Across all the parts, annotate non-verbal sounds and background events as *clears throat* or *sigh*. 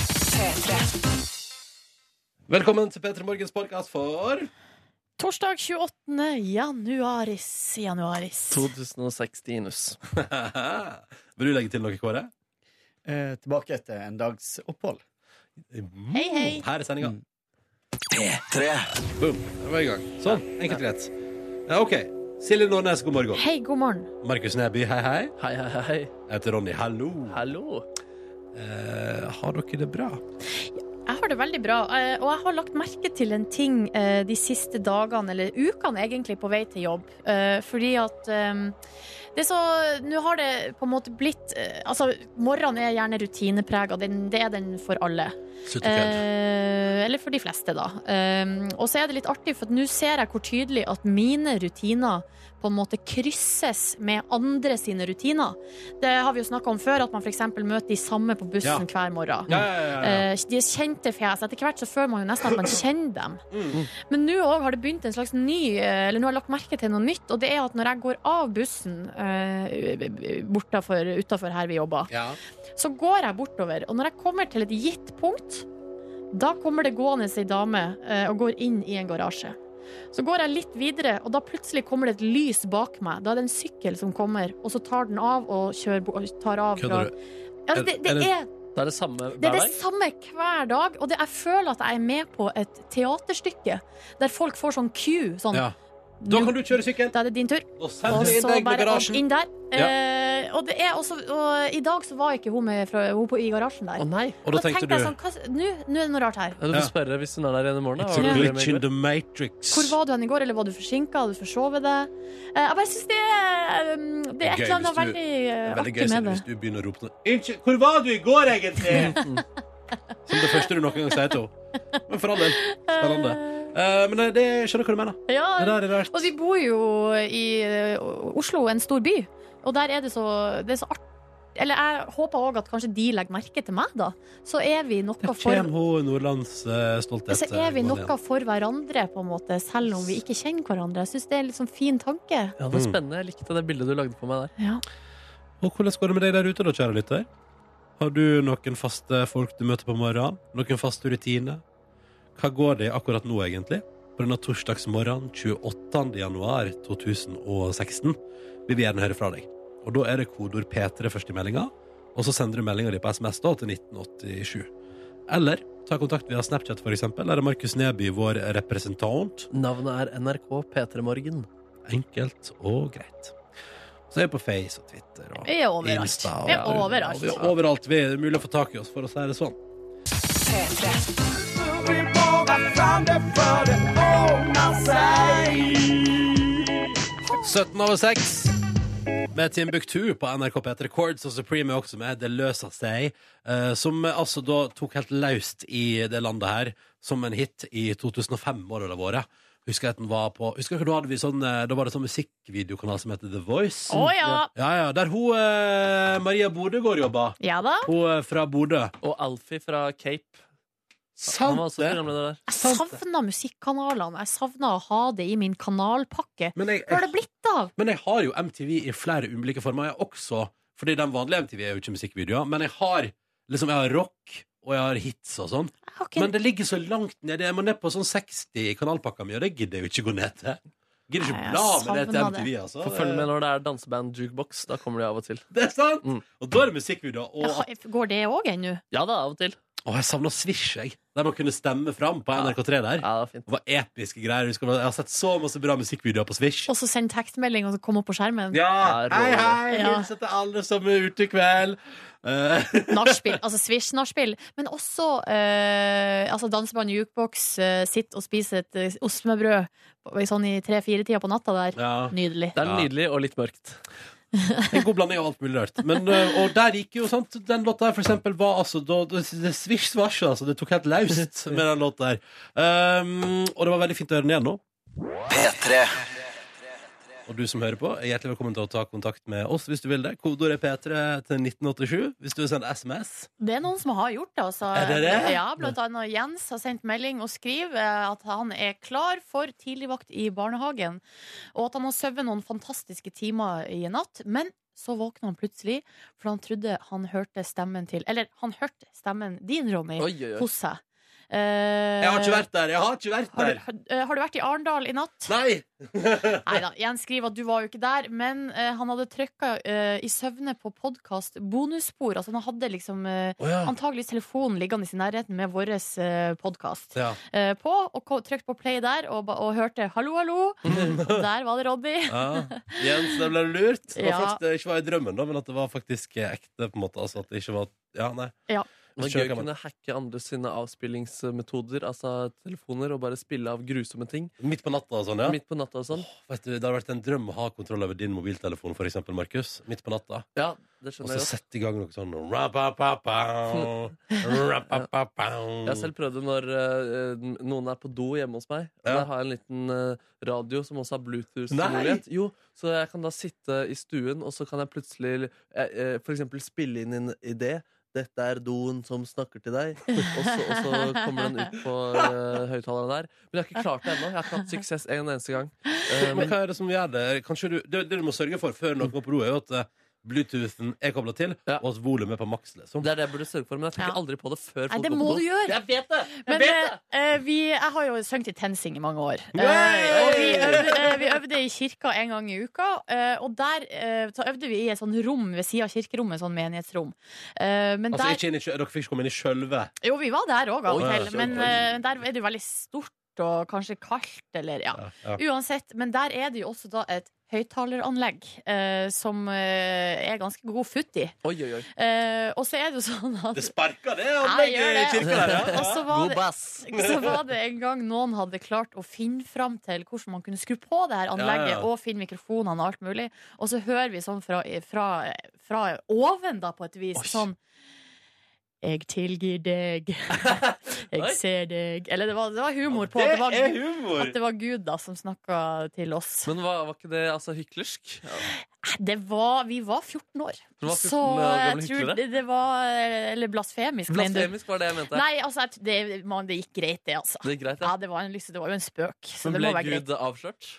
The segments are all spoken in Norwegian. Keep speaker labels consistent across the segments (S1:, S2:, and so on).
S1: P3.
S2: Velkommen til P3 Morgens podkast for *laughs*
S3: Torsdag 28. januaris. Januaris.
S4: 2016-us.
S2: Vil du legge til noe, Kåre?
S5: Eh, tilbake etter en dags opphold.
S3: Hei, hei.
S2: Her er sendinga.
S5: Mm.
S2: Boom. Da Mm. var vi i gang. Sånn. Enkelt og greit. Ja, OK. Silje Nordnes, god morgen.
S3: Hei, god morgen.
S2: Markus Neby, hei, hei.
S4: Hei, hei, hei.
S2: Jeg heter Ronny. Hallo.
S4: Hallo.
S2: Eh, har dere det bra?
S3: Jeg har det veldig bra, eh, og jeg har lagt merke til en ting eh, de siste dagene, eller ukene egentlig, på vei til jobb. Eh, Fordi at eh, det er så Nå har det på en måte blitt eh, Altså, morgenen er gjerne rutineprega. Den- Det er den for alle.
S2: Sutt og kveld.
S3: Eh, eller for de fleste, da. Eh, og så er det litt artig, for at nå ser jeg hvor tydelig at mine rutiner på en måte krysses med andre sine rutiner. Det har vi jo snakka om før, at man f.eks. møter de samme på bussen
S2: Ja.
S3: hver morgen.
S2: Ja, ja, ja, ja.
S3: Eh, de er kjente fjes. Etter hvert så føler man jo nesten at man kjenner dem.
S2: Mm.
S3: Men nå òg har det begynt en slags ny eh, Eller nå har jeg lagt merke til noe nytt, og det er at når jeg går av bussen uh, utafor her vi jobber,
S2: ja.
S3: så går jeg bortover, og når jeg kommer til et gitt punkt, da kommer det gående ei dame eh, og går inn i en garasje. Så går jeg litt videre, og da plutselig kommer det et lys bak meg. Da er det en sykkel som kommer, og så tar den av og kjører, bo- og tar av. fra-
S2: Kødder du?
S3: Ja, altså, det, det,
S2: Er det-
S3: er,
S4: Det er det samme
S3: det er
S4: hver
S3: det
S4: dag.
S3: samme hver dag, og det, jeg føler at jeg er med på et teaterstykke der folk får sånn cue. Sånn,
S2: Ja. Da kan du kjøre sykkel.
S3: da er det din tur.
S2: Og send
S3: Og
S2: det inn
S3: så
S2: deg med
S3: bare opp
S2: garasjen.
S3: inn der.
S2: Ja.
S3: Eh, og, det er også, og i dag så var ikke hun, med fra, hun på, i garasjen der.
S4: Å nei.
S2: Og da tenkte du
S3: jeg sånn, hva, nå, nå er det noe rart her.
S4: Ja, Du får spørre hvis hun er der igjen i morgen. da.
S2: It's a
S4: Har du det med
S2: glitch
S4: i
S2: in
S4: går?
S2: the matrix.
S3: Hvor var du hen i går, eller var du forsinka? Hadde du forsovet deg? Eh, Jeg bare syns det, er, um, det er et
S2: Gøy
S3: eller
S2: hvis
S3: annet
S2: du-
S3: veldig
S2: Det
S3: eh,
S2: er veldig gøy
S3: artig med det.
S2: hvis du begynner å rope sånn, noe. Unnskyld, hvor var du i går, egentlig? *laughs* Som det første du noen gang sier til henne. Men for all del. Spennende. Eh, men det, jeg skjønner hva du mener.
S3: Eh, Ja,
S2: Det der er rart.
S3: og vi bor jo i eh, Oslo, en stor by, og der er det så, det er så artig. Eller jeg håper òg at kanskje de legger merke til meg, da. Så er vi noe
S2: Der
S3: for
S2: kommer hun Nordlands eh, stolthet.
S3: så Altså, er vi
S2: eh,
S3: noe for hverandre, på en måte, selv om vi ikke kjenner hverandre. Jeg syns det er en litt sånn fin tanke.
S4: Ja,
S2: Mm.
S4: det er spennende. Jeg likte det bildet du lagde på meg der.
S3: Ja.
S2: Og hvordan går det med deg der ute, da, kjære lytter? Har du noen faste folk du møter på morgenen? Noen faste rutiner? Hva går det i akkurat nå, egentlig? På denne torsdagsmorgenen 28. januar 2016 vil vi gjerne høre fra deg. Og da er det kodeord P3 først i meldinga, og så sender du meldinga di på SMS da til 1987. Eller ta kontakt via Snapchat, for eksempel. Der er Markus Neby vår representant.
S4: Navnet er NRK P3 Morgen.
S2: Enkelt og greit. Så er vi på Face og Twitter og
S3: Vi er overalt.
S2: Insta og-
S3: Vi er overalt.
S2: Vi er overalt. Vi er mulig å få tak i oss, for å si det sånn.
S1: P3.
S2: Søtten over seks med Timbuktu på NRK P3 Chords og Supreme er også med. Det løser seg. eh, som altså da tok helt løst i det landet her, som en hit i 2005, var det det var. Husker jeg at den var på Husker dere da hadde vi sånn eh, Da var det sånn musikkvideokanal som heter The Voice.
S3: Å ja.
S2: Ja, ja, Der hun eh, Maria Bodøgård jobba.
S3: Ja da.
S2: Hun eh, fra Bodø.
S4: Og Alfie fra Cape. Han var
S2: Sant
S4: også
S2: det!
S4: programleder der.
S3: Jeg savna musikkanalene. Jeg savna å ha det i min kanalpakke.
S2: Men jeg,
S3: Hva har det blitt av?
S2: Men jeg har jo MTV i flere ulike former. Jeg har også, fordi den vanlige MTV er jo ikke musikkvideoer, men jeg har liksom, jeg har rock, og jeg har hits og sånn.
S3: Jeg har ikke
S2: Men det ligger så langt nede. Jeg må ned på sånn 60 i kanalpakka mi, og det gidder jeg jo ikke gå ned til. Gidder
S3: Nei,
S2: ikke
S3: jeg
S2: bla med det til
S3: savner
S2: MTV, altså.
S4: Få følge med når det er danseband jukebox. Da kommer de av og til.
S2: Det er sant!
S4: Mm.
S2: Og da er det musikkvideoer.
S3: Jeg
S2: Og
S3: har- Går det òg ennå?
S4: Ja da, av og til.
S2: å, jeg savner Swish, jeg. Der man kunne stemme fram på NRK3 der.
S4: Ja, det var fint.
S2: Det var episke greier. Jeg husker- jeg har sett så masse bra musikkvideoer på Swish.
S3: Og så send tekstmelding, og så kom opp på skjermen?
S2: Ja!
S4: Ja, rå.
S2: Hei, hei!
S3: Ja.
S2: Hilser til alle som er ute i kveld. Eh,
S3: Nachspiel. Altså Swish-nachspiel. Men også eh, altså danseband jukebox, eh, sitt og spise et eh, ostesmørbrød på- sånn i tre-fire-tida på natta der.
S2: ja.
S3: Nydelig.
S4: Det er
S2: Ja.
S4: nydelig og litt mørkt.
S2: En god blanding av alt mulig rart. Men, øh, og der gikk jo sant Den låta her, for eksempel, var altså da, det, det svisj svasj, altså. Det tok helt
S3: *laughs*
S2: løst med den låta Ehm, her. Um, og det var veldig fint å høre den igjen nå.
S6: P3.
S2: Og du som hører på, er hjertelig velkommen til å ta kontakt med oss hvis du vil det. Kodeordet er P3 til 1987 hvis du vil sende SMS.
S3: Det er noen som har gjort det, altså.
S2: Er det det?
S3: Ja, blant annet Jens har sendt melding og skriver eh, at han er klar for tidligvakt i barnehagen, og at han har sovet noen fantastiske timer i natt. Men så våkna han plutselig, for han trodde han hørte stemmen til Eller han hørte stemmen din, Ronny,
S4: Oi, oi, oi.
S3: hos seg. Eh,
S2: Jeg har ikke vært der! Jeg har ikke vært
S3: har du,
S2: der!
S3: har, eh, har du vært i Arendal i natt? *laughs*
S2: Nei! *laughs*
S3: Nei da. Jens skriver at du var jo ikke der, men eh, han hadde trykka i søvne på podkast bonusspor. Altså han hadde liksom eh,
S2: Å ja.
S3: antageligvis telefonen liggende i nærheten med vår eh, podkast
S2: ja.
S3: eh, på, og ko- trykte på play der og, ba- og hørte
S2: *laughs*
S3: 'hallo, hallo'. Der var det Roddy.
S2: Ja. Jens, det ble lurt. Det var
S3: Ja.
S2: flaks det ikke var i drømmen, da, men at det var faktisk eh, ekte. på en måte Altså at det ikke var Ja, nei.
S3: Ja.
S4: Det
S2: Så
S4: er gøy å
S2: kan man-
S4: kunne hacke andre sine avspillingsmetoder, altså telefoner, og bare spille av grusomme ting
S2: Midt på natta og sånn, ja.
S4: midt på natta og sånn.
S2: Vet du, Det hadde vært en drøm å ha kontroll over din mobiltelefon, for eksempel, Markus. Midt på natta.
S4: Ja,
S2: Og
S4: det
S2: så
S4: skjønner jeg godt.
S2: sette i gang noe sånn
S3: *laughs*
S2: rapapapau, rapapapau.
S4: Jeg har selv prøvd det når eh, n- noen er på do hjemme hos meg. Og
S2: Ja.
S4: Der har jeg en liten eh, radio som også har
S2: Nei!
S4: Bluetooth-mulighet. Jo, Så jeg kan da sitte i stuen, og så kan jeg plutselig uh, for eksempel spille inn en idé. 'Dette er doen som snakker til
S2: *laughs*
S4: deg', og så, og så kommer den ut på eh, høyttaleren der. Men jeg har ikke klart det ennå. Jeg har ikke hatt suksess en eneste gang. Eh,
S2: Men hva er det som gjør det? Kanskje du, det, det du må sørge for før noen går på do, er jo at eh, Bluetoothen er kobla til,
S4: Ja.
S2: og at volumet er på maks. Liksom.
S4: det er det jeg burde sørge for, men jeg tenker
S3: Ja.
S4: aldri på det før
S3: Nei,
S4: folk
S3: det
S4: går på
S3: må
S4: do.
S3: du gjøre!
S4: Jeg vet det!
S3: Men eh, eh, vi, jeg har jo sunget i TenSing i mange år. Eh, og vi øvde, eh, vi øvde i kirka en gang i uka. eh, og der eh, så øvde vi i et sånn rom ved sida av kirkerommet, sånn menighetsrom. Eh, men
S2: Altså,
S3: der
S2: ikke inn i, kjø- dere fikk ikke komme inn i sjølve.
S3: Jo, vi var der òg av og
S2: Oi,
S3: til,
S2: ja.
S3: men eh, der er det jo veldig stort og kanskje kaldt, eller ja.
S2: Ja, ja.
S3: Uansett, men der er det jo også da et høyttaleranlegg eh, som eh, er ganske god futt i.
S4: Oi, oi, oi.
S3: Eh, og så er det jo sånn at
S2: *laughs* Det sparka, det!
S3: Jeg gjør
S2: anlegget
S3: det.
S2: i kirka der,
S3: *laughs* Og så
S2: ja. Altså,
S3: var
S4: God
S3: det
S4: bass.
S3: så var det en gang noen hadde klart å finne fram til hvordan man kunne skru på det her anlegget,
S2: Ja, ja.
S3: og finne mikrofonene og alt mulig. Og så hører vi sånn fra, fra, fra oven, da, på et vis,
S4: Oi.
S3: sånn Jeg tilgir
S2: *laughs*
S3: deg.
S4: Oi.
S3: Jeg ser deg. Eller det var, det var humor på
S2: Det
S3: at det var,
S2: er
S3: Gud-
S2: humor!
S3: at det var Gud da som snakka til oss.
S4: Men var, var ikke det altså hyklersk?
S3: Det var, vi var 14 år.
S4: Du var 14
S3: så
S4: år
S3: jeg
S4: gammel
S3: tror
S4: hyklere?
S3: det, det var Eller blasfemisk, mener du?
S4: Blasfemisk var det jeg mente.
S3: Nei, altså, jeg- det, man, det gikk greit, det, altså.
S4: Det er greit, ja.
S3: Ja, det var, en, lyst- det var jo en spøk. Så
S4: Men
S3: det
S4: ble
S3: må være greit.
S4: Gud avslørt?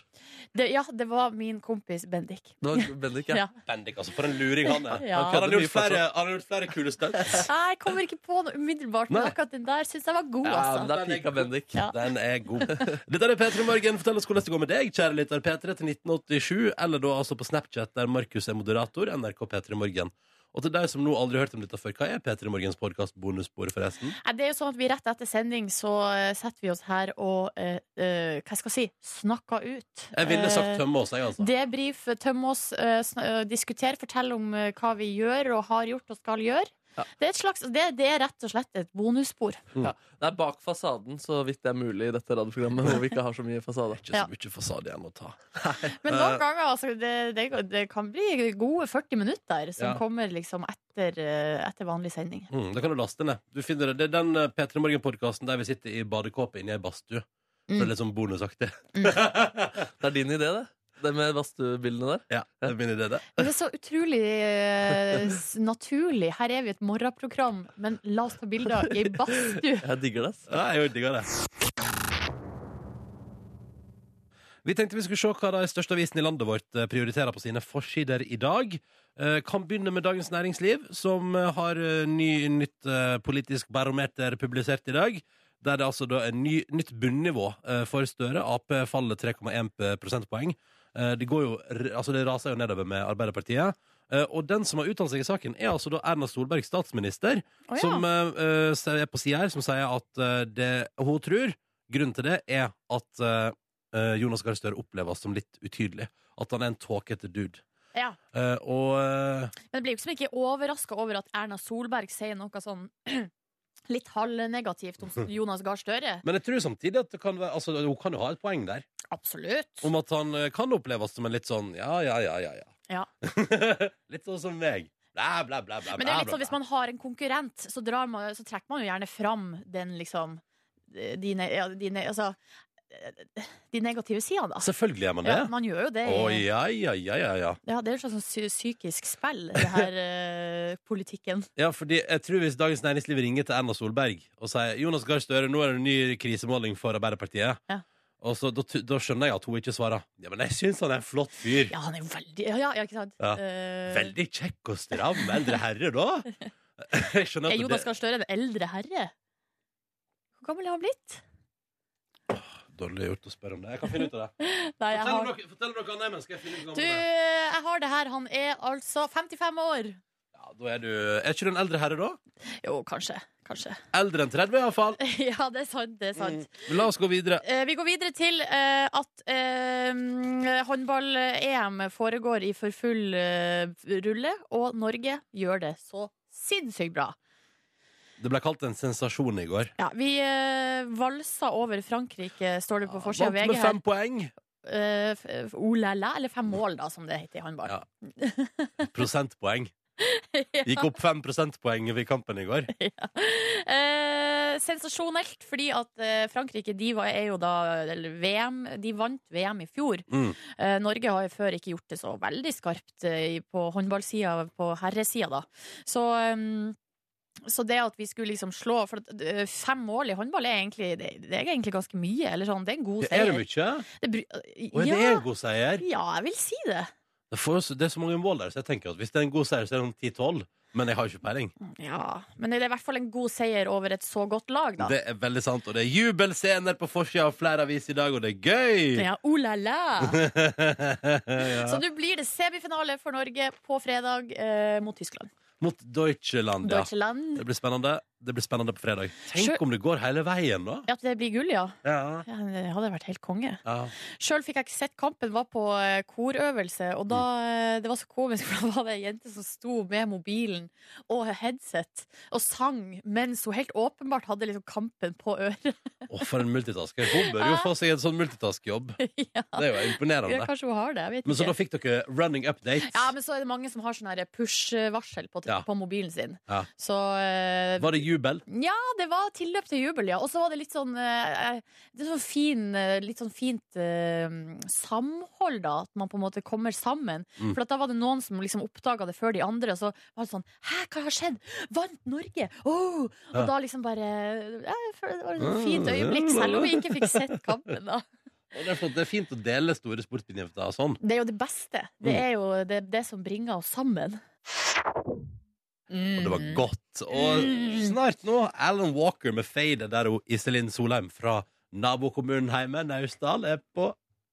S3: Det, ja, det var min kompis Bendik.
S4: Det var Bendik, ja.
S3: Ja.
S2: Bendik, altså. For en luring han er.
S3: Ja.
S2: Han hadde
S4: Mye
S2: gjort flere,
S4: fortsatt.
S2: han hadde gjort flere kule stunts.
S3: Jeg kommer ikke på noe umiddelbart, men
S2: Nei.
S3: akkurat den der syns jeg var god,
S4: ja men
S3: altså.
S4: der pika Bendik.
S3: Ja.
S2: Den er god.
S4: *laughs*
S2: Dette er P3 Morgen. Fortell oss hvordan det går med deg, kjære lytter. P3 til 1987, eller da altså på Snapchat, der Markus er moderator. NRK P3 Morgen. Og til deg som nå aldri har hørt om dette før, hva er P3 Morgens podkast bonussporet, forresten?
S3: Nei, Det er jo sånn at vi Rett etter sending så eh, setter vi oss her og eh, eh, hva skal jeg si snakker ut.
S2: Jeg ville
S3: Eh,
S2: sagt tømme oss, jeg, altså.
S3: Debrif, tømme oss, eh, sn- eh, diskutere, fortelle om eh, hva vi gjør og har gjort og skal gjøre.
S4: Ja.
S3: Det, er et slags, det, det er rett og slett et bonusspor.
S4: Det er bak fasaden, så vidt det er mulig i dette radioprogrammet. Hvor vi ikke har så mye fasade
S2: Ikke så
S3: Ja.
S2: mye fasade igjen å ta.
S3: Men
S2: Eh.
S3: noen ganger altså, det, det, det kan bli gode 40 minutter som
S2: Ja.
S3: kommer liksom etter, eh, etter vanlig sending.
S2: Mm, det kan du laste ned. Du finner det. det er den eh, P3 Morgen-podkasten der vi sitter i badekåpe inne i ei badstue. For
S3: Mm.
S2: det er Litt sånn bonusaktig.
S4: Det er din idé, det. Det med badstuebildene der.
S2: Ja, *laughs* det er min idé, det.
S3: Men det er så utrolig eh, s- naturlig. Her er vi et morgenprogram, men la oss ta bilder i badstue.
S4: Jeg digger det. ass.
S2: Ja, jeg digger det. Vi tenkte vi skulle se hva de største avisene i landet vårt eh, prioriterer på sine forsider i dag. Eh, Kan begynne med Dagens Næringsliv, som eh, har eh, ny, nytt eh, politisk barometer publisert i dag. Der det altså da er ny, nytt bunnivå eh, for Støre. Ap faller 3,1 p- prosentpoeng. Eh, Det, går jo, r- altså det raser jo nedover med Arbeiderpartiet. Eh, Og den som har uttalt seg i saken, er altså da Erna Solberg, statsminister.
S3: Å ja.
S2: Som eh, eh, ser- er på sida her, som sier at eh, det hun tror Grunnen til det er at eh, eh, Jonas Gahr Støre oppleves som litt utydelig. At han er en tåkete dude.
S3: Ja.
S2: Eh, og eh,
S3: Men det blir jo liksom ikke overraska over at Erna Solberg sier noe sånn *clears throat* litt halvnegativt
S2: *laughs*
S3: om Jonas Gahr Støre.
S2: Men jeg tror samtidig at det kan være altså, hun kan jo ha et poeng der.
S3: Absolutt.
S2: Om at han eh, kan oppleves som en litt sånn ja, ja, ja, ja. ja. *laughs* litt sånn som meg. Blæ, blæ, blæ, blæ.
S3: Men det er litt sånn, hvis man har en konkurrent, så, drar man, så trekker man jo gjerne fram den liksom eh, dine, ja, dine, altså, eh, de negative sidene, da.
S2: Selvfølgelig gjør man det.
S3: Ja, man gjør jo det.
S2: Å, ja, ja, ja, ja, ja.
S3: Ja, det er jo et slags sånn psy- psykisk spill, det her eh, politikken.
S2: Ja, fordi jeg tror Hvis Dagens Næringsliv ringer til Erna Solberg og sier Jonas Gahr Støre, nå er det en ny krisemåling for Arbeiderpartiet,
S3: Ja.
S2: Og så, da, tu- da skjønner jeg at hun ikke svarer. Ja, Men jeg syns han er en flott fyr.
S3: Ja, han er jo veldig Ja, ja, ja ikke sant?
S2: Ja.
S3: Eh,
S2: Veldig kjekk og stram eldre herre, da.
S3: *laughs*
S2: Jeg skjønner
S3: Er
S2: at
S3: Jonas Gahr Støre en eldre herre? Hvor gammel er han blitt?
S2: det Dårlig gjort å spørre om det. Jeg kan finne ut av det.
S3: Nei, jeg
S2: Fortell om
S3: har
S2: noe, fortell om noe annet, men skal jeg finne ut noe
S3: Du, eh,
S2: annet.
S3: jeg har det her. Han er altså 55 år.
S2: Ja, da er du Er ikke du en eldre herre, da?
S3: Jo, kanskje. Kanskje.
S2: Eldre enn 30, iallfall.
S3: *laughs* Ja, det er sant. Det er sant.
S2: La oss gå videre.
S3: Eh, vi går videre til eh, at eh, håndball-EM foregår i for full eh, rulle, og Norge gjør det så sinnssykt bra.
S2: Det ble kalt en sensasjon i går.
S3: Ja, vi eh, valsa over Frankrike, står det på forsida
S2: Vant
S3: av VG
S2: med
S3: her.
S2: fem poeng.
S3: Eh, f- f- oh la la, eller fem mål, da, som det heter i håndball.
S2: Ja.
S3: *laughs*
S2: Prosentpoeng. Gikk opp fem prosentpoeng ved kampen i går.
S3: Eh, sensasjonelt, fordi at eh, Frankrike de var, er jo da eller VM, De vant VM i fjor.
S2: Mm.
S3: Eh, Norge har jo før ikke gjort det så veldig skarpt eh, i- på håndballsida, på herresida, da. Så, um, så det at vi skulle liksom slå For at, eh, fem mål i håndball er egentlig, det, det er egentlig ganske mye. Eller sånn. Det er en god
S2: Det er det
S3: seier.
S2: mye.
S3: Det bry-
S2: Og det er
S3: ja,
S2: en god seier.
S3: ja, jeg vil si det.
S2: Det, får, jo så- det er så mange mål der, så jeg tenker at hvis det er en god seier, så er det sånn 10-12. Men jeg har ikke peiling.
S3: Ja, Men det er i hvert fall en god seier over et så godt lag, da.
S2: Det er veldig sant. Og det er jubelscener på forsida av flere aviser i dag, og det er gøy!
S3: Ja, oh la la!
S2: *laughs* Ja.
S3: Så nå blir det semifinale for Norge på fredag eh, mot Tyskland.
S2: Mot Deutschland, ja.
S3: Deutschland.
S2: Det blir spennende. Det blir spennende på fredag.
S3: Sjø-
S2: Tenk om det går hele veien, da.
S3: Ja, At det blir gull, ja.
S2: Ja.
S3: ja. Det hadde vært helt konge.
S2: Ja.
S3: Sjøl fikk jeg ikke sett kampen, var på eh, korøvelse, og da eh, Det var så komisk, *laughs* for da var det ei jente som sto med mobilen og headset og sang mens hun helt åpenbart hadde liksom kampen på øret. *laughs*
S2: Å, for en multitasker. Hun bør jo få seg en sånn multitaskjobb.
S3: *laughs* ja.
S2: Det er jo
S3: ja,
S2: imponerende.
S3: kanskje hun har det, jeg vet
S2: Men så da
S3: ikke.
S2: fikk dere running updates.
S3: Ja, men så er det mange som har sånn her push-varsel på,
S2: Ja.
S3: på mobilen sin.
S2: Ja.
S3: Så eh,
S2: Var det jubel?
S3: Ja, det var tilløp til jubel, ja. Og så var det litt sånn, eh, det er sånn, fin, eh, litt sånn fint eh, samhold, da. At man på en måte kommer sammen.
S2: Mm.
S3: For at da var det noen som liksom oppdaga det før de andre, og så var det sånn Hæ, hva har skjedd? Vant Norge! Oh! Og
S2: Ja.
S3: da liksom bare ja, jeg føler Det var et
S2: Mm,
S3: fint øyeblikk,
S2: ja,
S3: selv om vi
S2: ja.
S3: ikke fikk sett kampen, da.
S2: Og Det er, flott. det er fint å dele store sportsbegivenheter og sånn.
S3: Det er jo det beste. Det
S2: Mm.
S3: er jo det, det som bringer oss sammen. Mm.
S2: Og det var godt. Og snart nå Alan Walker med Fade, der hun Iselin Solheim fra nabokommunen hjemme, Naustdal, er på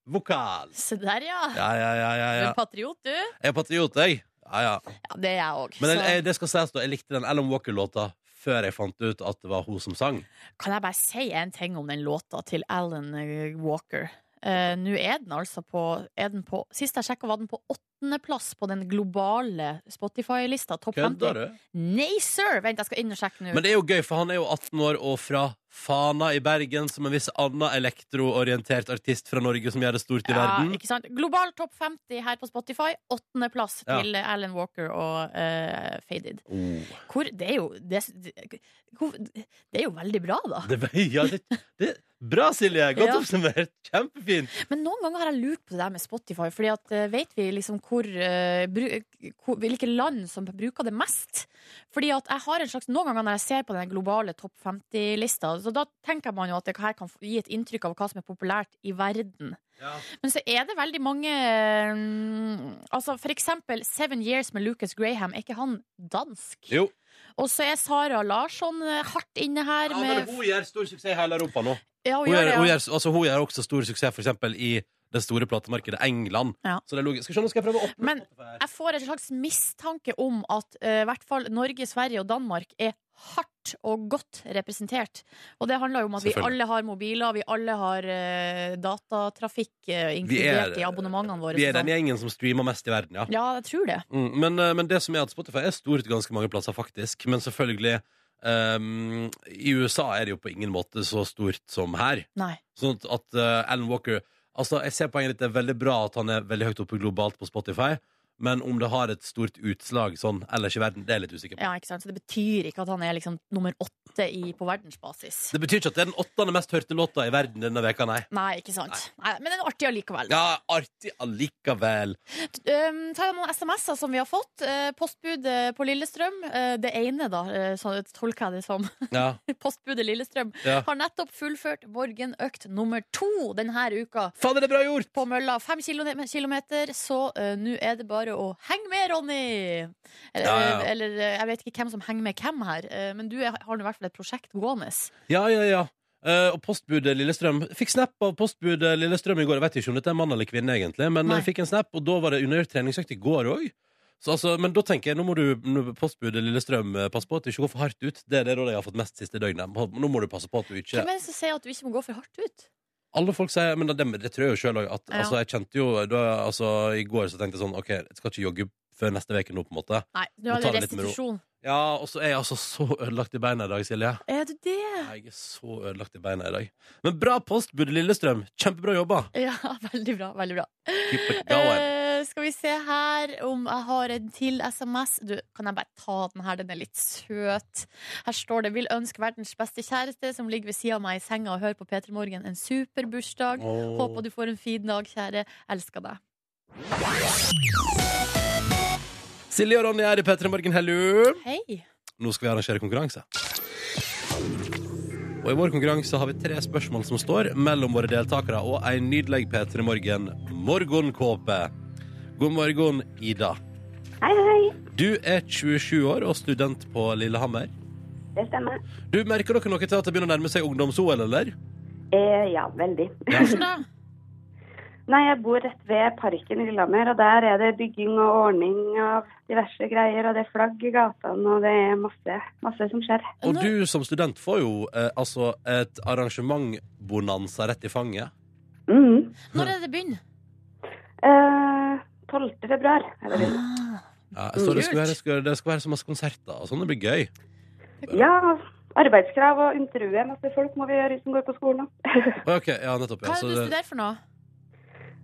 S2: vokal.
S3: Se der, ja.
S2: Ja, ja, ja. ja,
S3: Du
S2: ja.
S3: er patriot, du.
S2: Jeg er patriot, jeg. Ja, ja.
S3: Ja, det er jeg òg.
S2: Men jeg, jeg, det skal sies da, jeg likte den Alan Walker-låta før jeg fant ut at det var hun som sang.
S3: Kan jeg bare si en ting om den låta til Alan eh, Walker? Eh, Nå er den altså på, er den på Sist jeg sjekka, var den på åttendeplass på den globale Spotify-lista. Topp 50.
S2: Kødder du?
S3: Nei, sir! Vent, jeg skal inn og sjekke nå.
S2: Men det er jo gøy, for han er jo 18 år og fra Fana i Bergen, som en viss annen elektroorientert artist fra Norge som gjør det stort i verden.
S3: ikke sant? Global topp 50 her på Spotify. Åttendeplass
S2: Ja.
S3: til Alan Walker og eh, Faded.
S2: Oh.
S3: Hvor, det, er jo, det, hvor, det er jo veldig bra, da.
S2: Det, var- ja, det, det, bra, Silje! Godt
S3: Ja.
S2: oppsummert. Kjempefint.
S3: Men noen ganger har jeg lurt på det der med Spotify, fordi at eh, vet vi liksom hvor, eh, bru, hvor Hvilke land som bruker det mest? Fordi at jeg har en slags Noen ganger når jeg ser på den globale topp 50-lista, så da tenker man jo at det her kan gi et inntrykk av hva som er populært i verden.
S2: Ja.
S3: Men så er det veldig mange eh, Altså for eksempel Seven Years med Lucas Graham, er ikke han dansk?
S2: Jo.
S3: Og så er Sara Larsson eh, hardt inne her med
S2: hun gjør stor suksess i hele Europa nå.
S3: Ja,
S2: Hun gjør,
S3: det,
S2: hun
S3: ja.
S2: gjør, altså, hun gjør også stor suksess for eksempel i det store platemarkedet England.
S3: Ja.
S2: Så det er logisk. Skal vi se, nå skal jeg prøve å åpne
S3: Men-
S2: Spotify her.
S3: Jeg får en slags mistanke om at eh, i hvert fall Norge, Sverige og Danmark er hardt og godt representert. Og det handler jo om at vi
S2: Selvfølgelig.
S3: alle har mobiler, vi alle har eh, datatrafikk eh,
S2: Vi er-
S3: inkludert i abonnementene våre.
S2: Vi er
S3: så
S2: den
S3: sånn.
S2: gjengen som streamer mest i verden, ja.
S3: Ja, jeg tror det.
S2: Mm, men, eh, men det som er at Spotify er stort ganske mange plasser, faktisk. Men selvfølgelig ehm, I USA er det jo på ingen måte så stort som her.
S3: Nei.
S2: Sånn at, at eh, Alan Walker Altså, jeg ser poenget ditt. Det er veldig bra at han er veldig høyt oppe globalt på Spotify. Men om det har et stort utslag sånn ellers i verden, det er jeg litt usikker på.
S3: Ja, ikke sant? Så det betyr ikke at han er liksom nummer åtte i, på verdensbasis.
S2: Det betyr ikke at det er den åttende mest hørte låta i verden denne veka, nei.
S3: Nei, ikke sant. Nei, men den er artig allikevel.
S2: Ja, artig allikevel.
S3: Um, ta noen SMS-er som vi har fått. Eh, postbudet på Lillestrøm. eh, det ene, da, eh, så tolker jeg det som. *laughs*
S2: Ja,
S3: Postbudet Lillestrøm
S2: ja.
S3: *laughs* har nettopp fullført morgenøkt nummer to denne uka.
S2: Fader, det er bra gjort!
S3: På mølla fem kilone- kilometer, så eh, nå er det bare å henge med, Ronny! Eller,
S2: Ja, ja.
S3: eller eh, jeg vet ikke hvem som henger med hvem her, eh, men du er, har nå i hvert fall et prosjekt gående.
S2: Ja, ja, ja. Eh, og postbudet Lillestrøm Fikk snap av postbudet Lillestrøm i går. Jeg vet ikke om dette er mann eller kvinne, egentlig, men
S3: Nei.
S2: jeg fikk en snap, og da var det undergjort treningsøkt i går òg. Altså, men da tenker jeg, nå må du nå- postbudet Lillestrøm eh, passe på at du ikke går for hardt ut. Det er det rådet jeg har fått mest siste døgnet. Må- Nå må du passe på at du ikke
S3: Hvem er det som sier at du ikke må gå for hardt ut?
S2: Alle folk sier Men det, det tror jeg jo sjøl òg.
S3: Ja.
S2: Altså, jeg kjente jo da, altså, I går så tenkte jeg sånn OK, jeg skal ikke jogge før neste uke nå, på en måte.
S3: Nei, nå
S2: Må
S3: er
S2: ta
S3: det
S2: det litt med ro.
S3: restitusjon.
S2: Ja, og så er jeg altså så ødelagt i beina i dag, Silje.
S3: Er du det?
S2: Jeg er så ødelagt i beina i dag. Men bra postbud, Lillestrøm. Kjempebra jobba.
S3: Ja, *laughs* veldig bra. veldig bra
S2: Keep it going.
S3: Eh, skal vi se her om jeg har en til SMS. Du, Kan jeg bare ta den her? Den er litt søt. Her står det 'Vil ønske verdens beste kjæreste som ligger ved sida av meg i senga og hører på P3 Morgen, en super bursdag.
S2: Åh.
S3: Håper du får en fin dag, kjære. Elsker deg.
S2: Silje og Ronny er i P3 Morgen, hello!
S3: Hei.
S2: Nå skal vi arrangere konkurranse. Og i vår konkurranse har vi tre spørsmål som står mellom våre deltakere og ei nydelig P3 Morgen morgenkåpe. God morgen, Ida.
S6: Hei, hei.
S2: Du er 27 år og student på Lillehammer.
S6: Det stemmer.
S2: Du, Merker dere noe til at det begynner å nærme seg ungdoms-OL, eller?
S6: Eh, ja, veldig.
S2: Ja.
S3: Hvordan da?
S6: *laughs* Nei, jeg bor rett ved parken i Lillehammer, og der er det bygging og ordning av diverse greier, og det er flagg i gatene, og det er masse, masse som skjer.
S2: Og
S3: Nå-
S2: du som student får jo eh, altså et arrangementbonanza rett i fanget.
S6: Mhm.
S3: Når er det det begynner?
S6: Eh, 12. februar er det begynt.
S2: Ja, jeg så det, skal være, skal, det skal være så masse konserter og sånn. Det blir gøy.
S6: Ja, arbeidskrav og intervjue masse folk må vi gjøre som går på skolen. også. *laughs*
S2: Ok, ja, nettopp. Ja,
S3: Hva er
S2: så Altså,
S3: det du
S2: det,
S3: studerer for noe?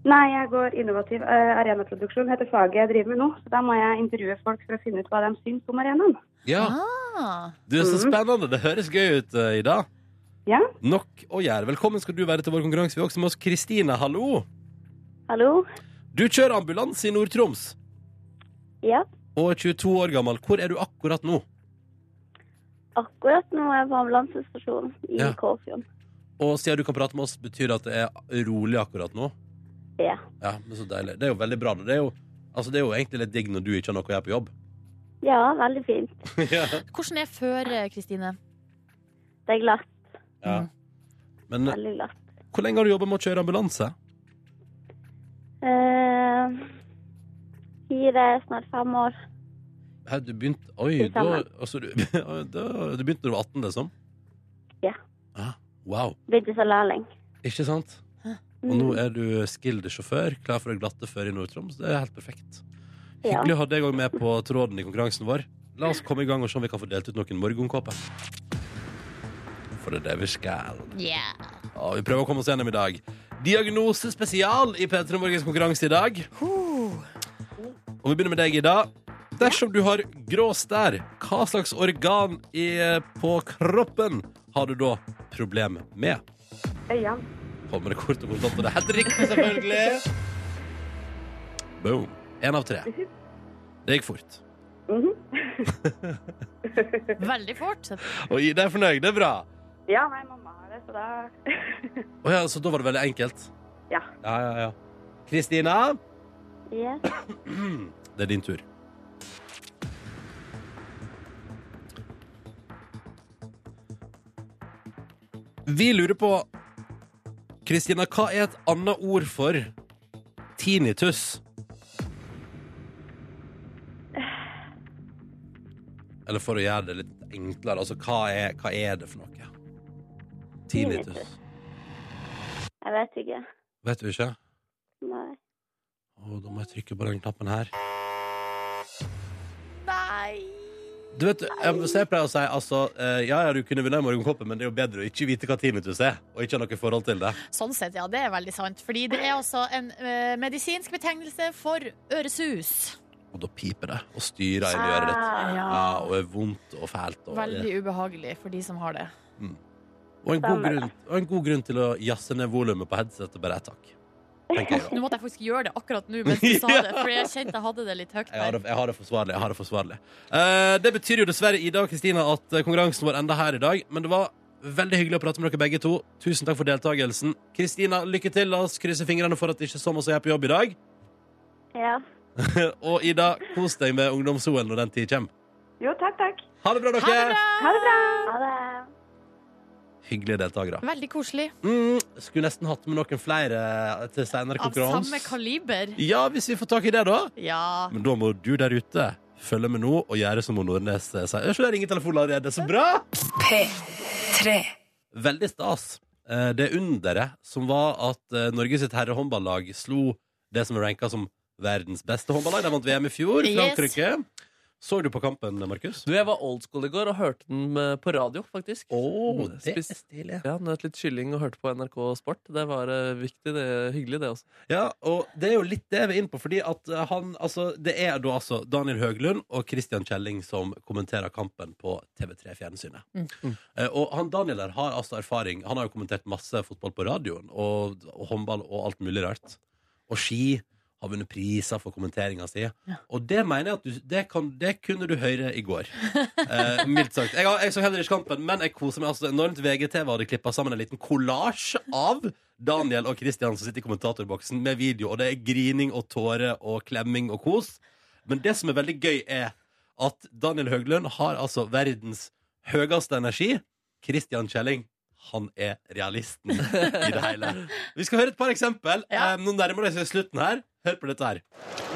S6: Nei, jeg går innovativ eh, arenaproduksjon, heter faget jeg driver med nå, så da må jeg intervjue folk for å finne ut hva de syns om arenaen.
S2: ja,
S3: Ah.
S2: du er så
S6: Mhm.
S2: spennende. Det høres gøy ut, eh, Ida.
S6: Ja,
S2: Nok å gjøre. Velkommen skal du være til vår konkurranse. Vi har også med oss Kristine. Hallo.
S6: hallo?
S2: Du kjører ambulanse i Nord-Troms
S7: Ja,
S2: og er 22 år gammel. Hvor er du akkurat nå?
S7: akkurat nå er jeg på ambulansestasjonen i
S2: Ja.
S7: Kåfjord.
S2: Og siden du kan prate med oss, betyr det at det er rolig akkurat nå?
S7: Ja.
S2: Ja, men Så deilig. Det er jo veldig bra. da. Det er jo, altså, det er jo egentlig litt digg når du ikke har noe å gjøre på jobb.
S7: Ja, veldig fint.
S2: ja.
S3: Hvordan er føret, Kristine?
S7: Det er glatt,
S2: Ja.
S3: Mm.
S2: Men eh,
S7: veldig glatt.
S2: hvor lenge har du jobba med å kjøre ambulanse?
S7: Eh, fire, snart fem år.
S2: Hæ, du begynte Oi,
S7: Det
S2: da,
S7: stemmer.
S2: altså, du, *laughs* da, du begynte da du var 18, liksom?
S7: Ja.
S2: Ah, wow.
S7: Begynte som sånn lærling.
S2: Ikke sant? Og nå
S7: Mm.
S2: er du skilled sjåfør, klar for å glatte før i Nord-Troms. Det er helt perfekt.
S7: Ja.
S2: Hyggelig å ha deg òg med på tråden i konkurransen vår. La oss komme i gang og se om vi kan få delt ut noen morgenkåper. For det er det vi skal.
S3: Yeah.
S2: Ja, vi prøver å komme oss gjennom i dag. Diagnose spesial i P3 Morgens konkurranse i dag. Og vi begynner med deg, Ida. Dersom du har grå stær, hva slags organ i, på kroppen har du da problem med?
S6: Øynene.
S2: Kommer det kort og kontant, og det er helt riktig, selvfølgelig. Boom. Én av tre. Det gikk fort.
S3: Veldig fort.
S2: Og Ida er fornøyd. Det er bra.
S6: Ja, nei, mamma har det, så da... *laughs*
S2: Å ja, så da var det veldig enkelt.
S6: Ja.
S2: Ja, ja, ja. Kristina?
S7: Ja.
S2: Det er din tur. Vi lurer på Kristina, hva er et annet ord for tinnitus? Eller for å gjøre det litt enklere, altså hva er, hva er det for noe? Tinnitus.
S7: Tinnitus. Jeg vet ikke.
S2: Vet du ikke?
S7: Nei.
S2: Å, da må jeg trykke på den knappen her.
S3: Nei!
S2: Du vet, jeg, så jeg pleier å si altså, eh, Ja, ja, du kunne vunnet morgenkoppen, men det er jo bedre å ikke vite hva tinnitus er, og ikke ha noe forhold til det.
S3: Sånn sett, ja. Det er veldig sant. Fordi det er altså en eh, medisinsk betegnelse for øresus.
S2: og da piper det og styrer inn i øret ditt. Ja, og er vondt og fælt. Og,
S3: Ah, Veldig ubehagelig for de som har det.
S2: og, en, god grunn, og en god grunn til å jazze ned volumet på headsetet bare ett hakk. Tenker jeg, da.
S3: Nå måtte jeg faktisk gjøre det akkurat nå
S2: *laughs*
S3: mens du sa det, for jeg kjente jeg hadde det litt høyt
S2: Jeg har,
S3: der.
S2: det, jeg har det forsvarlig. Jeg har det forsvarlig. Eh, det betyr jo dessverre Ida og Kristina at eh, konkurransen vår enda her i dag. Men det var veldig hyggelig å prate med dere begge to. Tusen takk for deltakelsen. Kristina, lykke til. La oss krysse fingrene for at det ikke er sommer som er på jobb i dag. *laughs*
S7: Ja.
S2: Og Ida, kos deg med ungdoms-OL når den tid kommer.
S6: Jo, takk, takk.
S2: Ha det bra, dere!
S3: Ha det bra!
S6: Ha det bra.
S7: Ha det.
S2: Hyggelige deltakere.
S3: Veldig koselig.
S2: Mm, skulle nesten hatt med noen flere til senere
S3: Av samme
S2: konkurranse.
S3: kaliber.
S2: Ja, hvis vi får tak i det, da.
S3: Ja.
S2: Men da må du der ute følge med nå og gjøre som Nordnes eh, sier. Hør, så det ringer telefonen allerede. Så bra!
S1: P3.
S2: Veldig stas. Eh, Det underet som var at eh, Norge sitt herrehåndballag slo det som er ranka som verdens beste håndballag. De vant VM i fjor.
S3: Yes.
S2: Frankrike. Så du på kampen, Markus?
S4: Du, jeg var old school i går og hørte den eh, på radio, faktisk.
S2: Åh, det er
S4: Spist-
S2: stilig.
S4: Ja, Nøt litt kylling og hørte på NRK Sport. Det var eh, viktig, det hyggelig, det også.
S2: Ja, og det er jo litt det vi er inne på, fordi at eh, han Altså, det er da altså Daniel Høglund og Christian Kjelling som kommenterer kampen på TV3 Fjernsynet.
S3: Mm.
S2: Eh, Og han Daniel der har altså erfaring. Han har jo kommentert masse fotball på radioen, og, og håndball og alt mulig rart. Og ski. Har vunnet priser for kommenteringa si. Og det mener jeg at du Det, kan, det kunne du høre i går. Eh, mildt sagt. Jeg, har- jeg så heller ikke kampen, men jeg koser meg altså enormt. VGTV hadde klippa sammen en liten kollasj av Daniel og Christian som sitter i kommentatorboksen med video, og det er grining og tårer og klemming og kos. Men det som er veldig gøy, er at Daniel Høglund har altså verdens høyeste energi. Christian Kjelling, han er realisten i det hele. Vi skal høre et par eksempel.
S3: Ja.
S2: Eh, Nå nærmer det seg slutten her. Hør på dette her.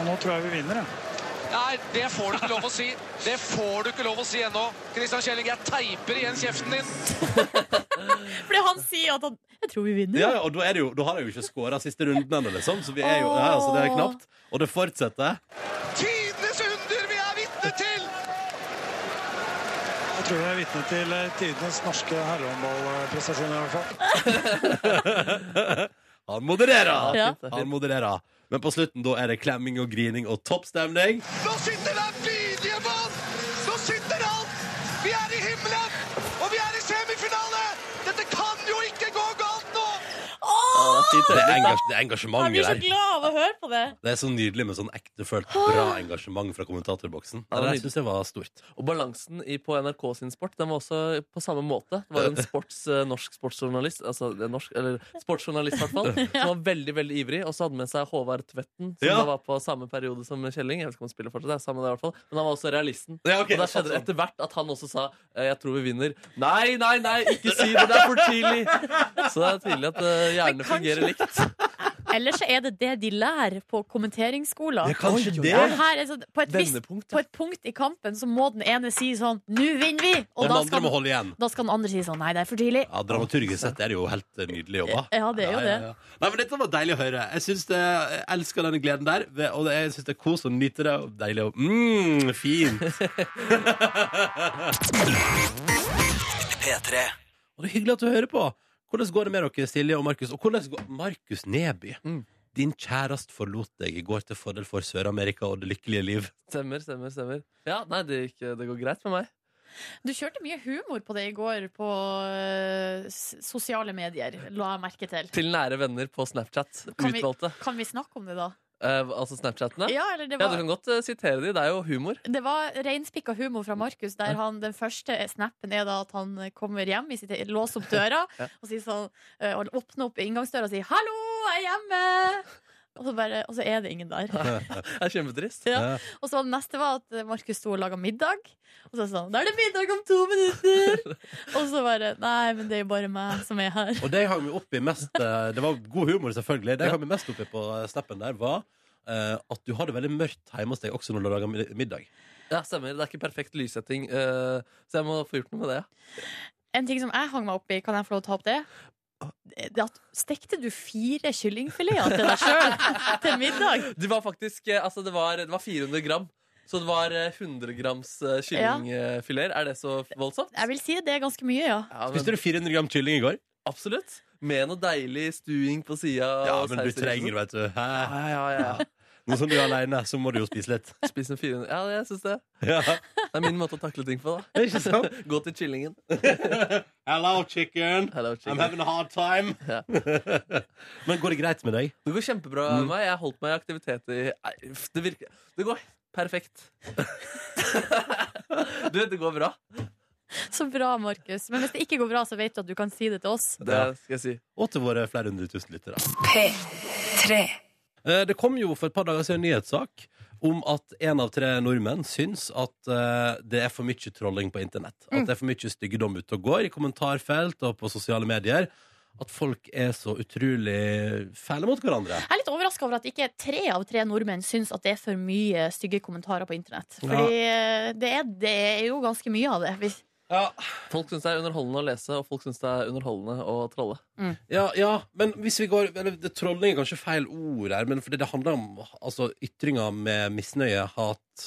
S5: Nå tror jeg vi vinner, jeg.
S8: Nei, det får du ikke lov å si. Det får du ikke lov å si ennå. Kristian Kjelling, jeg teiper igjen kjeften din.
S3: Fordi han sier at han Jeg tror vi vinner.
S2: Ja, ja, og da, er det jo, da har jeg jo ikke skåra siste runden ennå, liksom. Så vi er jo, ja, altså, det er knapt. Og det fortsetter.
S8: Tidenes under vi er vitne til!
S5: Jeg tror vi er vitne til eh, tidenes norske herrehåndballprestasjon i hvert fall.
S2: Han modererer!
S3: Ja.
S2: Han modererer. Men på slutten da er det klemming og grining og toppstemning.
S8: Nå sitter der lydige mann! Nå sitter alt! Vi er i himmelen! Og vi er i semifinale! Dette kan jo ikke gå galt nå!
S3: Åh,
S2: Det er, engasj det er
S3: jeg blir
S2: engasjementet
S3: så
S2: der.
S3: glad av å høre på det.
S2: Det er så nydelig med sånn ektefølt bra engasjement fra kommentatorboksen.
S4: Ja,
S2: Det der
S4: nydelig.
S2: synes jeg var stort.
S4: Og balansen i, på NRK sin sport den var også på samme måte. Det var en sports, eh, norsk sportsjournalist, altså det er norsk, eller sportsjournalist i hvert fall, som var veldig veldig ivrig, og så hadde med seg Håvard Tvetten, som
S2: Ja.
S4: da var på samme periode som Kjelling. Jeg vet ikke om han spiller fortsatt, det er samme det i hvert fall. Men han var også realisten.
S2: Ja, ok, altså.
S4: Og da skjedde det etter hvert at han også sa eh, 'jeg tror vi vinner'. Nei, nei, nei, ikke si det! Det er for tidlig! Så det er tydelig at eh, hjernen fungerer likt.
S3: Ellers så er det det de lærer på kommenteringsskolen.
S2: Det er kanskje
S4: Oi, oi,
S2: det.
S3: Ja, her, er sånn- på, et visst,
S4: Vendepunkt.
S3: på et punkt i kampen så må den ene si sånn 'Nå vinner vi!' Og
S2: Den
S3: da
S2: andre
S3: skal,
S2: må holde igjen.
S3: da skal den andre si sånn 'Nei, det er for tidlig'.
S2: Ja, Dramaturgisk sett er det jo helt eh, nydelig jobba.
S3: Ja, det er jo det.
S2: Nei, men Dette var deilig å høre. Jeg synes det, jeg elsker denne gleden der. ved- Og det- jeg syns det er kos å nyte det. Og deilig å mm, Fint.
S8: P3.
S2: Og det er hyggelig at du hører på. Hvordan går det med dere, Silje og Markus? Og hvordan går Markus Neby?
S4: Mm.
S2: Din kjærest forlot deg i går til fordel for Sør-Amerika og det lykkelige liv.
S4: Stemmer, stemmer, stemmer. Ja, nei, det, gikk, eh, det går greit med meg.
S3: Du kjørte mye humor på det i går på eh, s- sosiale medier, la jeg merke til.
S4: Til nære venner på Snapchat.
S3: Kan vi-
S4: Utvalgte.
S3: Kan vi snakke om det, da?
S4: Eh, altså Snapchatene? Ja,
S3: Ja, eller det
S4: Du kan
S3: var,
S4: godt eh, sitere de, det er jo humor.
S3: det var reinspikka humor fra Markus, der han, den første snappen er da at han kommer hjem, i sitt, låser opp *laughs* døra
S4: Ja.
S3: og, sier sånn, eh, og åpner opp inngangsdøra og sier 'hallo, jeg er hjemme', og så, bare, og så er det ingen der.
S4: Det er kjempetrist.
S3: Ja. Og så den neste var at Markus sto og laga middag, og så sånn 'da er det middag om to minutter', og så bare 'nei, men det er jo bare meg som er her'.
S2: Og det jeg hang meg opp i mest eh, Det var god humor, selvfølgelig. Det jeg hang meg mest opp i på eh, snappen der, var eh, at du har det veldig mørkt hjemme hos deg også når du lager mid- middag.
S4: Ja, stemmer. Det er ikke perfekt lyssetting, eh, så jeg må få gjort noe med det. ja.
S3: En ting som jeg hang meg opp i, kan jeg få lov til å ta opp det? Det at Stekte du fire kyllingfileter til deg sjøl til middag?
S4: Det var faktisk eh, altså, det var, det var 400 gram. Så det var eh, 100 grams eh, kyllingfileter. Er det så voldsomt?
S3: Jeg vil si det er ganske mye, ja.
S4: Ja, men,
S2: Spiste du 400 gram kylling i går?
S4: Absolutt. Med noe deilig stuing på sida.
S2: liksom. Ja, men du trenger, vet du. Hæ?
S4: liksom. ja, ja, ja.
S2: Nå som du er aleine, så må du jo spise *laughs* litt.
S4: Spis en 400 Ja, jeg syns det.
S2: Ja,
S4: Det er min måte å takle ting på, da.
S2: *laughs* ikke sant?
S4: Gå til chillingen.
S2: *laughs* Hello, chicken.
S4: Hello,
S2: I'm
S4: chicken.
S2: having a hard time.
S4: Ja.
S2: Men går det greit med deg?
S4: Det går kjempebra med meg. Jeg har holdt meg i aktivitet i Nei, uff, Det virker Det går perfekt. du vet, det går bra.
S3: Så bra, Markus. Men hvis det ikke går bra, så vet du at du kan si det til oss.
S4: Det skal jeg si.
S2: Og til våre flere hundre tusen lyttere.
S1: P3.
S2: Eh, Det kom jo for et par dager siden en nyhetssak om at en av tre nordmenn syns at eh, det er for mye trolling på internett. At det er for mye styggedom ute og går i kommentarfelt og på sosiale medier. At folk er så utrolig fæle mot hverandre.
S3: Jeg er litt overraska over at ikke tre av tre nordmenn syns at det er for mye stygge kommentarer på internett. Fordi eh, det er, det er jo ganske mye av det. *laughs* Hvis-
S2: Ja,
S4: Folk syns det er underholdende å lese, og folk syns det er underholdende å trolle.
S2: ja, ja men hvis vi går eller, det, Trolling er kanskje feil ord her, men fordi det handler om altså, ytringer med misnøye, hat,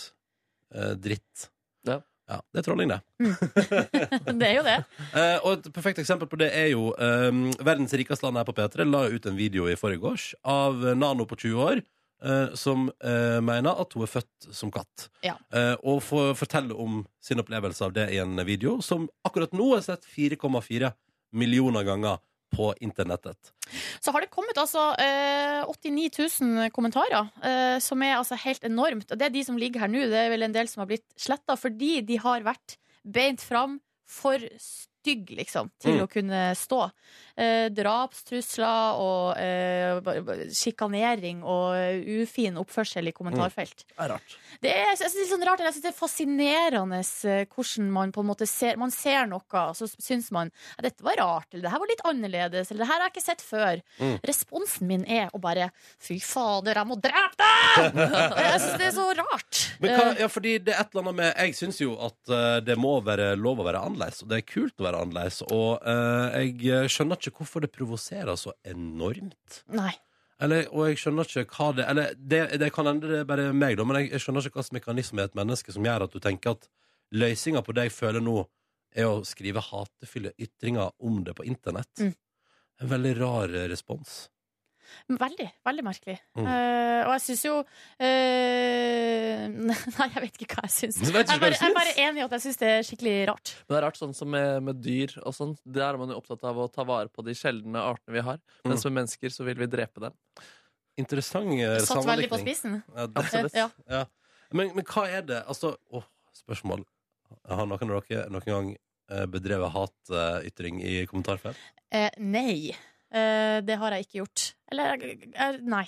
S2: eh, dritt.
S4: Ja.
S2: ja. Det er trolling, det.
S3: Det er jo det.
S2: Eh, og et perfekt eksempel på det er jo ehm, Verdens rikeste land her på P3 la ut en video i forgårs av Nano på 20 år. eh, som eh, mener at hun er født som katt.
S3: Ja.
S2: Eh, og får fortelle om sin opplevelse av det i en video som akkurat nå er sett 4,4 millioner ganger på internettet.
S3: Så har det kommet altså eh, 89 000 kommentarer, eh, som er altså helt enormt. Og det er de som ligger her nå. Det er vel en del som har blitt sletta fordi de har vært beint fram for stygg, liksom, til
S2: Mm.
S3: å kunne stå. Eh, drapstrusler og eh, ba- ba- sjikanering og eh, ufin oppførsel i kommentarfelt.
S4: Det er rart.
S3: Det er, jeg synes det er litt sånn rart, eller jeg synes det er fascinerende eh, hvordan man på en måte ser Man ser noe, og så syns man at dette var rart, eller det her var litt annerledes, eller det her har jeg ikke sett før.
S2: Mm.
S3: Responsen min er å bare Fy fader, jeg må drepe
S2: *laughs*
S3: deg! jeg synes det er så rart.
S2: Men hva,
S3: Eh,
S2: ja, fordi det er et eller annet med Jeg syns jo at eh, det må være lov å være annerledes, og det er kult å være annerledes. Og eh, jeg skjønner ikke hvorfor det provoserer så enormt.
S3: Nei.
S2: Eller, og jeg skjønner ikke hva det Eller det, det kan hende det er bare meg, da, men jeg, jeg skjønner ikke hva slags mekanisme i et menneske som gjør at du tenker at løsninga på det jeg føler nå, er å skrive hatefulle ytringer om det på internett.
S3: Mm.
S2: En veldig rar eh, respons.
S3: Veldig. Veldig merkelig.
S2: Mm.
S3: Eh, og jeg syns jo eh, *laughs* Nei, jeg vet ikke hva jeg syns.
S2: Du
S3: Jeg, *laughs*
S2: vet ikke hva
S3: er bare-
S2: du
S3: jeg er bare
S2: syns?
S3: enig i at jeg syns det er skikkelig rart.
S4: Men det er rart sånn som med, med dyr og sånn. Der er man jo opptatt av å ta vare på de sjeldne artene vi har. Mens med mennesker så vil vi drepe dem.
S2: Interessant eh,
S3: Satt veldig på
S2: sammenlikning.
S3: spissen.
S2: Ja, det-
S4: Absolutt.
S3: Ja.
S2: Ja. Men, men hva er det? Altså, åh, spørsmål. Har noen av dere noen gang eh, bedrevet hatytring i kommentarfelt?
S3: Eh, nei. Eh, det har jeg ikke gjort. Eller eh, nei.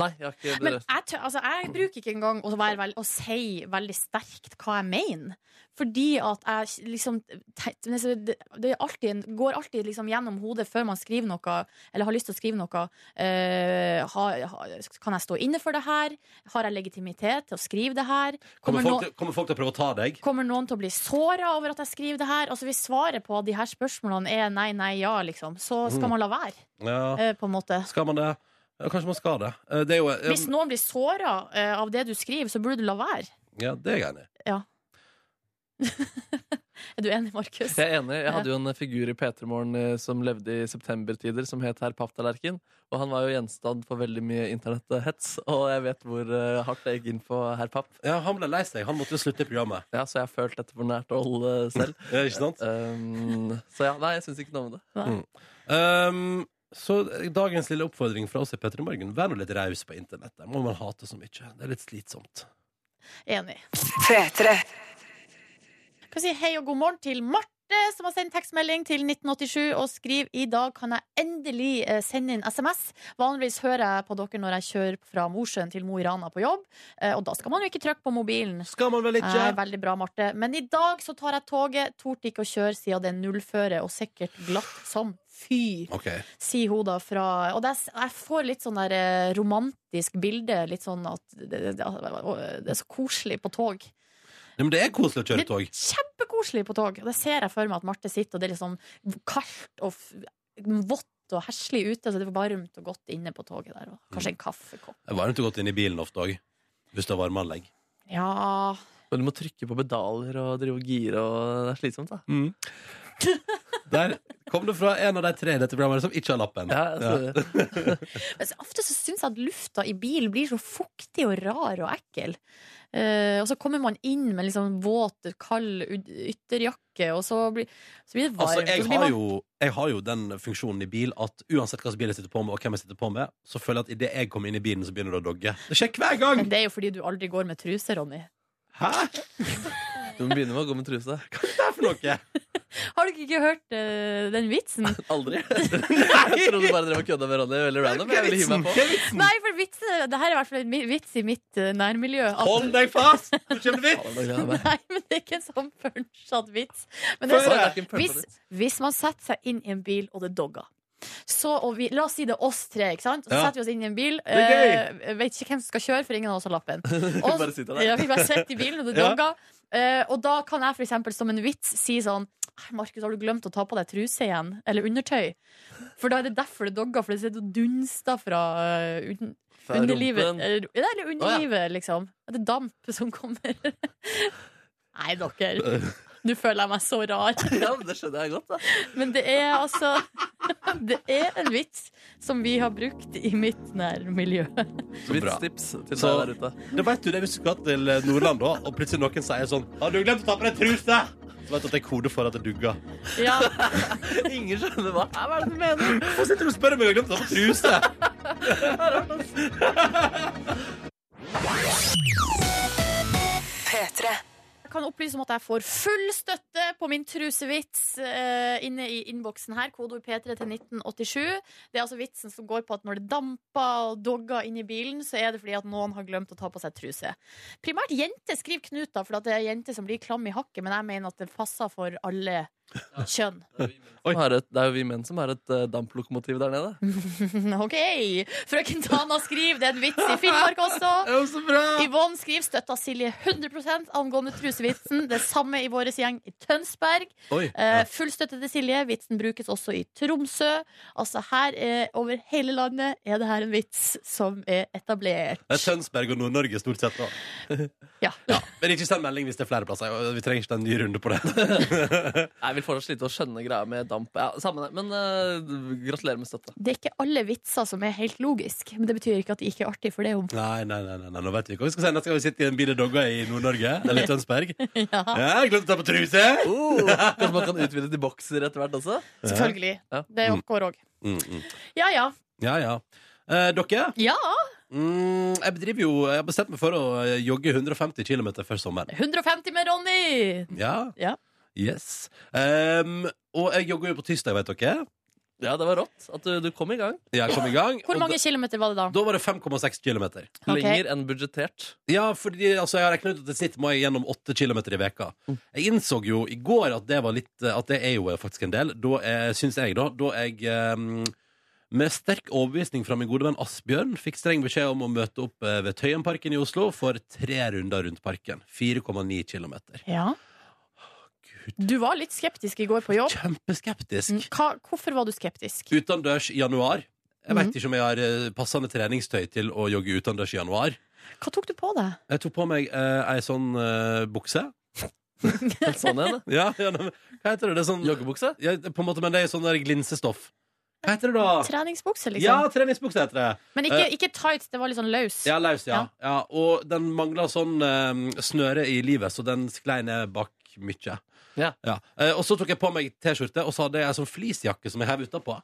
S4: Nei, jeg har ikke
S3: Men
S4: det.
S3: jeg, tør, altså, jeg bruker ikke engang å, være vel- å si veldig sterkt hva jeg mener. Fordi at jeg liksom te- liksom, Det det er alltid, en- går alltid liksom gjennom hodet før man skriver noe, eller har lyst til å skrive noe. eh, ha, ha, kan jeg stå inne for det her? Har jeg legitimitet til å skrive det her?
S2: Kommer,
S3: Kommer
S2: folk
S3: nå-
S2: til, kommer folk til å prøve å ta deg?
S3: Kommer noen til å bli såra over at jeg skriver det her? Altså Hvis svaret på de her spørsmålene er nei, nei, ja, liksom, så skal
S2: Mm.
S3: man la være,
S2: Ja.
S3: eh, på en måte.
S2: Skal man det? Ja, Kanskje man skal det. Eh, Det er jo eh,
S3: Hvis noen blir såra eh, av det du skriver, så burde du la være.
S2: Ja, det er jeg enig i.
S3: Er du enig, Markus?
S4: Jeg er enig. Jeg hadde jo en figur i P3 Morgen eh, som levde i septembertider, som het Herr Papptallerken. Og han var jo gjenstand for veldig mye internetthets, og jeg vet hvor eh, hardt det gikk inn på herr Papp.
S2: Ja, han ble lei seg. Han måtte jo slutte i
S3: *laughs*
S2: programmet.
S4: Ja, så jeg har følt dette på nært hold eh, selv.
S2: Ja, ikke sant?
S4: Um, så ja, nei, jeg syns ikke noe om det.
S2: Um, så dagens lille oppfordring fra oss i Petter i Morgen Vær nå litt raus på internett. Der må man hate så mye. Det er litt slitsomt.
S3: Enig.
S1: P3.
S3: Kan si hei og god morgen til Marte, som har sendt tekstmelding til 1987 og skriver i dag kan jeg endelig eh, sende inn SMS. Vanligvis hører jeg på dere når jeg kjører fra Mosjøen til Mo i Rana på jobb, eh, og da skal man jo ikke trykke på mobilen.
S2: Skal man vel ikke?
S3: Nei, veldig bra, Marte. Men i dag så tar jeg toget. Torde ikke å kjøre siden det er nullføre og sikkert glatt som fy.
S2: OK.
S3: sier hun da fra Og det, er- jeg får litt sånn der eh, romantisk bilde. Litt sånn at det, det, det, det er så koselig på tog.
S2: Ja, men det er koselig å
S3: Det
S2: kjøre
S3: er
S2: tog.
S3: kjempekoselig på tog. Og det ser jeg for meg at Marte sitter, og det er litt sånn kaldt og f- vått og heslig ute, så det er varmt og godt inne på toget der. Og kanskje en kaffekopp.
S2: Det er varmt og godt inne i bilen ofte òg. Hvis du har varmeanlegg.
S3: Ja
S4: Men du må trykke på pedaler og drive og gire, og det er slitsomt, da.
S2: Der kom det fra en av de tre i dette programmet som ikke har lappen.
S4: Ja, altså, jeg ser det.
S3: Men så ofte så syns jeg at lufta i bil blir så fuktig og rar og ekkel. Eh, og så kommer man inn med liksom våt, kald ud- ytterjakke, og så blir, så blir det varmt.
S2: Altså,
S3: og
S2: jeg
S3: så blir
S2: har,
S3: man-
S2: jo, jeg har jo den funksjonen i bil at uansett hva slags bil jeg sitter på med, og hvem jeg sitter på med, så føler jeg at idet jeg kommer inn i bilen, så begynner det å dogge. Det skjer hver gang!
S3: Men det er jo fordi du aldri går med truse, Ronny.
S2: Hæ?
S4: Du må begynne med å gå med *laughs* truse.
S2: Hva er det for noe?
S3: Har dere ikke hørt eh, den vitsen?
S4: *laughs* Aldri. Jeg trodde du bare drev og kødda med Ronny. Veldig random. Jeg ville hive meg på.
S3: Nei, for vitsen, det her er i hvert fall en mi- vits i mitt eh, nærmiljø. at-
S2: Hold deg fast! Nå kommer det
S4: Ja,
S2: vits!
S4: da gleder jeg meg.
S3: *laughs* Nei, men det er ikke en sånn punchet vits. Men det er
S4: Så
S3: sånn
S4: det er ikke en
S3: hvis,
S4: pølse.
S3: hvis man setter seg inn i en bil, og det dogger så, og vi, La oss si det er oss tre. ikke sant? Så
S2: Ja.
S3: setter vi oss inn i en bil.
S2: er
S3: eh, vet ikke hvem som skal kjøre, for ingen av oss har lappen.
S4: Vi bare sitter der.
S3: ja, vi bare sitter i bilen, og det
S2: Ja.
S3: dogger. Eh, og da kan jeg for eksempel som en vits si sånn «Ai, Markus, har du glemt å ta på deg truse igjen? Eller undertøy? For da er det derfor det dogger, for det sitter og dunster fra eh, un
S4: Fra
S3: Underlivet,
S4: rumpen.
S3: eller, ja, eller underlivet, liksom. At det er damp som kommer. *laughs* Nei, dere. Nå føler jeg meg så rar.
S4: Ja, men det skjønner jeg godt, da.
S3: Men det er altså *laughs* Det er en vits som vi har brukt i mitt nærmiljø.
S2: Så bra.
S4: Vitstips til deg
S2: Så-
S4: der ute.
S2: Da vet du det hvis du skal til Nordland, da, og plutselig noen sier sånn Har du glemt å ta på deg truse? Så vet du at det er kode for at det dugger.
S3: *laughs* Ja,
S4: Ingen skjønner hva Hva er det du mener?
S2: Hvorfor sitter du og spør om jeg har glemt å ta på truse?
S1: P3.
S3: jeg kan opplyse om at jeg får full støtte på min trusevits eh, inne i innboksen her. Kodeord P3 til 1987. Det er altså vitsen som går på at når det damper og dogger inni bilen, så er det fordi at noen har glemt å ta på seg truse. Primært jenter skriver Knut, da, for at det er jenter som blir klam i hakket, men jeg mener at det passer for alle kjønn. *laughs*
S4: Som har et, det er jo vi menn som har et eh, damplokomotiv der nede.
S3: OK! Frøken Tana skriver, det er en vits i Finnmark også.
S2: Det er jo så bra!
S3: Yvonne skriver støtta Silje 100 angående trusevitsen. Det samme i vår gjeng i Tønsberg.
S2: Oi.
S3: Eh, full støtte til Silje. Vitsen brukes også i Tromsø. Altså her eh, Over hele landet er det her en vits som er etablert.
S2: Det er Tønsberg og Nord-Norge stort sett, da.
S3: Ja.
S2: Men ikke send melding hvis det er flere plasser. og Vi trenger ikke ta en ny runde på det.
S4: Jeg vil fortsatt slite å skjønne greia med damp. Ja, samme det. Men eh, gratulerer med støtta.
S3: Det er ikke alle vitser som er helt logisk, men det betyr ikke at de ikke er artige, for det er jo
S2: Nei, nei, nei, nei, nei, nå vet vi ikke hva vi skal si. Neste gang vi sitter i en bil og dogger i Nord-Norge, eller i Tønsberg.
S3: *laughs* ja,
S2: Ja, jeg glemte å ta på truse!
S4: Oh, *laughs* kanskje man kan utvide til bokser etter hvert også?
S3: Selvfølgelig.
S4: Ja.
S3: Det går òg.
S2: Mm, mm.
S3: Ja ja.
S2: Ja, ja. Eh, dere,
S3: Ja!
S2: mm, jeg bedriver jo Jeg har bestemt meg for å eh, jogge 150 km før sommeren.
S3: 150 med Ronny!
S2: Ja.
S3: Ja.
S2: Yes. Em, og jeg jogger jo på tirsdag, vet dere.
S4: Ja, det var rått at du, du kom i gang.
S2: Jeg kom i gang.
S3: Hvor mange kilometer var det da?
S2: Og da, da var det 5,6 km.
S3: Ok.
S4: Lenger enn budsjettert.
S2: Ja, fordi altså, jeg har regnet ut at det snitt må jeg gjennom 8 km i veka Jeg innså jo i går at det, var litt, at det er jo eh, faktisk en del Da jeg, synes jeg da Da jeg eh, med sterk overbevisning fra min gode venn Asbjørn Fikk streng beskjed om å møte opp eh, ved Tøyenparken i Oslo For tre runder rundt parken 4,9 km
S3: Ja. Du var litt skeptisk i går på jobb.
S2: Kjempeskeptisk
S3: Hva, hvorfor var du skeptisk?
S2: Utendørs i januar Jeg vet ikke om jeg har eh, passende treningstøy til å jogge utendørs i januar
S3: Hva tok du på deg?
S2: Jeg tok på meg eh, en sånn eh, bukse
S4: Sånn igjen. da.
S2: ja, ja, nei, men Hva heter det? det er sånn,
S4: Joggebukse.
S2: Ja, på en måte, men det er jo sånn der glinsestoff. Hva heter det da?
S3: Treningsbukse,
S2: Ja,
S3: liksom?
S2: treningsbukse heter det.
S3: Men ikke, ikke tights, det var litt sånn løs.
S2: Ja, laus, ja.
S3: Ja.
S2: ja. Og den mangla sånn eh, snøre i livet, så den sklei ned bak mye.
S4: Ja.
S2: Eh, og så tok jeg på meg T-skjorte, og så hadde jeg ei sånn fleecejakke som jeg hev utapå.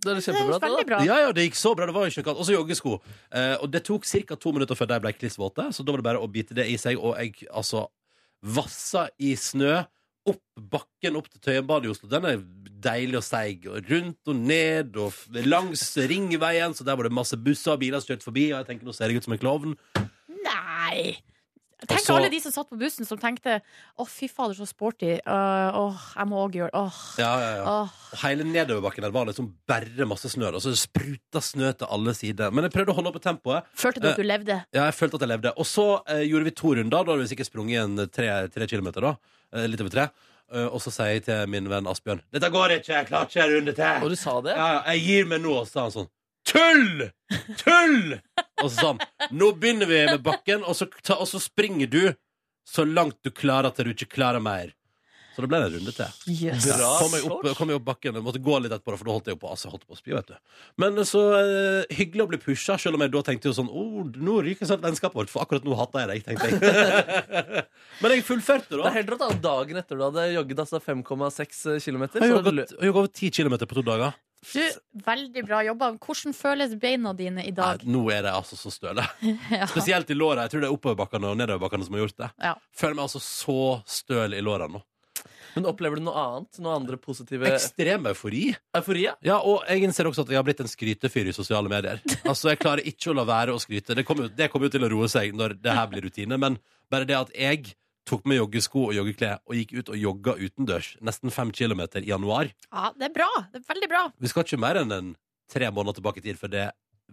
S4: Det er
S3: det er
S4: kjempebra. det,
S3: veldig
S4: da.
S3: bra.
S2: Ja, ja, det gikk så bra. Det var jo ikke noe annet. Og så joggesko. Eh, og det tok ca. to minutter før de ble klissvåte, så da var det bare å bite det i seg. Og jeg altså vassa i snø opp bakken opp til Tøyenbadet i Oslo. Den er deilig og seig. Og rundt og ned og f- langs ringveien, så der var det masse busser og biler som kjørte forbi, og jeg tenker nå ser jeg ut som en klovn.
S3: Nei! Tenk
S2: så-
S3: alle de som satt på bussen som tenkte Å, fy fader, så sporty. Øh, Åh, jeg må òg gjøre det. Åh.
S2: Ja, ja, ja.
S3: Åh.
S2: Og hele nedoverbakken der var liksom bare masse snø. Og så spruta snø til alle sider. Men jeg prøvde å holde oppe tempoet.
S3: Følte du at du
S2: Eh.
S3: levde?
S2: Ja, jeg følte at jeg levde. Og så eh, gjorde vi to runder. Da hadde vi sikkert sprunget en eh, tre, tre kilometer, da. Eh, litt over tre. Eh, og så sier jeg til min venn Asbjørn Dette går ikke! Jeg klarer ikke en runde til!
S4: Og du sa det?
S2: Ja, ja, jeg gir meg nå, og så sa han sånn. Tull! Tull! Og så sa han nå begynner vi med bakken, og så, ta, og så springer du så langt du klarer til du ikke klarer mer. Så det ble en runde til.
S3: Yes.
S2: Ja,
S4: Bra
S2: kom, jeg opp,
S4: sort.
S2: kom jeg opp bakken. Jeg måtte gå litt etterpå, for da holdt jeg jo på, altså, jeg holdt på å spy. vet du. Men så eh, hyggelig å bli pusha, selv om jeg da tenkte jo sånn oh, Nå ryker snart vennskapet vårt, for akkurat nå hater jeg deg, tenkte jeg. *laughs* Men jeg fullførte,
S4: Det er
S2: da.
S4: helt rått da, Dagen etter du hadde jogget altså 5,6 km.
S2: Jeg har gått- jeg har gått over ti kilometer på to dager.
S3: Du, veldig bra jobba. Hvordan føles beina dine i dag?
S2: Nei, nå er de altså så
S4: *laughs*
S2: støle.
S3: Ja.
S2: Spesielt i låra. Jeg tror det er oppoverbakkene og nedoverbakkene som har gjort det.
S3: Ja.
S2: Føler meg altså så støl i låra nå.
S4: Men opplever du noe annet? Noe andre positive
S2: Ekstrem eufori.
S4: euforia?
S2: Ja, og jeg innser også at jeg har blitt en skrytefyr i sosiale medier. Altså, Jeg klarer ikke å la være å skryte. Det kommer jo det kommer jo til å roe seg når det her blir rutine, men bare det at jeg tok med joggesko og joggeklær og gikk ut og jogga utendørs nesten fem kilometer i januar
S3: Ja, det er bra. Det er veldig bra.
S2: Vi skal ikke mer enn en tre måneder tilbake i tid, for det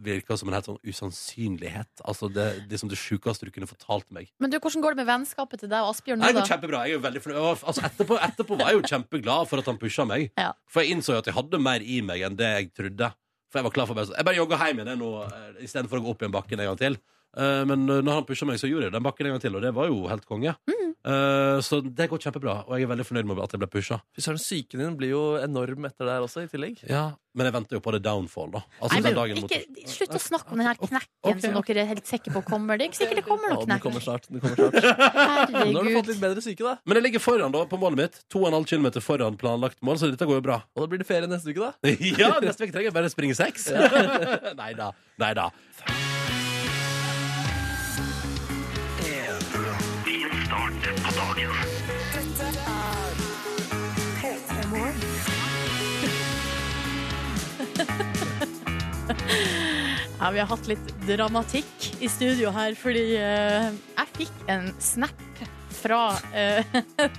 S2: virker som en helt sånn usannsynlighet. Altså, Det, det er som det sjukeste du kunne fortalt meg.
S3: Men du, hvordan går det med vennskapet til deg og Asbjørn nå,
S2: Nei, det går
S3: da?
S2: kjempebra. Jeg er jo veldig fornøyd. Og, Altså, etterpå, etterpå var jeg jo kjempeglad for at han pusha meg.
S3: Ja.
S2: For jeg innså jo at jeg hadde mer i meg enn det jeg trodde. For jeg var klar for bare, så- Jeg bare jogga hjem igjen jeg, nå, eh, istedenfor å gå opp igjen bakken en gang til. Eh, Men eh, når han pusha meg, så gjorde jeg den bakken en gang til, og det var jo helt konge.
S3: Mm.
S2: Eh, Så det går kjempebra, og jeg er veldig fornøyd med at jeg ble pusha.
S4: Fy søren, Psyken din blir jo enorm etter det her også, i tillegg.
S2: Ja. Men jeg venter jo på det downfall, da. Altså
S3: Nei,
S2: den
S3: men,
S2: dagen mot-
S3: ikke, slutt å snakke om den her knekken
S2: Ok,
S3: som
S2: ok.
S3: dere er helt sikre på kommer. Det er ikke sikkert det kommer
S4: Ja,
S3: noen
S4: den
S3: knekk.
S4: kommer snart. Den kommer snart. Men nå har du fått
S3: Herregud.
S4: litt bedre psyke, da.
S2: Men jeg ligger foran da, på målet mitt. 2,5 km foran planlagt mål, så dette går jo bra. *laughs*
S4: Og da blir det ferie neste uke, da.
S2: Ja, neste uke trenger jeg bare springe seks. *laughs* Nei da. Nei da.
S3: Ja, vi har hatt litt dramatikk i studio her, fordi eh, jeg fikk en snap fra eh, *laughs*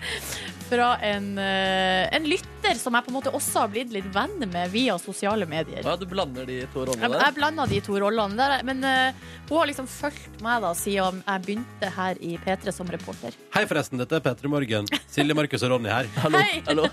S3: Fra en, eh, en lytter som jeg på en måte også har blitt litt venn med via sosiale medier.
S4: Ja, du blander de to rollene
S3: Jeg,
S4: der.
S3: jeg blanda de to rollene der, men eh, hun har liksom fulgt meg da siden jeg begynte her i P3 som reporter. *laughs*
S2: Hei, forresten. Dette er P3 Morgen. Silje, Markus og Ronny her.
S4: Hallo.
S3: Hei!
S4: *laughs* Hallo.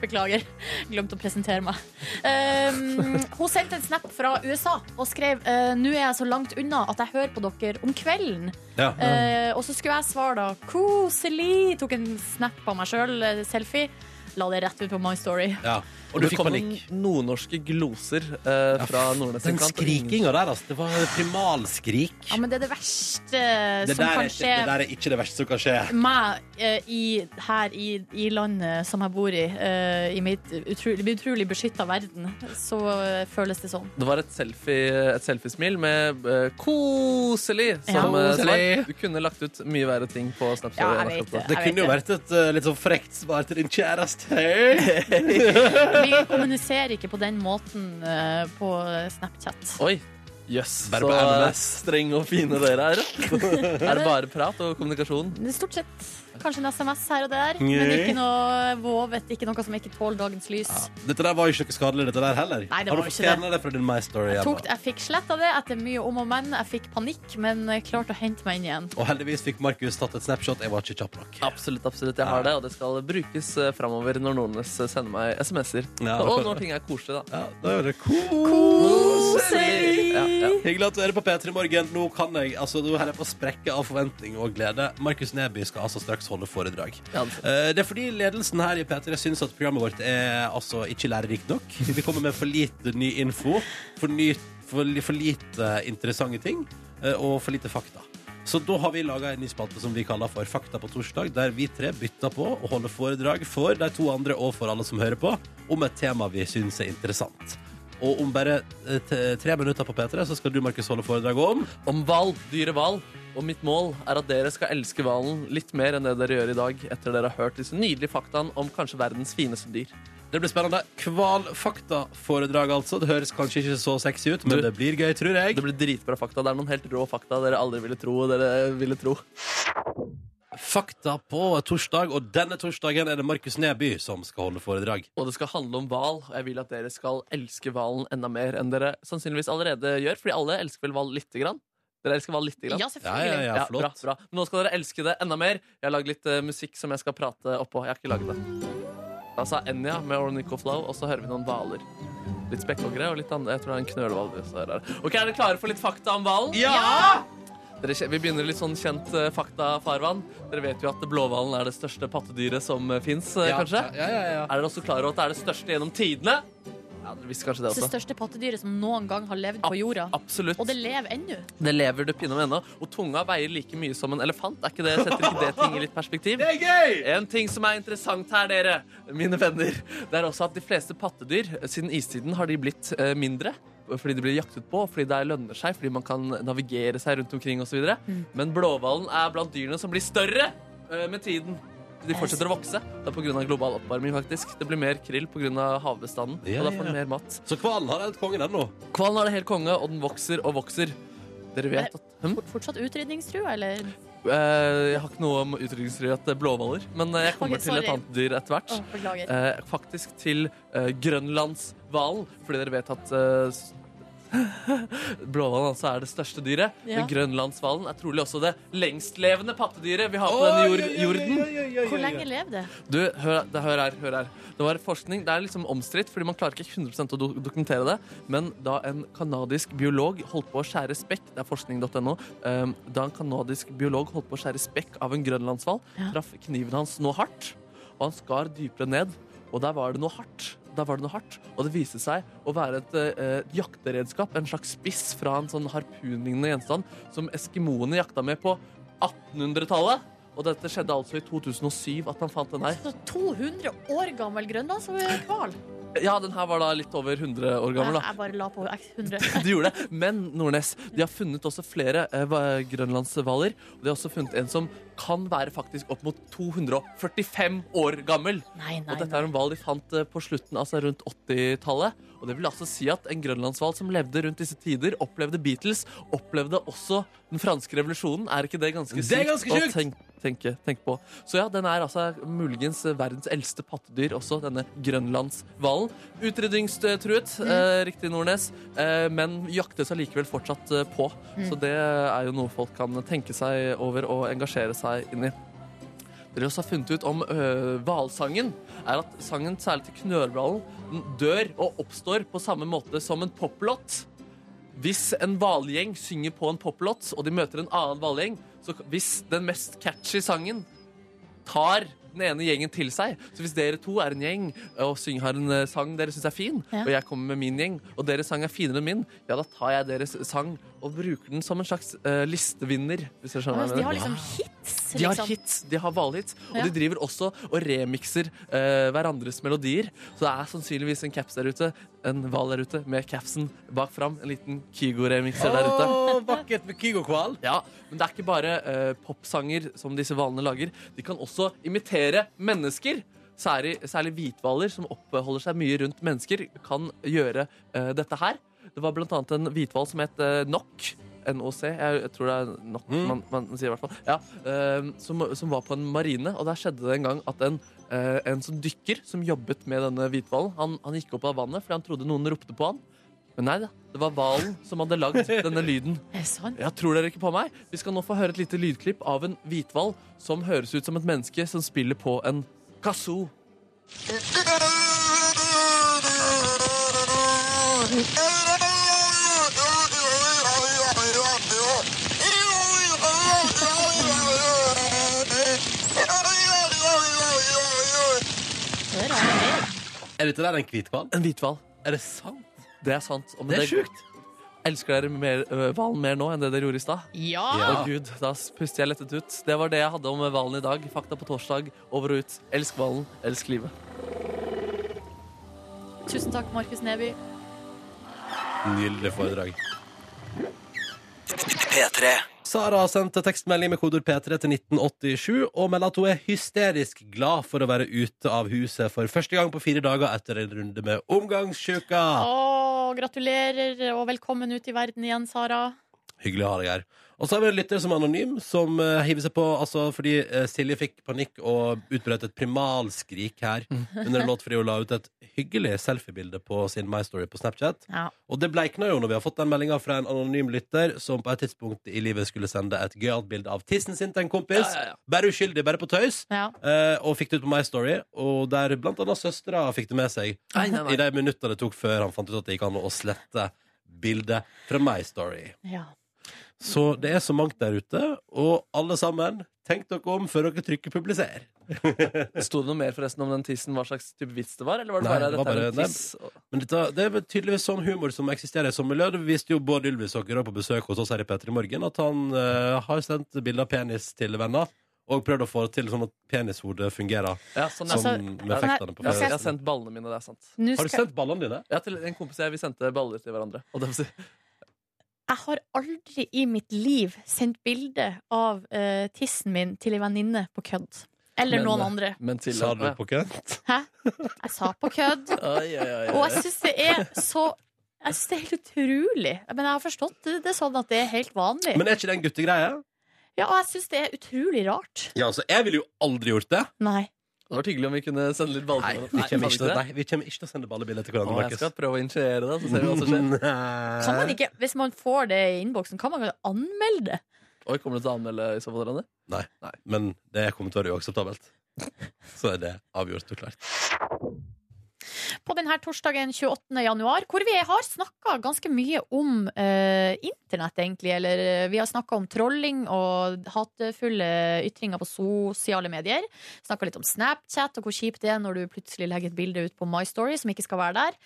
S3: Beklager, glemte å presentere meg. Um, hun sendte en snap fra USA og skrev eh, Nå er jeg så langt unna at jeg hører på dere om kvelden.
S2: Ja.
S3: Eh, og så skulle jeg svare da Koselig! Tok en snap av meg sjøl, selv, eh, selfie. La det rett ut på My Story.
S2: ja. Og du
S4: Det
S2: fikk
S4: kom
S2: panikk.
S4: noen nordnorske gloser eh, fra nordnes
S2: Den skrikinga der, altså. Det var primalskrik.
S3: Ja, men det er det verste eh,
S2: Det
S3: som
S2: der, er
S3: kan
S2: ikke,
S3: skje
S2: det der er ikke det verste som kan skje.
S3: meg eh, i, her i, i landet som jeg bor i, eh, i mitt utrolig, utrolig beskytta verden, så eh, føles det sånn.
S4: Det var et selfie- et selfiesmil med eh, 'koselig' som
S3: Ja.
S4: eh,
S2: Koselig.
S4: svar. Du kunne lagt ut mye verre ting på Snapchat.
S3: Ja, jeg
S4: og
S3: vet
S4: Snapchat.
S2: Det
S3: det. Jeg vet
S2: kunne jo vært et eh, litt sånn frekt svar til din kjæreste. Hei!
S3: Vi kommuniserer ikke på den måten eh, på Snapchat.
S4: Oi. Jøss,
S2: Bare
S4: så
S2: på
S4: eh,
S2: MMS.
S4: strenge og fine dere er.
S3: *laughs*
S4: Er det bare prat og kommunikasjon?
S3: Det er Stort sett kanskje en SMS her og der, men
S2: Nei.
S3: ikke noe vovet, ikke noe som ikke tåler dagens lys.
S2: Dette der var jo ikke noe skadelig, dette der heller.
S3: Nei, det
S2: Har
S3: var
S2: du fått
S3: jo ikke det.
S2: fjerna det fra din My Story?
S3: Jeg,
S2: Emma?
S3: tok, jeg fikk sletta det etter mye om og men. Jeg fikk panikk, men eh, klarte å hente meg inn igjen.
S2: Og heldigvis fikk Markus tatt et snapshot. Jeg var ikke kjapp nok.
S4: Absolutt, absolutt. Jeg har det, og det skal brukes eh, framover når Nordnes sender meg SMS-er.
S2: Ja,
S4: og
S2: akkurat.
S4: når ting er koselig, da.
S2: Ja, da gjør det koselig.
S4: Ja, ja.
S2: Hyggelig at du er på P3 Morgen. Nå kan jeg, altså, nå holder jeg på å sprekke av forventning og glede. Markus Neby skal altså straks holde foredrag.
S4: Ja, det-
S2: Eh, Det er fordi ledelsen her i P3 syns at programmet vårt er altså ikke lærerikt nok. Vi kommer med for lite ny info, for, ny, for, li- for lite interessante ting eh, og for lite fakta. Så da har vi laga en ny spalte som vi kaller for Fakta på torsdag, der vi tre bytter på og holder foredrag for de to andre og for alle som hører på, om et tema vi syns er interessant. Og om bare eh, t- tre minutter på P3 så skal du, Markus, holde foredrag om
S4: Om hval, dyre hval. Og mitt mål er at dere skal elske hvalen litt mer enn det dere gjør i dag, etter dere har hørt disse nydelige faktaene om kanskje verdens fineste dyr.
S2: Det blir spennende. Kvalfakta-foredrag, altså. Det høres kanskje ikke så sexy ut, men
S4: Du-
S2: det blir gøy, tror jeg.
S4: Det blir dritbra fakta. Det er noen helt rå fakta dere aldri ville tro. og Dere ville tro.
S2: Fakta på torsdag, og denne torsdagen er det Markus Neby som skal holde foredrag.
S4: Og det skal handle om hval. og Jeg vil at dere skal elske hvalen enda mer enn dere sannsynligvis allerede gjør, fordi alle elsker vel hval lite grann? Dere elsker hval lite grann?
S2: Ja,
S3: Ja,
S2: ja, ja,
S3: selvfølgelig.
S4: Ja, bra,
S2: flott.
S4: bra. Men nå skal dere elske det enda mer. Jeg har lagd litt eh, musikk som jeg skal prate oppå. Jeg har ikke laget det. Da sa Enja med Ornico Flow, og så hører vi noen hvaler. Litt spekkhoggere og litt andre. Jeg tror det er en knølhval. vi også hører her. Ok, Er dere klare for litt fakta om hvalen?
S2: Ja!
S4: Dere, kje- vi begynner litt sånn kjent eh, faktafarvann. Dere vet jo at blåhvalen er det største pattedyret som fins, kanskje?
S9: Ja, ja, ja, ja.
S4: Er dere også klare over at det er det største gjennom tidene? Ja, dere visste kanskje det
S3: Det
S4: også.
S3: største pattedyret som noen gang har levd på jorda.
S4: Absolutt.
S3: Og det lever ennå.
S4: Det lever det pinne om ennå. Og tunga veier like mye som en elefant. Er ikke det, setter ikke det ting i litt perspektiv? Det er gøy! En ting som er interessant her, dere, mine venner, det er også at de fleste pattedyr siden istiden har de blitt eh, mindre. Fordi de blir jaktet på, fordi det lønner seg, fordi man kan navigere seg rundt omkring osv. videre
S3: Mm.
S4: Men blåhvalen er blant dyrene som blir større eh, med tiden. De fortsetter å vokse. Det er pga. global oppvarming, faktisk. Det blir mer krill pga. havbestanden.
S2: Ja,
S4: og da får
S2: ja.
S4: den mer mat.
S2: Så hvalen har helt kongen ennå.
S4: Hvalen er det helt konge, og den vokser og vokser. Dere vet at hm?
S3: Fortsatt utrydningstrua, eller?
S4: Eh, Jeg har ikke noe om utrydningsrøyet blåhvaler, men eh, jeg kommer
S3: Ok,
S4: til et
S3: sorry.
S4: annet dyr etter hvert.
S3: Å, beklager.
S4: Eh, faktisk til eh, grønlandshvalen, fordi dere vet at eh, s- *laughs* Blåhvalen altså er det største dyret,
S3: Ja.
S4: men grønlandshvalen er trolig også det lengstlevende pattedyret vi har på denne jord jorden.
S3: Hvor lenge lever det?
S4: Du, hør, det, hør her, hør her. Det var forskning. Det er liksom omstridt, fordi man klarer ikke 100 å do dokumentere det. Men da en kanadisk biolog holdt på å skjære spekk Det er forskning.no. ehm, da en kanadisk biolog holdt på å skjære spekk av en grønlandshval,
S3: Ja.
S4: traff kniven hans noe hardt, og han skar dypere ned. Og der var det noe hardt. Der var det noe hardt, Og det viste seg å være et eh, et jakteredskap, en slags spiss fra en sånn harpunlignende gjenstand, som eskimoene jakta med på 1800-tallet. Og dette skjedde altså i 2007 at han fant den her.
S3: Så 200 år gammel grønlandshval?
S4: Ja, den her var da litt over 100 år
S3: Jeg,
S4: gammel. da
S3: jeg bare la på 100.
S4: *laughs* de gjorde det, Men Nordnes, de har funnet også flere eh, hva- grønlandshvaler. Og de har også funnet en som kan være faktisk opp mot 245 år gammel.
S3: Nei, nei,
S4: Og dette
S3: nei.
S4: er en hval de fant eh, på slutten, altså rundt 80-tallet. Og det vil altså si at en grønlandshval som levde rundt disse tider, opplevde Beatles, opplevde også den franske revolusjonen. Er ikke det ganske sykt?
S2: Det er ganske
S4: å
S2: sjukt!
S4: Tenk, tenke, tenke på. Så ja, den er altså muligens verdens eldste pattedyr også, denne grønlandshvalen. Utrydningstruet, eh, riktig Nordnes, eh, men jaktes allikevel fortsatt eh, på. Så det er jo noe folk kan tenke seg over og engasjere seg inn i dere også har funnet ut om øh, hvalsangen, er at sangen særlig til knørhvalen den dør og oppstår på samme måte som en poplåt. Hvis en hvalgjeng synger på en poplåt, og de møter en annen hvalgjeng, så k- hvis den mest catchy sangen tar den ene gjengen til seg Så hvis dere to er en gjeng og syng, har en eh, sang dere syns er fin,
S3: Ja.
S4: og jeg kommer med min gjeng, og deres sang er finere enn min, ja, da tar jeg deres sang og bruker den som en slags eh, listevinner. Hvis dere skjønner hva jeg
S3: De har
S4: mener.
S3: liksom hits,
S4: De har
S3: liksom.
S4: hits, de har hvalhits, og
S3: Ja.
S4: de driver også og remikser eh, hverandres melodier. Så det er sannsynligvis en caps der ute, en hval der ute, med capsen bak fram. En liten Kygo-remikser der ute.
S2: Å, vakkert med Kygo-hval.
S4: *laughs* Ja, Men det er ikke bare eh, popsanger som disse hvalene lager. De kan også imitere mennesker. Særlig, særlig hvithvaler, som oppholder seg mye rundt mennesker, kan gjøre eh, dette her. Det var blant annet en hvithval som het eh, Nok. NOC. Jeg, jeg tror det er Nok man, man sier, i hvert fall. Ja, eh, som, som var på en marine, og der skjedde det en gang at en eh, en som dykker, som jobbet med denne hvithvalen, han, han gikk opp av vannet fordi han trodde noen ropte på han. Men nei da, det var hvalen som hadde lagd denne lyden.
S3: Er det sant?
S4: Ja, tror dere ikke på meg? Vi skal nå få høre et lite lydklipp av en hvithval som høres ut som et menneske som spiller på en kazoo.
S3: Hører jeg det?
S2: Er dette der en hvithval?
S4: En hvithval.
S2: Er det sant?
S4: Det er sant. Og med
S2: Det er sjukt.
S4: Elsker dere mer, øh, hvalen mer nå enn det dere gjorde i stad?
S3: Ja!
S4: Å
S2: Ja.
S4: gud, da puster jeg lettet ut. Det var det jeg hadde om hvalen i dag. Fakta på torsdag, over og ut. Elsk hvalen, elsk livet.
S3: Tusen takk, Markus Neby.
S2: Nydelig foredrag. Sara har sendt tekstmelding med kodord P3 til 1987 og melder at hun er hysterisk glad for å være ute av huset for første gang på fire dager etter en runde med omgangssjuka.
S3: Å, gratulerer og velkommen ut i verden igjen, Sara.
S2: Hyggelig å ha deg her. Og så har vi en lytter som er anonym, som eh, hiver seg på altså, fordi eh, Silje fikk panikk og utbrøt et primalskrik her
S4: Mm.
S2: under en låt fordi hun la ut et hyggelig selfiebilde på sin My Story på Snapchat.
S3: Ja.
S2: Og det bleikna jo når vi har fått den meldinga fra en anonym lytter som på et tidspunkt i livet skulle sende et gøyalt bilde av tissen sin til en kompis.
S4: Ja, ja, ja.
S2: Bare uskyldig, bare på tøys.
S3: ja.
S2: Eh, og fikk det ut på My Story, og der blant annet søstera fikk det med seg
S4: Nei, nei, nei.
S2: i de minutta det tok før han fant ut at det gikk an å slette bildet fra My Story.
S3: ja.
S2: Så det er så mangt der ute, og alle sammen, tenk dere om før dere trykker 'publiser'.
S4: Sto det noe mer forresten om den tissen, hva slags type vits det var? Eller var det
S2: Nei,
S4: bare,
S2: det var
S4: dette er
S2: bare- nei.
S4: en tiss?
S2: Men dette, det er vel tydeligvis sånn humor som eksisterer i sommermiljø. Det viste jo Bård Ylvisåker også på besøk hos oss her i Petter i morgen, at han eh, har sendt bilder av penis til venner, og prøvd å få det til sånn at penishodet fungerer.
S4: Ja,
S2: Som
S4: sånn, ja.
S3: Altså,
S2: med
S4: ja,
S2: effektene på
S4: Ja, jeg
S2: penisen.
S4: har sendt ballene mine, det er sant.
S3: Nå
S2: Har du
S3: skal,
S2: sendt ballene dine?
S4: Ja, til en kompis og jeg, vi sendte baller til hverandre. Og det vil si,
S3: jeg har aldri i mitt liv sendt bilde av eh, tissen min til ei venninne på kødd. Eller
S4: Men,
S3: noen
S4: eh,
S3: andre.
S4: men til
S2: Sa du
S4: Ja.
S2: på kønt?
S3: Hæ? Jeg sa på kødd.
S4: Ai, ai, ai,
S3: Og jeg
S4: ai.
S3: syns det er så Jeg synes det er helt utrolig. Men jeg har forstått det, det er sånn at det er helt vanlig.
S2: Men er ikke det en guttegreie?
S3: Ja, og jeg syns det er utrolig rart.
S2: Ja, altså, jeg ville jo aldri gjort det.
S3: Nei.
S4: Det var hyggelig om vi kunne sende litt baller
S2: Nei,
S4: til hverandre.
S2: vi kommer
S4: kan
S2: ikke til, nei, vi kommer ikke til å sende ballebilder til hverandre,
S4: Å, jeg
S2: Markus.
S4: skal prøve å initiere det, så ser vi hva som
S2: *laughs*
S4: skjer.
S3: Kan man ikke, hvis man får det i innboksen, kan man jo anmelde det?
S4: Oi, kommer du til å anmelde i så fall, Rane?
S2: Men det kommer til å være
S3: *laughs*
S2: uakseptabelt. Så er det avgjort og klart.
S3: På denne torsdagen 28. januar, hvor vi har snakka ganske mye om eh, internett, egentlig. Eller eh, vi har snakka om trolling og hatefulle ytringer på sosiale medier. Snakka litt om Snapchat og hvor kjipt det er når du plutselig legger et bilde ut på My Story som ikke skal være der.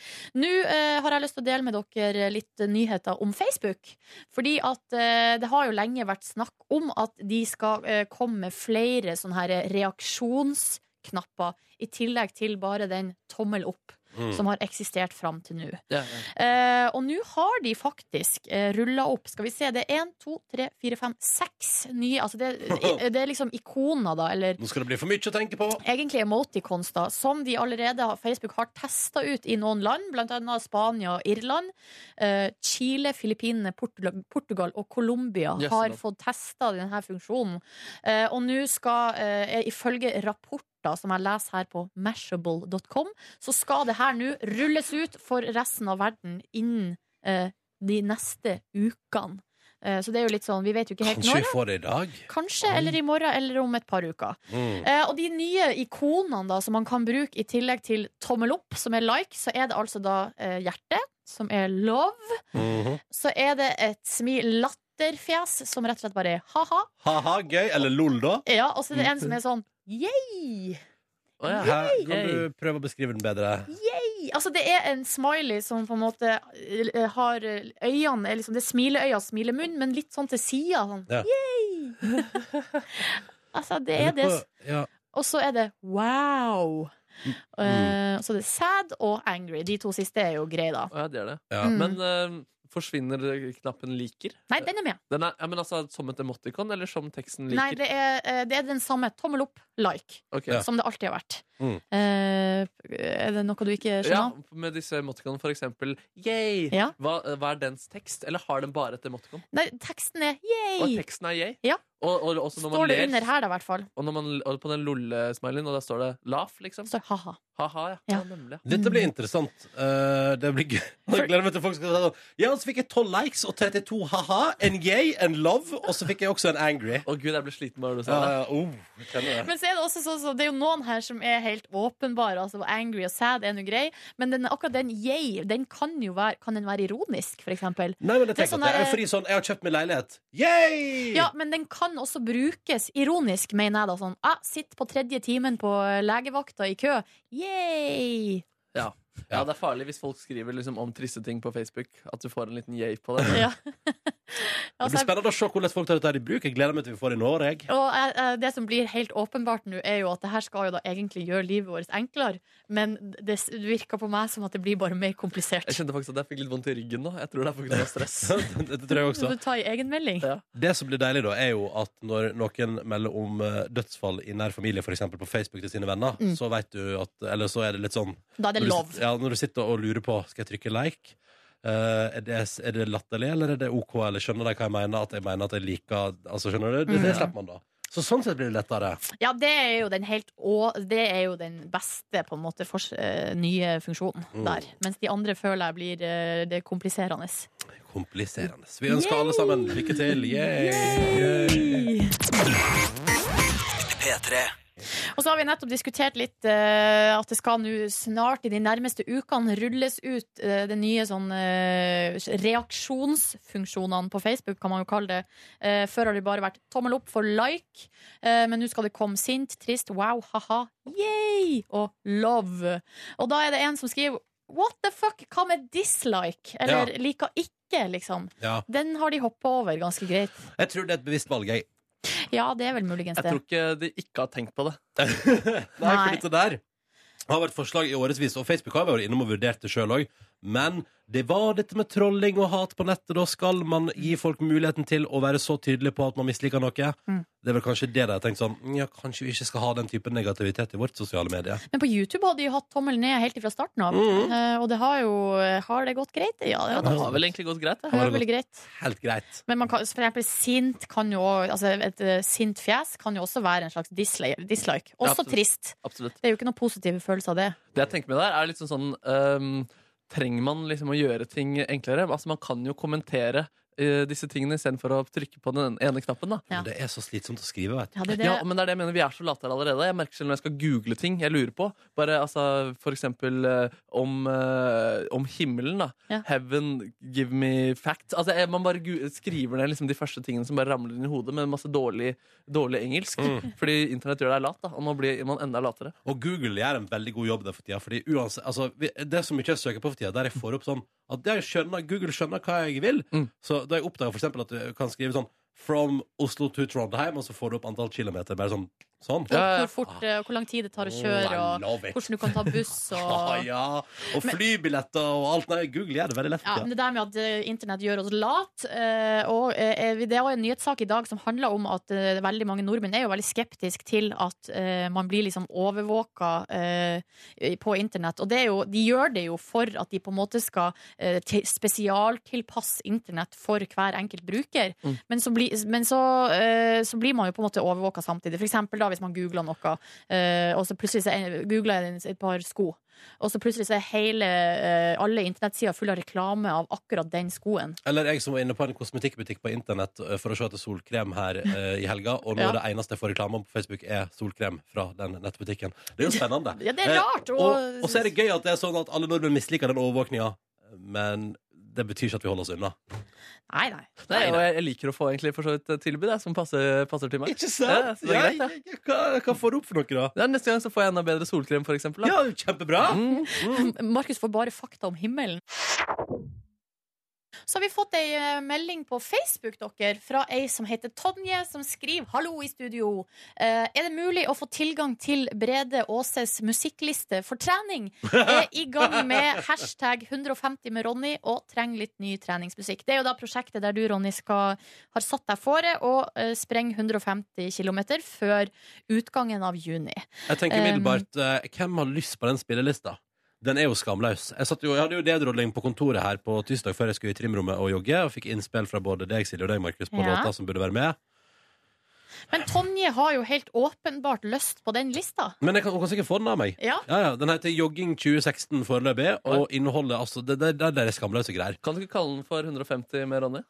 S3: Nå eh, har jeg lyst til å dele med dere litt nyheter om Facebook. Fordi at eh, det har jo lenge vært snakk om at de skal eh, komme med flere sånne her reaksjonsknapper, i tillegg til bare den tommel opp
S2: Mm.
S3: som har eksistert fram til nå.
S4: Ja, ja.
S3: Eh, og nå har de faktisk eh, rulla opp Skal vi se, det er én, to, tre, fire, fem, seks nye altså det, det er liksom ikoner, da, eller
S2: Nå skal det bli for mye å tenke på.
S3: egentlig emoticons, da, som de allerede har, Facebook har testa ut i noen land, bl.a. Spania og Irland. Eh, Chile, Filippinene, Portugal, Portugal og Colombia
S4: Yes,
S3: har
S4: da.
S3: fått testa denne funksjonen. Eh, og nå skal, eh, ifølge rapporter som jeg leser her på mashable.com, så skal det her nå rulles ut for resten av verden innen eh, de neste ukene. Eh, så det er jo litt sånn, vi vet jo ikke helt
S2: Kanskje
S3: når.
S2: vi får det i dag?
S3: Kanskje, eller i morgen, eller om et par uker.
S2: Mm.
S3: Eh, og de nye ikonene da, som man kan bruke i tillegg til tommel opp, som er like, så er det altså da eh, hjerte, som er love.
S2: Mhm.
S3: Så er det et smil latterfjes, som rett og slett bare er ha-ha.
S2: Ha-ha, gøy. Eller lol, da.
S3: Ja, og så er det en som er sånn yay.
S4: Å, ja.
S2: Her, kan du prøve å beskrive den bedre?
S3: Altså det er en smiley som på en måte eh, har eh, øynene er liksom, Det er smileøya, smilemunn, men litt sånn til sida. Sånn.
S2: Ja. *laughs*
S3: Yay! altså, det er det.
S2: Eller på- Ja.
S3: Og så er det wow.
S4: Mm.
S3: Eh, så det er sad og angry. De to siste er jo greie, da.
S4: Å, ja, det er det.
S2: Ja.
S3: Mm.
S4: Men eh, forsvinner knappen liker?
S3: Nei, den er med.
S4: Den er, ja, men altså Som et emotikon, eller som teksten
S3: Nei,
S4: liker?
S3: det er, eh, det er den samme. Tommel opp, like,
S4: Ok.
S2: Ja.
S3: som det alltid har vært.
S2: Mm.
S3: Eh, er det noe du ikke
S4: Ja,
S3: skjønner?
S4: med disse emotikonene, for eksempel. Yay!
S3: Ja.
S4: Hva, hva er dens tekst? Eller har den bare et emotikon?
S3: Nei, teksten er
S4: Og
S3: yay!
S4: teksten er yay?
S3: Ja.
S4: Og, og også når man
S3: Står det
S4: ler,
S3: under her, da, i hvert fall.
S4: Og, når man, og på den lolle-smileyen, og der står det laugh, liksom.
S3: Det Står ha-ha.
S4: Ha-ha, ja.
S3: Ja.
S4: ja. nemlig.
S2: Dette blir interessant. Eh, det blir gøy. *laughs* Jeg gleder meg til folk skal si sånn Ja, så fikk jeg 12 likes og 32 ha-ha, en yay, en love, og så fikk jeg også en angry.
S4: Å gud, jeg ble sliten bare du
S3: Sånn,
S4: sa det.
S2: Ja, ja, oh, jeg kjenner det.
S3: Men så er det også sånn så det er jo noen her som er helt åpenbare. Altså angry og sad er nå grei, men den, akkurat den yay, den kan jo være, kan den være ironisk, for eksempel.
S2: Nei, men jeg
S3: Det er
S2: tenker
S3: sånn
S2: at det er
S3: der-
S2: fordi sånn Jeg har kjøpt meg leilighet. Yay!
S3: Ja, men den kan også brukes ironisk, mener jeg da. Sånn, ah, sitt på tredje timen på legevakta i kø. Yay!
S4: Ja, Det er farlig hvis folk skriver liksom, om triste ting på Facebook. At du får en liten yay på det.
S3: Ja.
S2: Det blir
S3: Altså, jeg-
S2: spennende å se hvordan folk tar dette her i bruk. Jeg gleder meg til vi får det i Norge.
S3: og jeg- jeg- det som blir helt åpenbart nå, er jo at det her skal jo da egentlig gjøre livet vårt enklere, men det s- virker på meg som at det blir bare mer
S4: Jeg
S3: komplisert.
S4: kjente faktisk at jeg fikk litt vondt i ryggen nå. Jeg tror det er på grunn
S3: *laughs*
S4: av stress.
S2: Dette tror jeg
S3: Så
S2: også.
S3: du tar i egen melding?
S4: Ja.
S2: Det som blir deilig, da, er jo at når noen melder om eh, dødsfall i nær familie, f.eks. på Facebook til sine venner,
S3: Mm.
S2: så vet du at Eller så er det litt sånn
S3: Da er det
S2: når du
S3: lov.
S2: sit- Ja, når du sitter og lurer på Skal jeg trykke like, Eh, er, det, er det latterlig, eller er det OK, eller skjønner de hva jeg mener? At jeg mener at jeg liker Altså, skjønner du?
S3: Mm.
S2: Det, det slipper man da. Så sånn sett blir det lettere.
S3: Ja, det er jo den helt å, Det er jo den beste, på en måte, fors- eh, nye funksjonen
S2: Mm.
S3: der. Mens de andre føler jeg blir eh, det kompliserende.
S2: Kompliserende. Vi ønsker alle sammen lykke til. Yay! Yay!
S3: Yay! Og så har vi nettopp diskutert litt eh, at det skal nå snart i de nærmeste ukene rulles ut eh, det nye sånn eh, reaksjonsfunksjonene på Facebook, kan man jo kalle det. Eh, før har det bare vært tommel opp for like, eh, men nå skal det komme sint, trist, wow, haha, yay og love. Og da er det en som skriver what the fuck, hva med dislike? Eller liker ikke, liksom.
S2: Ja.
S3: Den har de hoppa over ganske greit.
S2: Jeg tror det er et bevisst valg, jeg.
S3: Ja, det er vel muligens det.
S4: Jeg tror ikke de ikke har tenkt på det.
S2: Nei, for
S3: Nei.
S2: dette der har vært forslag i årevis, og Facebook har vært innom og vurdert det sjøl òg. Men det var dette med trolling og hat på nettet. Da skal man gi folk muligheten til å være så tydelig på at man misliker noe.
S3: Mm.
S2: Det er vel kanskje det de har tenkt sånn "Mm, Ja, kanskje vi ikke skal ha den typen negativitet i vårt sosiale medie.
S3: Men på YouTube har de jo hatt tommelen ned helt fra starten av.
S2: sånn. Mhm.
S3: Eh, og det har jo Har det gått greit? Ja, det har,
S4: Det har vel egentlig gått greit.
S3: det
S4: Det.
S3: har
S2: det
S3: vel greit.
S2: Helt greit.
S3: Men man kan, for eksempel sint kan jo Altså et eh, sint fjes kan jo også være en slags dislike. dislike. Også
S4: absolutt.
S3: trist.
S4: Absolutt.
S3: Det er jo ikke noen positive følelse av det.
S4: Det jeg tenker med der, er liksom sånn ehm, Trenger man liksom å gjøre ting enklere? Altså Man kan jo kommentere eh, disse tingene istedenfor å trykke på den ene knappen. da
S3: Ja.
S2: Men det er så slitsomt å skrive, vet du.
S3: Ja, det, er det.
S4: Ja, men det er det jeg mener, Vi er så late her allerede. Jeg merker selv når jeg skal google ting jeg lurer på. Bare altså, For eksempel eh, om, eh, om himmelen. da
S3: Ja.
S4: Heaven, give me facts. Altså, jeg, man bare gu- skriver ned liksom, de første tingene som bare ramler inn i hodet, med masse dårlig, dårlig engelsk.
S2: Mm.
S4: Fordi internett gjør deg lat, da og nå blir man enda latere.
S2: Og Google gjør en veldig god jobb der for tida. Fordi uansett, altså, vi- det er så mye jeg søker på for tida, der jeg får opp sånn at jeg skjønner, Google skjønner hva jeg vil.
S4: Mm.
S2: Så da jeg oppdager for eksempel at du kan skrive sånn From Oslo to Trondheim, og så får du opp antall kilometer. Bare sånn. sånn.
S3: Og
S4: Ja, ja.
S3: hvor fort eh, og hvor lang tid det tar å kjøre,
S2: Oh, I
S3: og
S2: love it.
S3: hvordan du kan ta buss
S2: Ah,
S3: og
S2: ja. Og flybilletter og alt. Nei, Google gjør det veldig lett.
S3: Ja,
S2: for
S3: men
S2: tida.
S3: Det der med at eh, internett gjør oss lat eh, og eh, Det var en nyhetssak i dag som handla om at eh, veldig mange nordmenn er jo veldig skeptiske til at eh, man blir liksom overvåka eh, på internett. Og det er jo, de gjør det jo for at de på en måte skal eh, til- spesialtilpasse internett for hver enkelt bruker.
S4: Mm.
S3: Men, så, blir- men så, eh, så blir man jo på en måte overvåka samtidig. For eksempel da hvis man googler noe, eh, og så plutselig så er- googler jeg et par sko. Og så plutselig så er hele, eh, alle internettsider fulle av reklame av akkurat den skoen.
S2: Eller jeg som var inne på en kosmetikkbutikk på internett eh, for å se etter solkrem her eh, i helga, og nå
S3: Ja.
S2: er det eneste jeg får reklame om på Facebook, er solkrem fra den nettbutikken. Det er jo spennende.
S3: Ja, det er
S2: Eh,
S3: rart! Og,
S2: Og, og så er det gøy at det er sånn at alle nordmenn misliker den overvåkninga, men det betyr ikke at vi holder oss unna.
S3: Nei, nei.
S4: Nei, og jeg, jeg liker å få egentlig for så vidt eh, tilbud jeg, som passer, passer til meg.
S2: Ikke
S4: Ja, så det er greit,
S2: Ja, jeg- jeg- hva, hva får du opp for noe, da?
S4: Ja, neste gang så får jeg enda bedre solkrem, for eksempel. Da.
S2: Ja, kjempebra!
S4: Mm.
S3: Markus får bare fakta om himmelen. Så har vi fått ei eh, melding på Facebook dere, fra ei som heter Tonje, som skriver 'Hallo i studio'. Eh, er det mulig å få tilgang til Brede Aases musikkliste for trening? Er i gang med hashtag 150 med Ronny og trenger litt ny treningsmusikk. Det er jo da prosjektet der du, Ronny, skal, har satt deg fore å eh, sprenge 150 km før utgangen av juni.
S2: Jeg tenker umiddelbart eh, Hvem har lyst på den spillelista? Den er jo skamløs. Jeg, satt jo, jeg hadde jo dedrodling på kontoret her på tirsdag før jeg skulle i trimrommet og jogge, og fikk innspill fra både deg, Silje, og deg, Markus, på
S3: Ja.
S2: låta som burde være med.
S3: Men Tonje har jo helt åpenbart lyst på den lista.
S2: Men jeg kan, hun kan sikkert få den av meg.
S3: Ja.
S2: Ja, ja, Den heter Jogging 2016 foreløpig, og inneholder altså Det, det, det, det er skamløse greier.
S4: Kan du ikke kalle den for 150 med Ronny?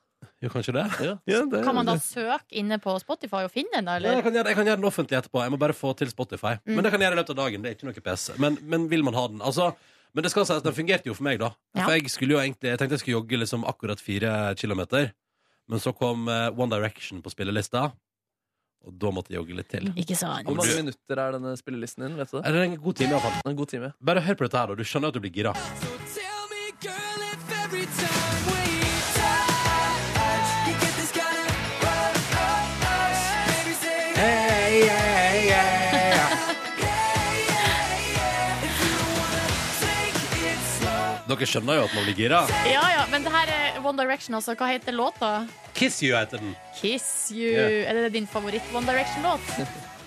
S2: Jo, kanskje det?
S4: Ja.
S2: Eh, det-
S3: Kan man da søke inne på Spotify og finne den, da?
S2: Ja, jeg,
S3: Eller? Mm.
S2: kan gjøre, jeg kan gjøre den offentlig etterpå. Jeg må bare få til Spotify. Men det kan jeg gjøre i løpet av dagen. Det er ikke noe pes. Men, men vil man ha den? Altså, men det skal sies, den fungerte jo for meg, da.
S3: Ja.
S2: For jeg skulle jo egentlig Jeg tenkte jeg skulle jogge liksom akkurat fire kilometer. Men så kom eh, One Direction på spillelista, og da måtte jeg jogge litt til.
S3: Ikke sant?
S4: Hvor mange
S2: du-
S4: minutter er denne spillelisten din? vet du det?
S2: Er det en god time, iallfall?
S4: En god time.
S2: Bare hør på dette her, da. Du skjønner at du blir gira. Dere skjønner jo at man blir gira.
S3: Ja, ja, men det her er One Direction, altså. Hva heter låta?
S2: Kiss You heter den.
S3: Kiss You.
S2: Ja.
S3: Er det din favoritt One Direction-låt?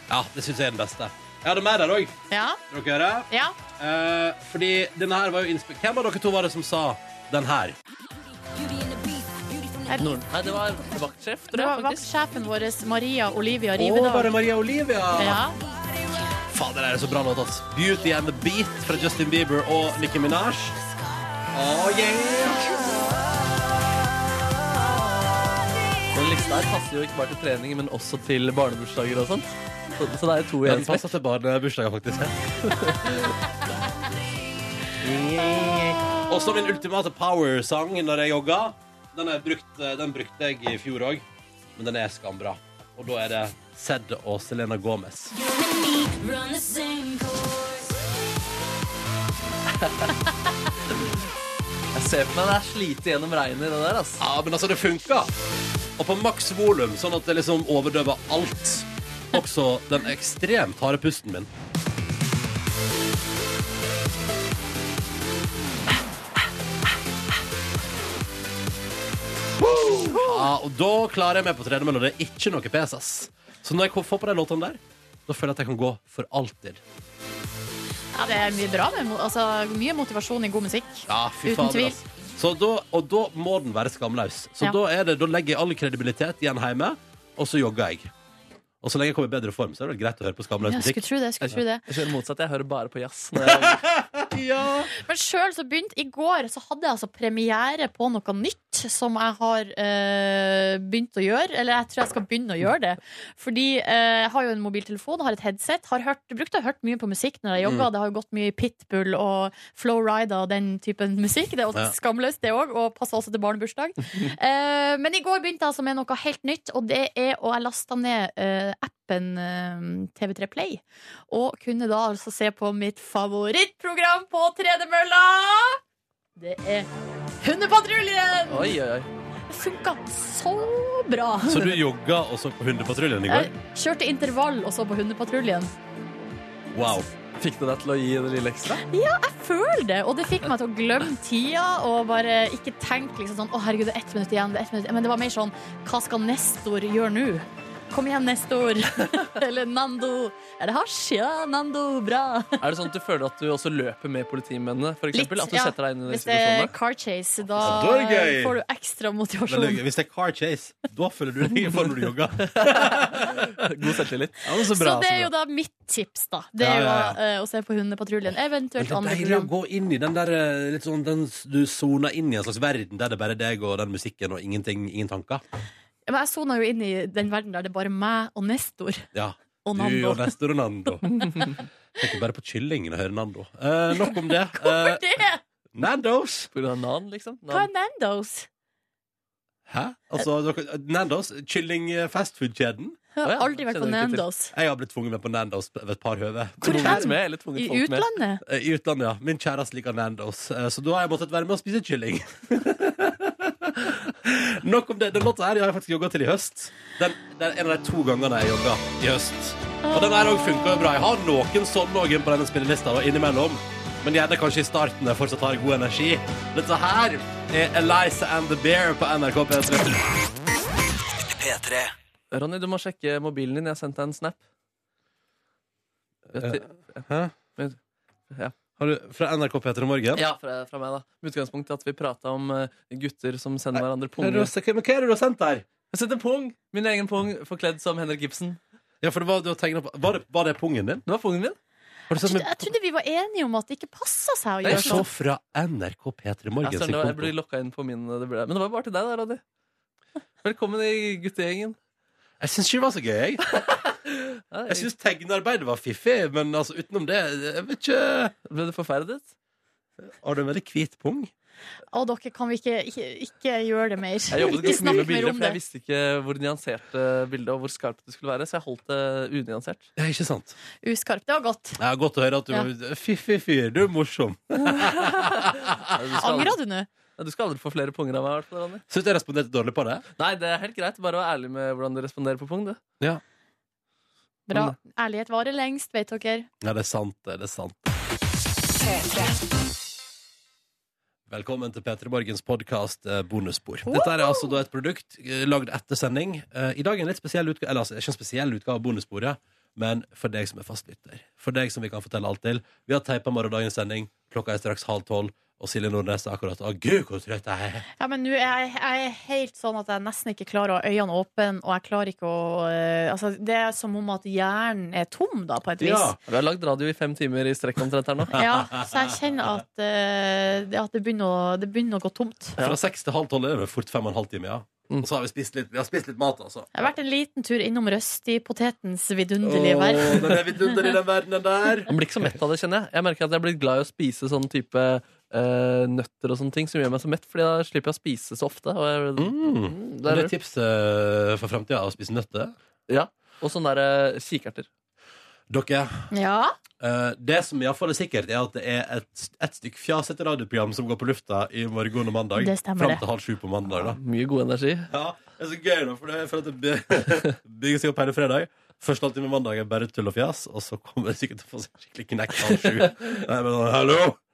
S2: Ja, det syns jeg er den beste. Jeg hadde mer der òg.
S3: Ja,
S2: Dere høre?
S3: ja.
S2: Eh, fordi denne her var jo innspill... Hvem av dere to var det som sa den her?
S4: Nord. Nei, det var vaktsjef,
S3: Det
S4: tror
S3: var
S4: jeg. faktisk
S3: vaktsjefen vår, Maria Olivia
S2: Å, var det
S3: Rivedal.
S2: Maria Olivia?
S3: Ja.
S2: Fader, det er så bra låt, ass. Beauty and the Beat fra Justin Bieber og Nicki Minaj. Oh, yeah.
S4: Den lista her passer jo ikke bare til trening, men også til barnebursdager og sånt. Så, så det er to
S2: Den
S4: igjen.
S2: passer til barnebursdager, faktisk. Og så min ultimate power-sang når jeg jogga. Den, er brukt, eh, den brukte jeg i fjor òg, men den er skambra. Og da er det Sedd og Selena Gomez.
S4: Jeg ser på meg det er slite gjennom regnet, det der, ass.
S2: Ja, men altså, det funka! Og på maks volum, sånn at det liksom overdøver alt. Også den ekstremt harde pusten min. Ja, og da klarer jeg meg på tredemølla. Det er ikke noe pes, ass. Så når jeg får på de låtene der, da føler jeg at jeg kan gå for alltid.
S3: Ja, det er mye bra med mo- altså, mye motivasjon i god musikk.
S2: Ja, fy
S3: Uten
S2: fader, altså.
S3: tvil.
S2: ass. Så da, og da må den være skamløs. Så
S3: Ja.
S2: da, er det, da legger jeg all kredibilitet igjen hjemme, og så jogger jeg. Og så lenge jeg kommer i bedre form, så er det vel greit å høre på skamløs
S3: Jeg skulle
S2: musikk.
S3: tro det. skulle tro det
S4: Jeg ser det motsatte. Jeg hører bare på jazz. Når jeg,
S3: Men sjøl så begynte I går så hadde jeg altså premiere på noe nytt som jeg har eh, begynt å gjøre. Eller jeg tror jeg skal begynne å gjøre det. Fordi eh, jeg har jo en mobiltelefon, har et headset. Har hørt, brukte å hørt mye på musikk når jeg jogga. Det har jo gått mye Pitbull og Flow Rida og den typen musikk. Det er også
S2: Ja.
S3: skamløst, det òg. Og passer også til barnebursdag. Eh, men i går begynte jeg altså med noe helt nytt, og det er Og jeg lasta ned eh, appen eh, TV3 Play. Og kunne da altså se på mitt favorittprogram på tredemølla. Det er Hundepatruljen!
S4: oi, oi, oi.
S3: Det funka så bra.
S2: Så du jogga og så på Hundepatruljen i går?
S3: Jeg kjørte intervall og så på Hundepatruljen.
S2: Wow.
S4: Fikk du deg til å gi det lille ekstra?
S3: Jeg føler det, og det fikk meg til å glemme tida og bare ikke tenke liksom sånn Å, herregud, det er ett minutt igjen. Det er ett minutt. igjen». Men det var mer sånn Hva skal Nestor gjøre nå? Kom igjen, Nestor. *laughs* Eller Nando. Er det hasj? Ja, Nando. Bra.
S4: Er det sånn at du føler at du også løper med politimennene? For eksempel,
S3: Litt,
S4: at du
S3: ja.
S4: setter deg inn i de
S3: Hvis det er
S4: situasjonene?
S3: car chase, da
S2: Ja, da er det gøy.
S3: får du ekstra
S2: Men
S3: motivasjon.
S2: det- Hvis det er car chase, da føler du deg i form når du
S3: *laughs*
S2: jogger.
S4: God selvtillit.
S2: Ja, men så
S3: Så det er jo da mitt tips, da. Det
S2: altså. Ja,
S3: er jo
S2: ja,
S3: eh, å se på Hundepatruljen.
S2: Men
S3: Eventuelt
S2: det er
S3: andre
S2: deilig å
S3: program.
S2: gå inn i den der eh, litt sånn, den, Du soner inn i en slags verden der det bare er deg og den musikken og ingenting, ingen tanker.
S3: Men jeg sona jo inn i den verden der det er bare meg og Nestor
S2: Ja
S3: og
S2: Du
S3: Nando.
S2: og Nestor og Nando. Tenker bare på kyllingen og hører Nando. Eh, nok om det. Eh,
S3: *laughs* Det!
S2: Nandos!
S4: På grunn av nan, liksom.
S3: Hva er
S4: Nan.
S3: Nandos?
S2: Hæ? Altså, dere- Nandos, kyllingfastfood-kjeden.
S3: Jeg
S4: Å
S3: har
S4: ja,
S3: aldri vært på
S4: kjenner ikke til.
S3: Nandos.
S2: Jeg har blitt tvunget med på Nandos ved et par høve.
S3: Hvor er
S4: Tvunget
S3: den?
S4: med, eller tvunget
S3: I
S4: folk med.
S3: utlandet?
S2: Eh, I utlandet, ja. Min kjæreste liker Nandos, eh, så da har jeg måttet være med og spise kylling. *laughs* Nok om det. Den låta her har jeg faktisk jogga til i høst. Den, det er en av de to gangene jeg jogga i høst. Og den her òg funka jo bra. Jeg har noen sånne òg på denne spillelista og innimellom. Men gjerne kanskje i starten når jeg fortsatt har god energi. Dette her er Eliza and the Bear på NRK P3.
S4: Ronny, du må sjekke mobilen din. Jeg har sendt deg en snap. Vet du-
S2: Hæ?
S4: Ja.
S2: Har du fra NRK P3 Morgen?
S4: Ja, fra, fra meg, da. Med utgangspunkt i at vi prata om eh, gutter som sender hverandre
S2: Hva er
S4: pung.
S2: det du har
S4: Jeg
S2: se- men hva er det du har sendt der?
S4: har sendt en pung! Min egen pung, forkledd som Henrik Ibsen.
S2: Ja, for det var, du har tegnet på, var, det, var det pungen din?
S4: Det var pungen min.
S2: Har du sett med
S3: Jeg trodde vi var enige om at det ikke passa seg å
S2: Jeg
S3: gjøre
S2: så
S3: sånn.
S2: fra NRK P3 Morgen
S4: Jeg,
S2: sin
S4: jeg blir
S2: konto.
S4: lokka inn på min eh, det ble. Men det var bare til deg, da, Ronny. Velkommen i guttegjengen.
S2: Jeg syns ikke det var så gøy. Jeg,
S4: Ja,
S2: jeg syns tegnearbeidet var fiffig, men altså, utenom det jeg vet ikke
S4: Ble du forferdet?
S2: Har du en veldig hvit pung?
S3: Å, dere, kan vi ikke, ikke, ikke gjøre det mer?
S4: Jeg jobbet
S3: Ikke
S4: ganske mye
S3: snakk
S4: med
S3: mer
S4: bilder,
S3: om
S4: for jeg
S3: det.
S4: visste ikke hvor nyansert eh, bildet og hvor skarpt det skulle være, så jeg holdt det unyansert.
S2: Ja, ikke sant?
S3: Uskarpt. Det var godt.
S2: Ja, Godt å høre at du Fiffig fyr, du er morsom.
S4: Ja, Du skal,
S3: Angra
S4: aldri,
S3: du nå?
S4: ja, du skal aldri få flere punger av meg, i hvert fall, Ronny.
S2: Syns jeg responderte dårlig på det?
S4: Nei, det er helt greit. Bare vær ærlig med hvordan du responderer på pung, du.
S3: Bra.
S4: Mm.
S3: Ærlighet varer lengst, vet dere.
S2: Ja, det er sant. det, Det er sant. Velkommen til P3 Morgens podkast Bonusspor. Dette er altså da et produkt eh, lagd etter sending. Eh, I dag er en litt spesiell utgave, eller altså, ikke en spesiell utgave av Bonussporet, men for deg som er fastlytter. For deg som vi kan fortelle alt til. Vi har teipa morgendagens sending. Klokka er straks halv tolv, og Silje Nordnes er akkurat Å, gud, hvor trøtt jeg er!
S3: Ja, men nå er jeg, jeg er helt sånn at jeg nesten ikke klarer å ha øynene åpne, og jeg klarer ikke å eh, Altså, det er som om at hjernen er tom, da, på et vis.
S2: Ja.
S4: Vi har lagd radio i fem timer i strekk omtrent her nå.
S3: Ja, så jeg kjenner at, eh, det- at det, begynner å, det begynner å gå tomt.
S2: Fra seks til halv tolv er det fort fem og en halv time, ja.
S4: Mm.
S2: Og så har vi spist litt, vi har spist litt mat, altså.
S3: Det har vært en liten tur innom røstipotetens
S2: Åh,
S3: vidunderlige verden.
S2: den er vidunderlig, den verdenen der.
S4: Man blir ikke så mett av det, kjenner jeg. Jeg merker at jeg blir glad i å spise sånn type eh, nøtter og sånne ting som gjør meg så mett, fordi da slipper jeg å spise så ofte. Og, jeg, Mm,
S2: Det
S4: det
S2: er
S4: er,
S2: tipset eh, for framtida, å spise nøtter.
S4: ja. og sånne der eh, kikerter.
S2: Dere,
S3: Ja.
S2: eh, det som iallfall er sikkert, er at det er et, et stykk fjasete radioprogram som går på lufta i morgen og mandag.
S3: Det stemmer
S2: Fram
S3: det.
S2: til halv sju på mandag, da.
S4: Mye
S2: *laughs*
S4: god energi.
S2: Ja, det er så gøy nå, for det, for at det by- *laughs* bygger seg opp hele fredag. Første halvtime mandag er bare tull og fjas, og så kommer det sikkert til å få seg skikkelig knekk halv *laughs* sju. Nei, men sånn, hallo!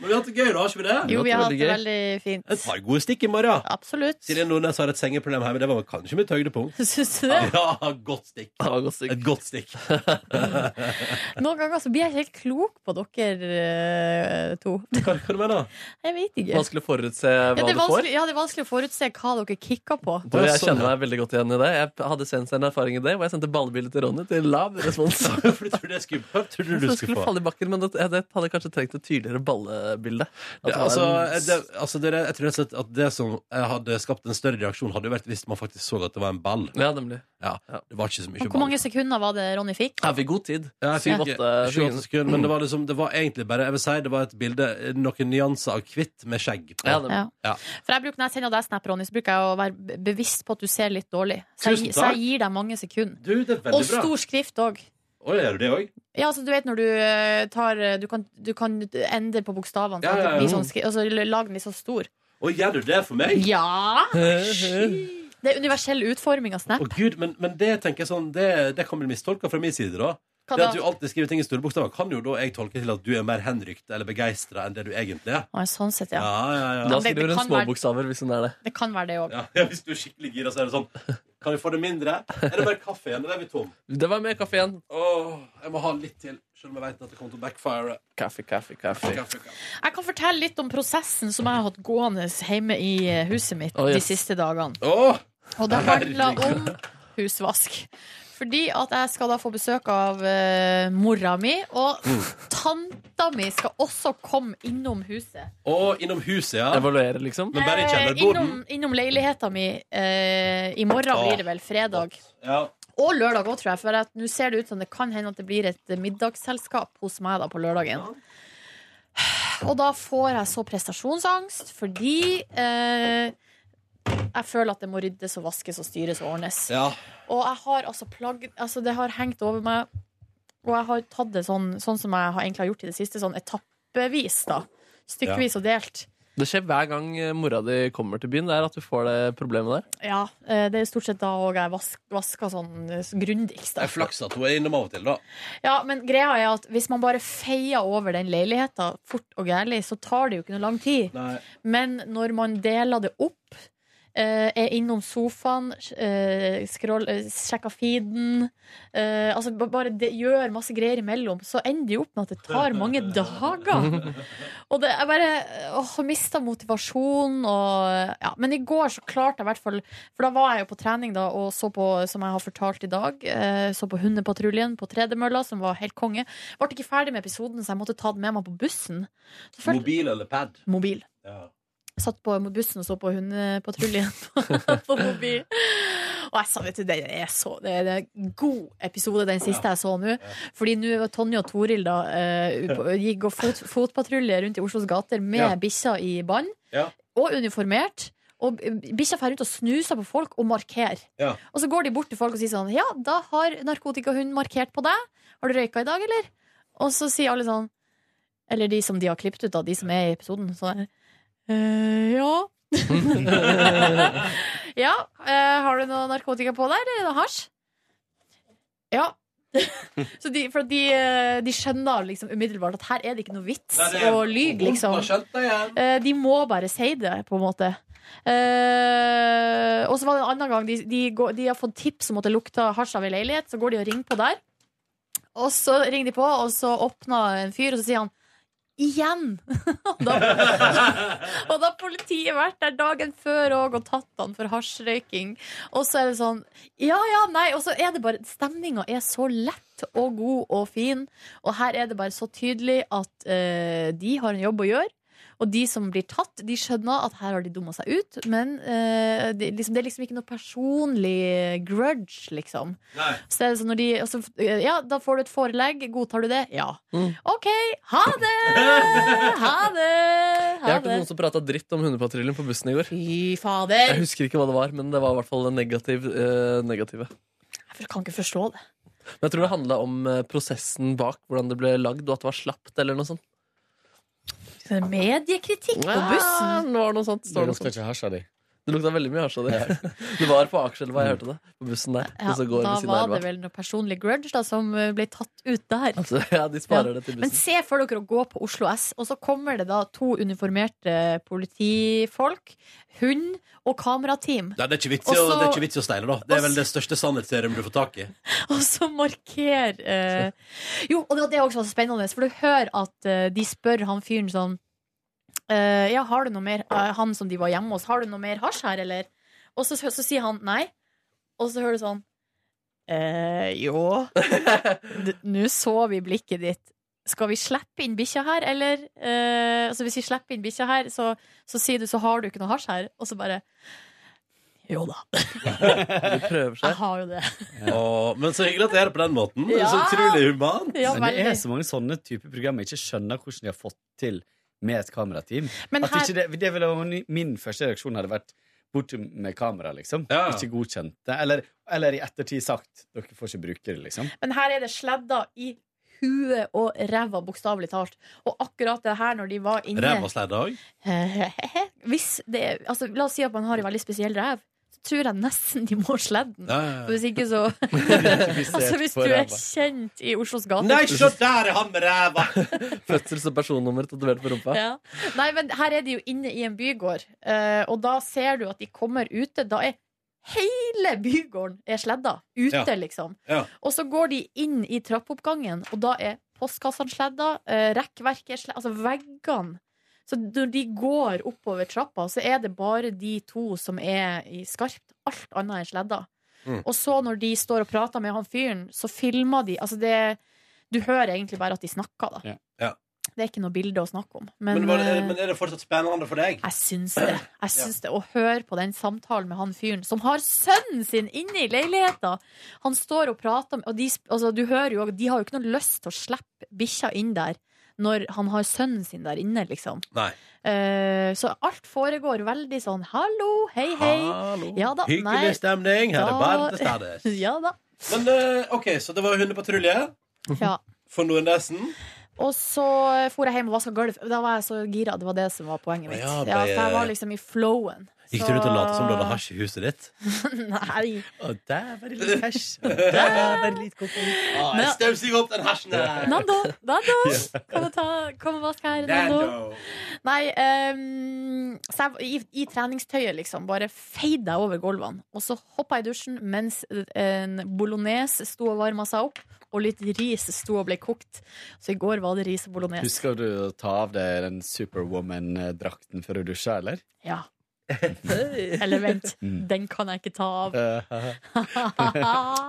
S2: Men vi har hatt det gøy, da, har ikke vi det?
S3: Jo,
S4: Det
S3: vi har hatt
S4: låter
S3: det
S4: veldig
S3: veldig
S2: Et
S3: fint.
S2: par gode stikk i morgen.
S3: Absolutt. *laughs*
S2: Silje Nordnes har et sengeproblem her, men det var kanskje mitt høydepunkt.
S3: Syns du det?
S2: Ja, godt stikk.
S4: Det var godt stikk.
S2: Et godt stikk.
S3: Noen ganger så blir jeg ikke helt klok på dere eh, to.
S2: Hva, hva du mener du?
S3: Jeg vet ikke.
S4: Vanskelig å forutse
S3: Ja
S4: hva
S3: det, er
S4: du får.
S3: vanskelig, ja, det er vanskelig å forutse hva dere kicker på.
S4: Og jeg
S2: sånn,
S4: kjenner meg veldig godt igjen i det. Jeg hadde senest en erfaring i det, hvor jeg sendte ballebilde til Ronny til lav respons.
S2: For du tror *laughs* det skulle, hva tror du
S4: Jeg
S2: du
S4: trodde
S2: skulle
S4: det skulle
S2: få?
S4: falle i bakken, men det, jeg- det hadde kanskje trengt et tydeligere ballebilde. At
S2: Det,
S4: det var
S2: altså,
S4: en-
S2: det, altså det, jeg tror rett og slett at det som eh, hadde skapt en større reaksjon, hadde jo vært hvis man faktisk så at det var en ball.
S4: Ja, nemlig.
S2: Ja, Det var ikke så mye
S3: Hvor
S2: ball.
S3: mange sekunder var det Ronny fikk?
S4: Har vi god tid?
S2: Ja, jeg fikk
S4: Syv-åtte
S2: sju, åtte sekunder, men det var, liksom, det var egentlig bare Jeg vil si det var et bilde, noen nyanser av hvitt med skjegg. På.
S4: Ja, nemlig.
S3: Ja.
S2: Ja.
S3: For jeg bruker, Når jeg sender deg snap, Ronny, så bruker jeg å være be- bevisst på at du ser litt dårlig. Så
S2: Tusen
S3: jeg, så
S2: takk.
S3: jeg gir deg mange sekunder.
S2: Du, det er
S3: Og
S2: veldig bra.
S3: stor skrift òg.
S2: Oi, gjør du det òg?
S3: Ja, altså, du vet når du eh, tar eh, Du kan, du kan endre på bokstavene,
S2: Ja,
S3: sånn at
S2: ja,
S3: det
S2: ja.
S3: blir sånn skri- og så lag den litt så stor.
S2: Å, gjør du det for meg?
S3: *laughs* Ja! Det er universell utforming av
S2: Å
S3: snap.
S2: Gud, men, men det tenker jeg sånn Det, det kan bli mistolka fra min side, da.
S3: Hva
S2: Det
S3: da?
S2: at du alltid skriver ting i store bokstaver, kan jo da jeg tolke til at du er mer henrykt eller begeistra enn det du egentlig er.
S3: Å, sånn sett,
S2: Ja,
S3: ja.
S2: ja, ja.
S4: Da
S3: Men det-
S4: skriver
S3: det
S4: hun
S3: kan
S4: små
S3: være-
S4: bokstaver hvis hun er det.
S3: Det kan være det òg.
S2: Ja, *laughs* ja, hvis du er skikkelig gira, så er det sånn Kan vi få det mindre? Er det bare kaffe igjen? Eller er vi tom?
S4: Det var med kaffe igjen.
S2: Åh, jeg må ha litt til, selv om jeg vet at det kommer til å backfire.
S4: Kaffe, kaffe, kaffe.
S2: Kaffe, kaffe.
S3: Jeg kan fortelle litt om prosessen som jeg har hatt gående hjemme i eh, huset mitt
S4: Å,
S3: de
S4: yes.
S3: siste dagene.
S2: Åh,
S3: Og det handler om husvask. Fordi at jeg skal da få besøk av eh, mora mi, og tanta mi skal også komme innom huset.
S2: åh, innom huset, ja.
S4: Evaluere, liksom.
S2: Men bare i
S3: Eh,
S2: kjellerboden.
S3: innom, innom leiligheta mi eh, i morgen
S2: Åh.
S3: blir det vel fredag.
S2: Ja.
S3: Og lørdag òg, tror jeg. For at nå ser det ut som det kan hende at det blir et eh, middagsselskap hos meg da på lørdagen. Og da får jeg så prestasjonsangst fordi eh, jeg føler at det må ryddes og vaskes og styres og ordnes.
S2: ja.
S3: Og jeg har altså plagg Altså det har hengt over meg Og jeg har tatt det sånn, sånn som jeg har egentlig har gjort i det siste Sånn etappevis da Stykkevis og delt
S4: Det skjer hver gang eh, mora di kommer til byen, det er at du får det problemet der.
S3: Ja, eh, det er stort sett da også jeg vask, vasker sånn eh, grundigst
S2: Det
S3: da
S2: er flaks at hun er innom av og til, da.
S3: Ja, men greia er at hvis man bare feier over den leiligheten Fort og gærlig, så tar det jo ikke noe lang tid
S2: Nei.
S3: Men når man deler det opp eh, Er innom sofaen eh, scroll, eh, Sjekker feeden eh, Altså ba- bare det, gjør masse greier imellom Så ender det jo opp med at det tar mange dager Og det, jeg bare åh, har mistet motivasjon og, ja. Men i går så klarte jeg i hvert fall For da var jeg jo på trening da Og så på, som jeg har fortalt i dag eh, Så på hundepatruljen på tredemølla Som var helt konge Vart ikke ferdig med episoden Så jeg måtte ta den med meg på bussen Så følte-
S2: Mobil eller pad?
S3: Mobil
S2: Ja.
S3: Satt på bussen og så på hundepatruljen *laughs* på mobil. Og jeg sa, vet du, det er så Det er en god episode, den siste jeg så nå. Fordi nå er Tonje og Toril da eh, på- gikk og fot, fotpatrulje rundt i Oslos gater med
S2: Ja.
S3: bikkja i bånd.
S2: Ja.
S3: Og uniformert. Og bikkja drar rundt og snuser på folk og markerer.
S2: Ja.
S3: Og så går de bort til folk og sier sånn Ja, da har narkotikahunden markert på deg. Har du røyka i dag, eller? Og så sier alle sånn Eller de som de har klippet ut, da. De som er i episoden. Sånn der «Eh, Ja. *laughs* ja. eh, har du noe narkotika på deg, eller noe hasj? Ja. *laughs* så de, for de, eh, de skjønner liksom umiddelbart at her er det ikke noe vits
S2: Nei, det er-
S3: å lyge, liksom.
S2: Hun har skjønt det igjen.
S3: Eh, de må bare si det, på en måte. Eh, og så var det en annen gang de, de, går, de har fått tips om at det lukter hasj av ei leilighet, så går de og ringer på der. Og så ringer de på, og så åpner en fyr, og så sier han igjen! *laughs* og, da, og da har politiet vært der dagen før òg og tatt han for hasjrøyking. Og så er det sånn Ja, ja, nei. Og så er det bare Stemninga er så lett og god og fin, og her er det bare så tydelig at eh, de har en jobb å gjøre. Og de som blir tatt, de skjønner at her har de dumma seg ut, men eh, det, liksom, det er liksom ikke noe personlig grudge, liksom.
S2: Nei.
S3: Så det er sånn når de og så, eh, Ja, da får du et forelegg. Godtar du det? Ja.
S4: Mm.
S3: OK, ha det! Ha
S4: *laughs*
S3: det!
S4: Jeg
S3: Ha
S4: hørte
S3: det.
S4: noen som prata dritt om hundepatruljen på bussen i går.
S3: Fy
S4: Jeg
S3: fader!
S4: husker ikke hva det var, men det var i hvert fall det negativ, eh, negative.
S3: Jeg kan ikke forstå det.
S4: Men jeg tror det handla om eh, prosessen bak, hvordan det ble lagd, og at det var slapt, eller noe sånt.
S3: Mediekritikk på
S4: Ja,
S3: bussen.
S4: det var noe sånt. Det,
S9: Det
S4: var noe
S9: lukter
S4: sånt.
S9: ikke hasj av de.
S4: det lukta veldig mye hasj av det. *laughs* Det var på Akerselva, jeg hørte det. På bussen der.
S3: Ja,
S4: og så går
S3: da
S4: ved siden
S3: var
S4: av
S3: det
S4: elva.
S3: vel noe personlig grudge da, som eh, ble tatt ut der.
S4: Så, Altså, ja, de sparer det til
S3: Men
S4: bussen.
S3: se for dere å gå på Oslo S, og så kommer det da to uniformerte politifolk, hund og kamerateam.
S2: Nei, det er ikke vits i
S3: Og
S2: å-
S3: så-
S2: det er ikke vits i å steine, da. Det er
S3: og
S2: vel det største sannhetsserien du får tak i.
S3: *laughs* Og så markerer eh... Jo, og det var det også var så spennende, for du hører at eh, de spør han fyren sånn eh, Ja, har du noe mer eh, Han som de var hjemme hos, har du noe mer hasj her, eller? Og så, så sier han nei, og så hører du sånn eh, Jo.
S9: *laughs*
S3: D- Nå så vi blikket ditt. Skal vi slippe inn bikkja her, eller? Eh, altså hvis vi slipper inn bikkja her, så, så sier du så har du ikke noe hasj her, og så bare Jo da,
S4: De prøver
S3: jeg
S4: seg.
S3: har jo det. *laughs*
S2: Åh, men så hyggelig at det er det på den måten. Det er så
S3: Ja.
S2: utrolig humant.
S3: Ja,
S9: Men
S3: veldig.
S9: det er så mange sånne typer program jeg ikke skjønner hvordan de har fått til med et kamerateam.
S3: Men
S9: At ikke det, det ville vært min første reaksjon hadde vært bort med kamera, liksom.
S2: Ja.
S9: Ikke godkjent det. Eller, eller i ettertid sagt dere får ikke bruke det, liksom.
S3: Men her er det sledda i huet og ræva, bokstavelig talt. Og akkurat det her når de var inne
S2: Ræv og sledde òg.
S3: *laughs* Hvis det er, altså, La oss si at man har en veldig spesiell ræv. Så tror jeg nesten de må sledde den. For Hvis ikke så Altså hvis du er kjent i Oslos gater.
S2: Nei, se der er han med ræva!
S4: Fødsels- og personnummer tatovert på rumpa.
S3: Ja. Nei, men her er de jo inne i en bygård, eh, og da ser du at de kommer ute. Da er hele bygården er sledda. Ute,
S2: Ja.
S3: liksom.
S2: Ja.
S3: Og så går de inn i trappeoppgangen, og da er postkassene sledda, eh, rekkverket er sledda, altså veggene. Så når de går oppover trappa, så er det bare de to som er i skarpt. Alt annet er sledda.
S2: Mm.
S3: Og så når de står og prater med han fyren, så filmer de. Altså det Du hører egentlig bare at de snakker, da.
S9: Ja.
S2: Ja.
S3: Det er ikke noe bilde å snakke om. Men,
S2: Men, var det,
S3: eh,
S2: men er det fortsatt spennende for deg?
S3: jeg syns det. Jeg syns det. Å høre på den samtalen med han fyren som har sønnen sin inne i leiligheta! Han står og prater med Og de, sp- altså, du hører jo, de har jo ikke noe lyst til å slippe bikkja inn der når han har sønnen sin der inne, liksom.
S2: Nei.
S3: Eh, så alt foregår veldig sånn hallo, hei, hei.
S2: Hallo.
S3: Ja da, nei.
S2: Hyggelig stemning. Her
S3: Da-
S2: er verden
S3: *laughs*
S2: til stede.
S3: Ja da.
S2: Men eh, OK, så det var hundepatrulje
S3: Ja.
S2: for Nordnesen.
S3: Og så for jeg hjem og vaska gulv. Da var jeg så gira. Det var det som var poenget mitt.
S2: Ja,
S3: Ja,
S2: ble-
S3: for jeg var liksom i flowen.
S2: Gikk du rundt og lot som du hadde hasj i huset ditt?
S3: *laughs* Nei.
S9: Og der var det litt hasj. Og der
S4: *laughs*
S9: var det litt kokain.
S2: Ah, jeg stausig opp den hasjen her!
S3: Nando,
S2: *laughs*
S3: Nando! Kom og, ta, kom og vask her, Nando.
S2: Dando.
S3: Nei, ehm, så jeg, var- i, i treningstøyet liksom Bare feide jeg over gulvene Og så hoppet jeg i dusjen Mens en bolognese sto og varma seg opp Og litt ris sto og ble kokt Så i går var det ris og bolognese
S9: Husker du å ta av deg den Superwoman-drakten før du dusja, eller?
S3: Ja Eller vent,
S9: Mm.
S3: den kan jeg ikke ta av
S9: Eh,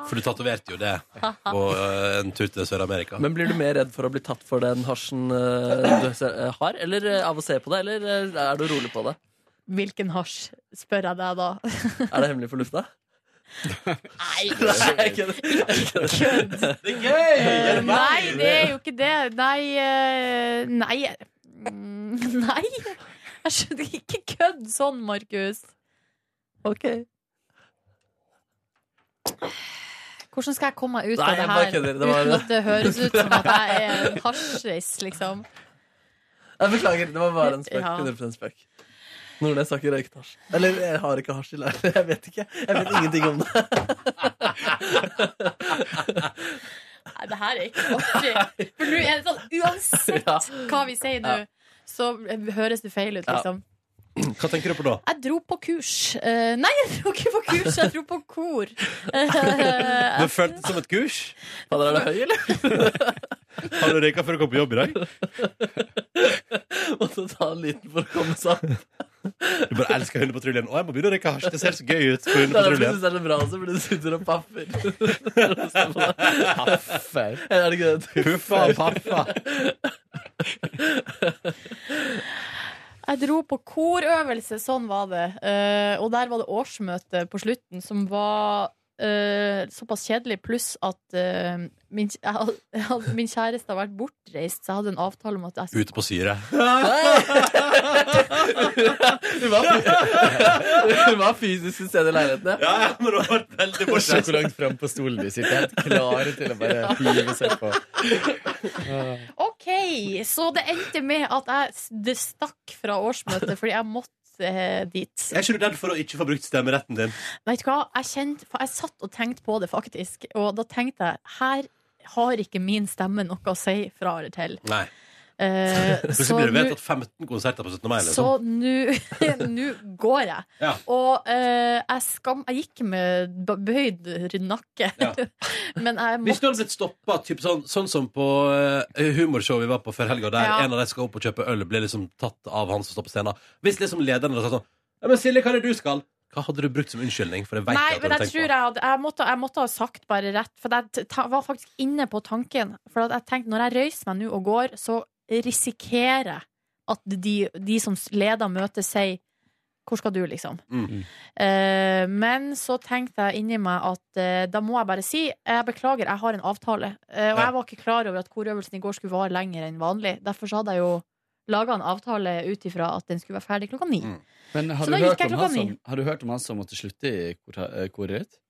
S2: For du tatoverte jo det på eh, en tur til Sør-Amerika.
S4: Men blir du mer redd for å bli tatt for den hasjen eh, du ser- eh, har, eller eh, av å se på det, eller eh, er du rolig på det?
S3: Hvilken hasj, spør jeg deg da
S4: Er det hemmelig for lufta? *laughs*
S3: Nei,
S4: Jeg kødder.
S3: kødd
S2: Det er gøy!
S3: Eh, Nei, det er jo ikke det. Nei eh, Nei. Mm, *laughs* Nei. Jeg skjønner ikke kødd sånn, Markus. OK. Hvordan skal jeg komme meg ut
S4: Nei,
S3: av det
S4: jeg bare
S3: her
S4: kødder. Det var-
S3: uten at det høres ut som at jeg er en hasjreis, liksom?
S4: Jeg beklager, det var bare en spøk.
S3: Ja.
S4: 100% spøk. Nordnes har ikke røykt hasj. Eller jeg har ikke hasj i leiren. *laughs* Jeg vet ikke. Jeg vet ingenting om det.
S3: Nei, det her er ikke artig. For nå er det
S4: *laughs*
S3: sånn,
S4: Ja.
S3: uansett hva vi sier nå, så høres det feil ut,
S4: Ja.
S3: liksom.
S2: Hva tenker du på da?
S3: Jeg dro på kurs. Eh, nei, jeg dro ikke på kurs, jeg dro på kor. Eh,
S2: Det føltes som et kurs.
S4: Fader, er det høy, eller?
S2: Har du røyka før du kom på jobb i dag?
S4: Måtte ta en liten for å komme seg opp.
S2: Du bare elsker hundepatruljen. Å, jeg må begynne å røyke hasj. Det ser så gøy
S3: *laughs*
S2: ut på
S4: Det er derfor du
S2: hundepatruljen.
S4: synes det er så bra også, fordi du sitter og papper.
S9: Haffer.
S4: Eller er det ikke det?
S2: Huffa og pappa.
S3: Jeg dro på korøvelse, sånn var det. Eh, og der var det årsmøte på slutten som var eh, såpass kjedelig, pluss at eh, min, kj- jeg, had- jeg, had- min kjæreste har vært bortreist, så jeg hadde en avtale om at jeg skulle
S2: Ute på syre.
S4: Hun var, fy- hun var fysisk *laughs* til stede i leiligheten, ja.
S2: men det har vært veldig
S9: Se hvor langt frem på stolen de sitter. Helt klare til å bare hive seg på.
S3: OK! Så det endte med at jeg s- det stakk fra årsmøtet fordi jeg måtte eh, dit.
S2: Er ikke du redd for å ikke få brukt stemmeretten din?
S3: Vet du hva? Jeg, kjente, for jeg satt og tenkte på det, faktisk. Og da tenkte jeg her har ikke min stemme noe å si fra eller til.
S2: Nei. *laughs*
S3: Eh,
S2: Plutselig
S3: så
S2: blir det
S3: nå-
S2: vedtatt 15 konserter på 17. mai.
S3: Så
S2: Liksom.
S3: nå *laughs* nå går jeg.
S2: Ja.
S3: Og eh, jeg, skam, jeg gikk med b- bøyd nakke.
S2: Ja.
S3: *laughs* Men jeg
S2: Hvis
S3: måtte
S2: du hadde blitt stoppa, sånn, sånn som på eh, humorshowet vi var på før helga, der
S3: Ja.
S2: en av de skal opp og kjøpe øl, blir liksom tatt av han som står på scenen Hvis liksom lederen hadde sagt sånn Ja, men Silje, hva er det du skal? Hva hadde du brukt som unnskyldning? For jeg vet
S3: Nei,
S2: ikke
S3: men
S2: at du
S3: jeg
S2: tenker
S3: tror jeg, hadde, jeg, måtte, jeg måtte ha sagt bare rett. For jeg t- ta, var faktisk inne på tanken. For at jeg tenkte når jeg røyser meg nå og går, så risikerer jeg at de, de som leder møtet, sier hvor skal du, liksom?
S2: Mm.
S3: Eh, men så tenkte jeg inni meg at eh, da må jeg bare si jeg beklager, jeg har en avtale. Eh, og
S2: Ja.
S3: jeg var ikke klar over at korøvelsen i går skulle vare lenger enn vanlig. Derfor så hadde jeg jo laga en avtale ut ifra at den skulle være ferdig klokka ni.
S2: Mm.
S9: Men har
S3: Så
S9: du,
S3: da gikk
S9: hørt
S3: jeg
S9: om han
S3: klokka
S9: som, har du hørt om han som måtte slutte i kor- eh, koret ditt?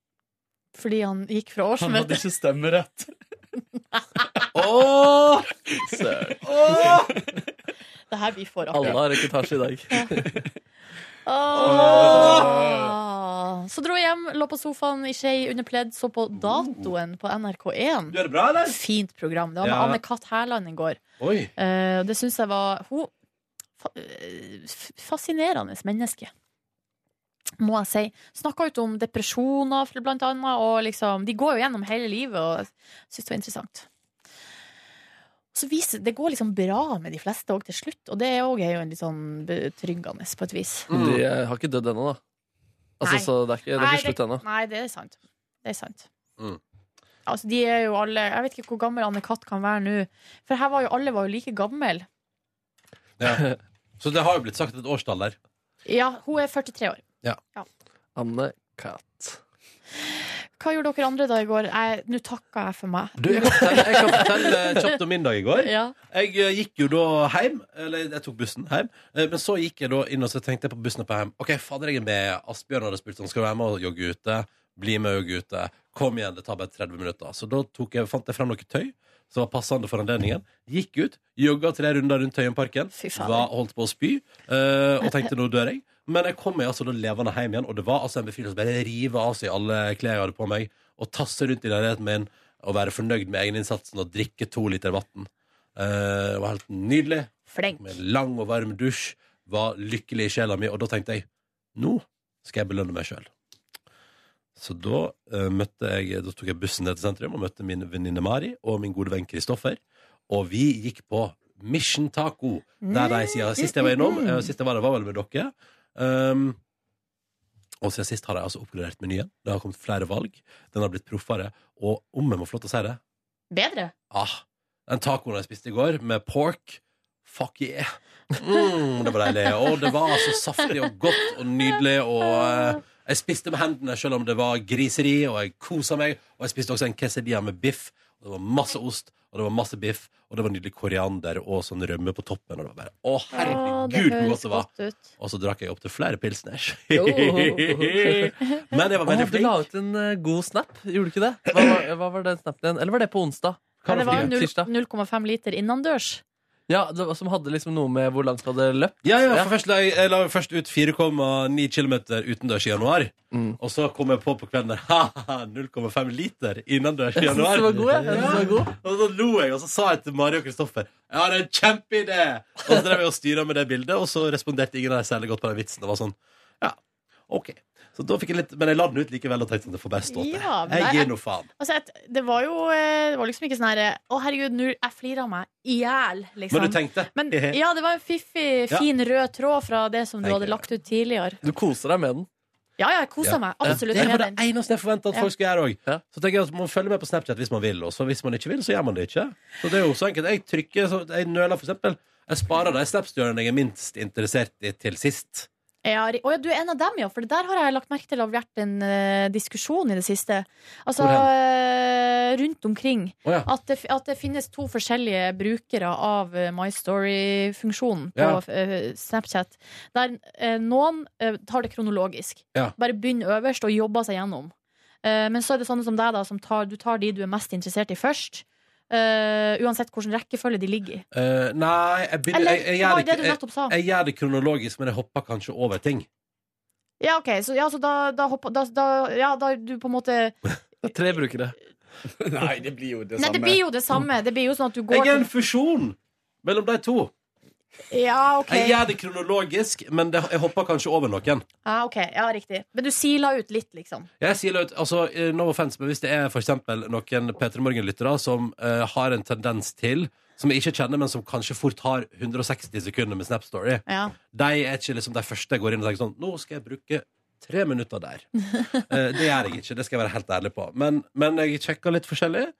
S3: Fordi han gikk fra
S4: *laughs*
S9: Han hadde
S3: årsmøtet.
S9: ikke stemmerett.
S2: Åh! Åh!
S3: Det her blir for artig.
S4: Alle har reportasje i dag.
S3: Åh. Så dro jeg hjem, lå på sofaen i skje under pledd, så på datoen på
S2: Du
S3: NRK1.
S2: gjør det bra, eller?
S3: Fint program. Det var med
S2: Ja.
S3: Anne-Cath. Hærland i går.
S2: Oi.
S3: Eh, og det syns jeg var Hun fa eh, f- Fascinerende menneske, må jeg si. Snakka ut om depresjoner, for- blant annet, og liksom De går jo gjennom hele livet, og jeg syns det var interessant. Så viser, det går liksom bra med de fleste òg til slutt, og det òg er jo en litt sånn betryggende på et vis.
S4: *laughs* De eh, har ikke dødd ennå, da. Altså,
S3: Nei.
S4: så det er ikke, det er
S3: Nei,
S4: ikke slutt ennå.
S3: Nei, det er sant. Det er sant.
S2: Mm.
S3: Altså, de er jo alle Jeg vet ikke hvor gammel Anne-Cath kan være nå. For her var jo alle var jo like gammel.
S2: Ja. *laughs* Så det har jo blitt sagt et årstall der.
S3: Ja, hun er 43 år.
S4: Anne Kat.
S3: Hva gjorde dere andre da i går? Jeg- Nå takka jeg for meg.
S2: Du, jeg kan fortelle, jeg kan fortelle *laughs* kjapt om min dag i går.
S3: Ja.
S2: Jeg eh, gikk jo da hjem, eller jeg tok bussen hjem, eh, men så gikk jeg da inn og så tenkte jeg på bussen på hjem. Ok, fader, jeg er med. Asbjørn hadde spurt sånn, skal du være med og jogge ute? Bli med og jogge ute. Kom igjen, det tar bare 30 minutter. Så da tok jeg, fant jeg frem noe tøy som var passende for anledningen. Gikk ut, jogga tre runder rundt Tøyenparken,
S3: Fy fader.
S2: var holdt på å spy, eh, og tenkte nå dør jeg. Men jeg kom meg altså da levende hjem igjen, og det var altså en befrielse å bare rive av seg alle klær jeg hadde på meg, og tasse rundt i leiligheten min, og være fornøyd med egeninnsatsen og drikke to liter vann. Eh, Det var helt nydelig.
S3: Flink.
S2: Med en lang og varm dusj. Var lykkelig i sjela mi. Og da tenkte jeg nå skal jeg belønne meg sjøl. Så da eh, møtte jeg Da tok jeg bussen ned til sentrum og møtte min venninne Mari og min gode venn Kristoffer. Og vi gikk på Mission Taco, der de siden sist jeg var innom. eh, Sist jeg var der, var vel med dere. Um, og siden sist har de altså oppgradert menyen. Det har kommet flere valg. Den har blitt proffere. Og om jeg må få lov til å si det,
S3: Bedre?
S2: Ah, den tacoen jeg spiste i går med pork Fuck yeah! Mm, det var deilig. Og det var så saftig og godt og nydelig. Og eh, jeg spiste med hendene selv om det var griseri, og jeg kosa meg. Og jeg spiste også en quesadilla med biff. Og det var masse ost, og det var masse biff, og det var nydelig koriander og sånn rømme på toppen. Og det var bare, å
S3: Å,
S2: herregud, hvor godt det var!
S3: ut.
S2: Og så drakk jeg opp til flere pilsners.
S4: Jo.
S2: *laughs* Men jeg var
S4: Å,
S2: veldig
S4: du la
S2: flink.
S4: ut en eh, god snap, gjorde du ikke det? Hva var, hva var den snappen igjen? Eller var det på onsdag?
S3: Men det var
S4: fordi-
S3: null-
S4: Tirsdag.
S3: 0,5 liter innendørs.
S4: Ja, det var, Som hadde liksom noe med hvor langt du hadde løpt?
S2: Ja, ja,
S4: Ja.
S2: for først la jeg, jeg la jo først ut 4,9 km utendørs i januar.
S4: Mm.
S2: Og så kom jeg på på kvelden der haha, 0,5 liter innendørs i
S4: Jeg synes
S2: januar.
S4: det var god, jeg. jeg. synes det var god.
S2: Og så lo jeg, og så sa jeg til Mari og Kristoffer Jeg har en kjempeidé! Og så drev jeg og styra med det bildet, og så responderte ingen av dem særlig godt på den vitsen. Det var sånn, ja, ok Så da fikk jeg litt, Men jeg la den ut likevel og tenkte at det får bare stå til.
S3: Ja, men
S2: jeg
S3: det er-
S2: gir nå faen.
S3: Altså, et- det var jo eh, Det var liksom ikke sånn her Å, herregud, nå jeg flirer meg i hjel, liksom.
S2: Men du tenkte?
S3: Men,
S2: hehe.
S3: ja, det var en fiffig,
S2: Ja.
S3: fin rød tråd fra det som du
S2: Tenker
S3: hadde
S2: jeg.
S3: lagt ut tidligere.
S4: Du koser deg med den.
S3: Ja, ja, jeg kosa
S2: Ja.
S3: meg absolutt
S2: Det
S3: med
S2: var det
S3: den.
S2: eneste jeg forventa at
S3: Ja.
S2: folk skulle gjøre òg.
S4: Ja.
S2: Så tenker jeg at man følger med på Snapchat hvis man vil, og så hvis man ikke vil, så gjør man det ikke. Så det er jo så enkelt. Jeg trykker, så jeg nøler for eksempel. Jeg sparer de snapsene jeg er minst interessert i, til sist.
S3: Ja, ri- Å ja, du er en av dem, ja. For det der har jeg lagt merke til har vært en eh, diskusjon i det siste. Altså
S2: Hvor hen?
S3: eh, rundt omkring.
S2: Å ja.
S3: At det, f- at det finnes to forskjellige brukere av eh, My Story-funksjonen på
S2: Ja.
S3: eh, Snapchat. Der eh, noen eh, tar det kronologisk.
S2: Ja.
S3: Bare begynner øverst og jobber seg gjennom. Eh, men så er det sånne som deg, da, som tar, du tar de du er mest interessert i først. eh, uansett hvilken rekkefølge de ligger i.
S2: Eh, nei, jeg, begynner,
S3: Eller
S2: jeg, jeg,
S3: hva
S2: gjør
S3: er det
S2: det,
S3: du
S2: jeg,
S3: nettopp sa?
S2: jeg gjør det kronologisk, men jeg hopper kanskje over ting.
S3: Ja, OK. Så, ja, så da, da, hopper, da, da, ja, da er du på en måte
S4: Det er tre brukere.
S9: Nei, det blir jo det
S3: Nei, det blir jo det samme. Det blir jo sånn at du går
S2: Jeg er en fusjon mellom de to.
S3: til Ja, OK.
S2: Jeg gjør det kronologisk, men det, jeg hopper kanskje over noen.
S3: Ja, ok. ja, riktig. Men du sila ut litt, liksom.
S2: Jeg sier ut, altså, eh, no offense, men Hvis det er for eksempel noen P3 Morgen-lyttere som eh, har en tendens til Som jeg ikke kjenner, men som kanskje fort har 160 sekunder med Snap Story
S3: Ja.
S2: De er ikke liksom de første jeg går inn og tenker sånn Nå skal jeg bruke tre minutter
S4: *laughs*
S2: der. Eh, det gjør jeg ikke, det skal jeg være helt ærlig på. Men, men jeg sjekker litt forskjellig.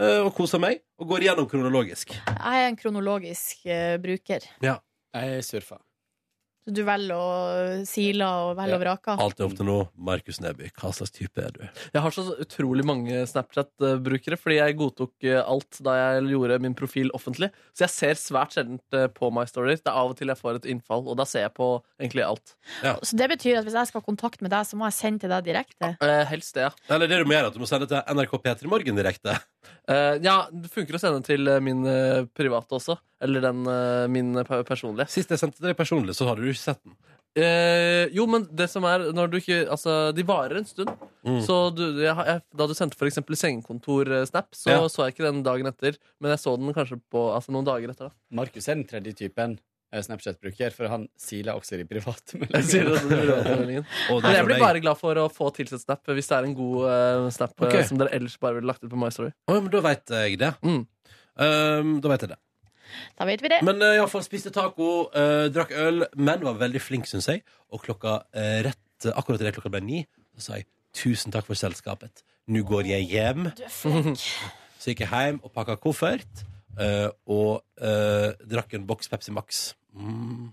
S2: eh, Og koser meg, og går igjennom kronologisk.
S3: Jeg er en kronologisk eh, bruker.
S9: Jeg surfer.
S3: Så du velger å sile og velge og vrake.
S2: Alt er opp til nå. Markus Neby, hva slags type er du?
S4: Jeg har så utrolig mange Snapchat-brukere, fordi jeg godtok eh, alt da jeg gjorde min profil offentlig. Så jeg ser svært sjelden eh, på My Stories. Det er av og til jeg får et innfall, og da ser jeg på egentlig alt.
S3: Så det betyr at hvis jeg skal ha kontakt med deg, så må jeg sende til deg direkte?
S4: Eh, helst det, ja.
S2: Eller det du må gjøre, er at du må sende til NRK P3 Morgen direkte.
S4: Eh, ja, det funker å sende til eh, min eh, private også. Eller den eh, min eh, pe- personlige.
S2: Sist jeg sendte deg personlig, så hadde du ikke sett den.
S4: Eh, jo, men det som er når du ikke, altså, De varer en stund.
S2: Mm.
S4: Så du, jeg, har- jeg, Da du sendte for eksempel sengekontor-snap, så
S2: Ja.
S4: så jeg ikke den dagen etter. Men jeg så den kanskje på, altså, noen dager etter. da
S9: Markus er den tredje typen eh, Snapchat-bruker, for han siler også i
S4: Jeg sier *laughs*
S9: privatmeldinger.
S4: det, det blir overmeldingen.
S2: Og
S4: Men
S2: der
S4: jeg
S2: var
S4: blir
S2: det
S4: bare glad for å få tilsett snap hvis det er en god eh, snap eh,
S2: Ok.
S4: som dere ellers bare ville lagt ut på My Story.
S2: Å, ja, men da veit jeg det.
S4: Mm.
S2: Ehm, da vet jeg det.
S3: Da vet vi det.
S2: Men uh, iallfall spiste taco, eh, drakk øl, men var veldig flink, syns jeg. Og klokka eh, rett akkurat idet klokka ble ni, så sa jeg tusen takk for selskapet. Nå går jeg hjem.
S3: Du er flink.
S2: *laughs* Så gikk jeg hjem og pakka koffert, eh, og eh, drakk en boks Pepsi Max. Mm.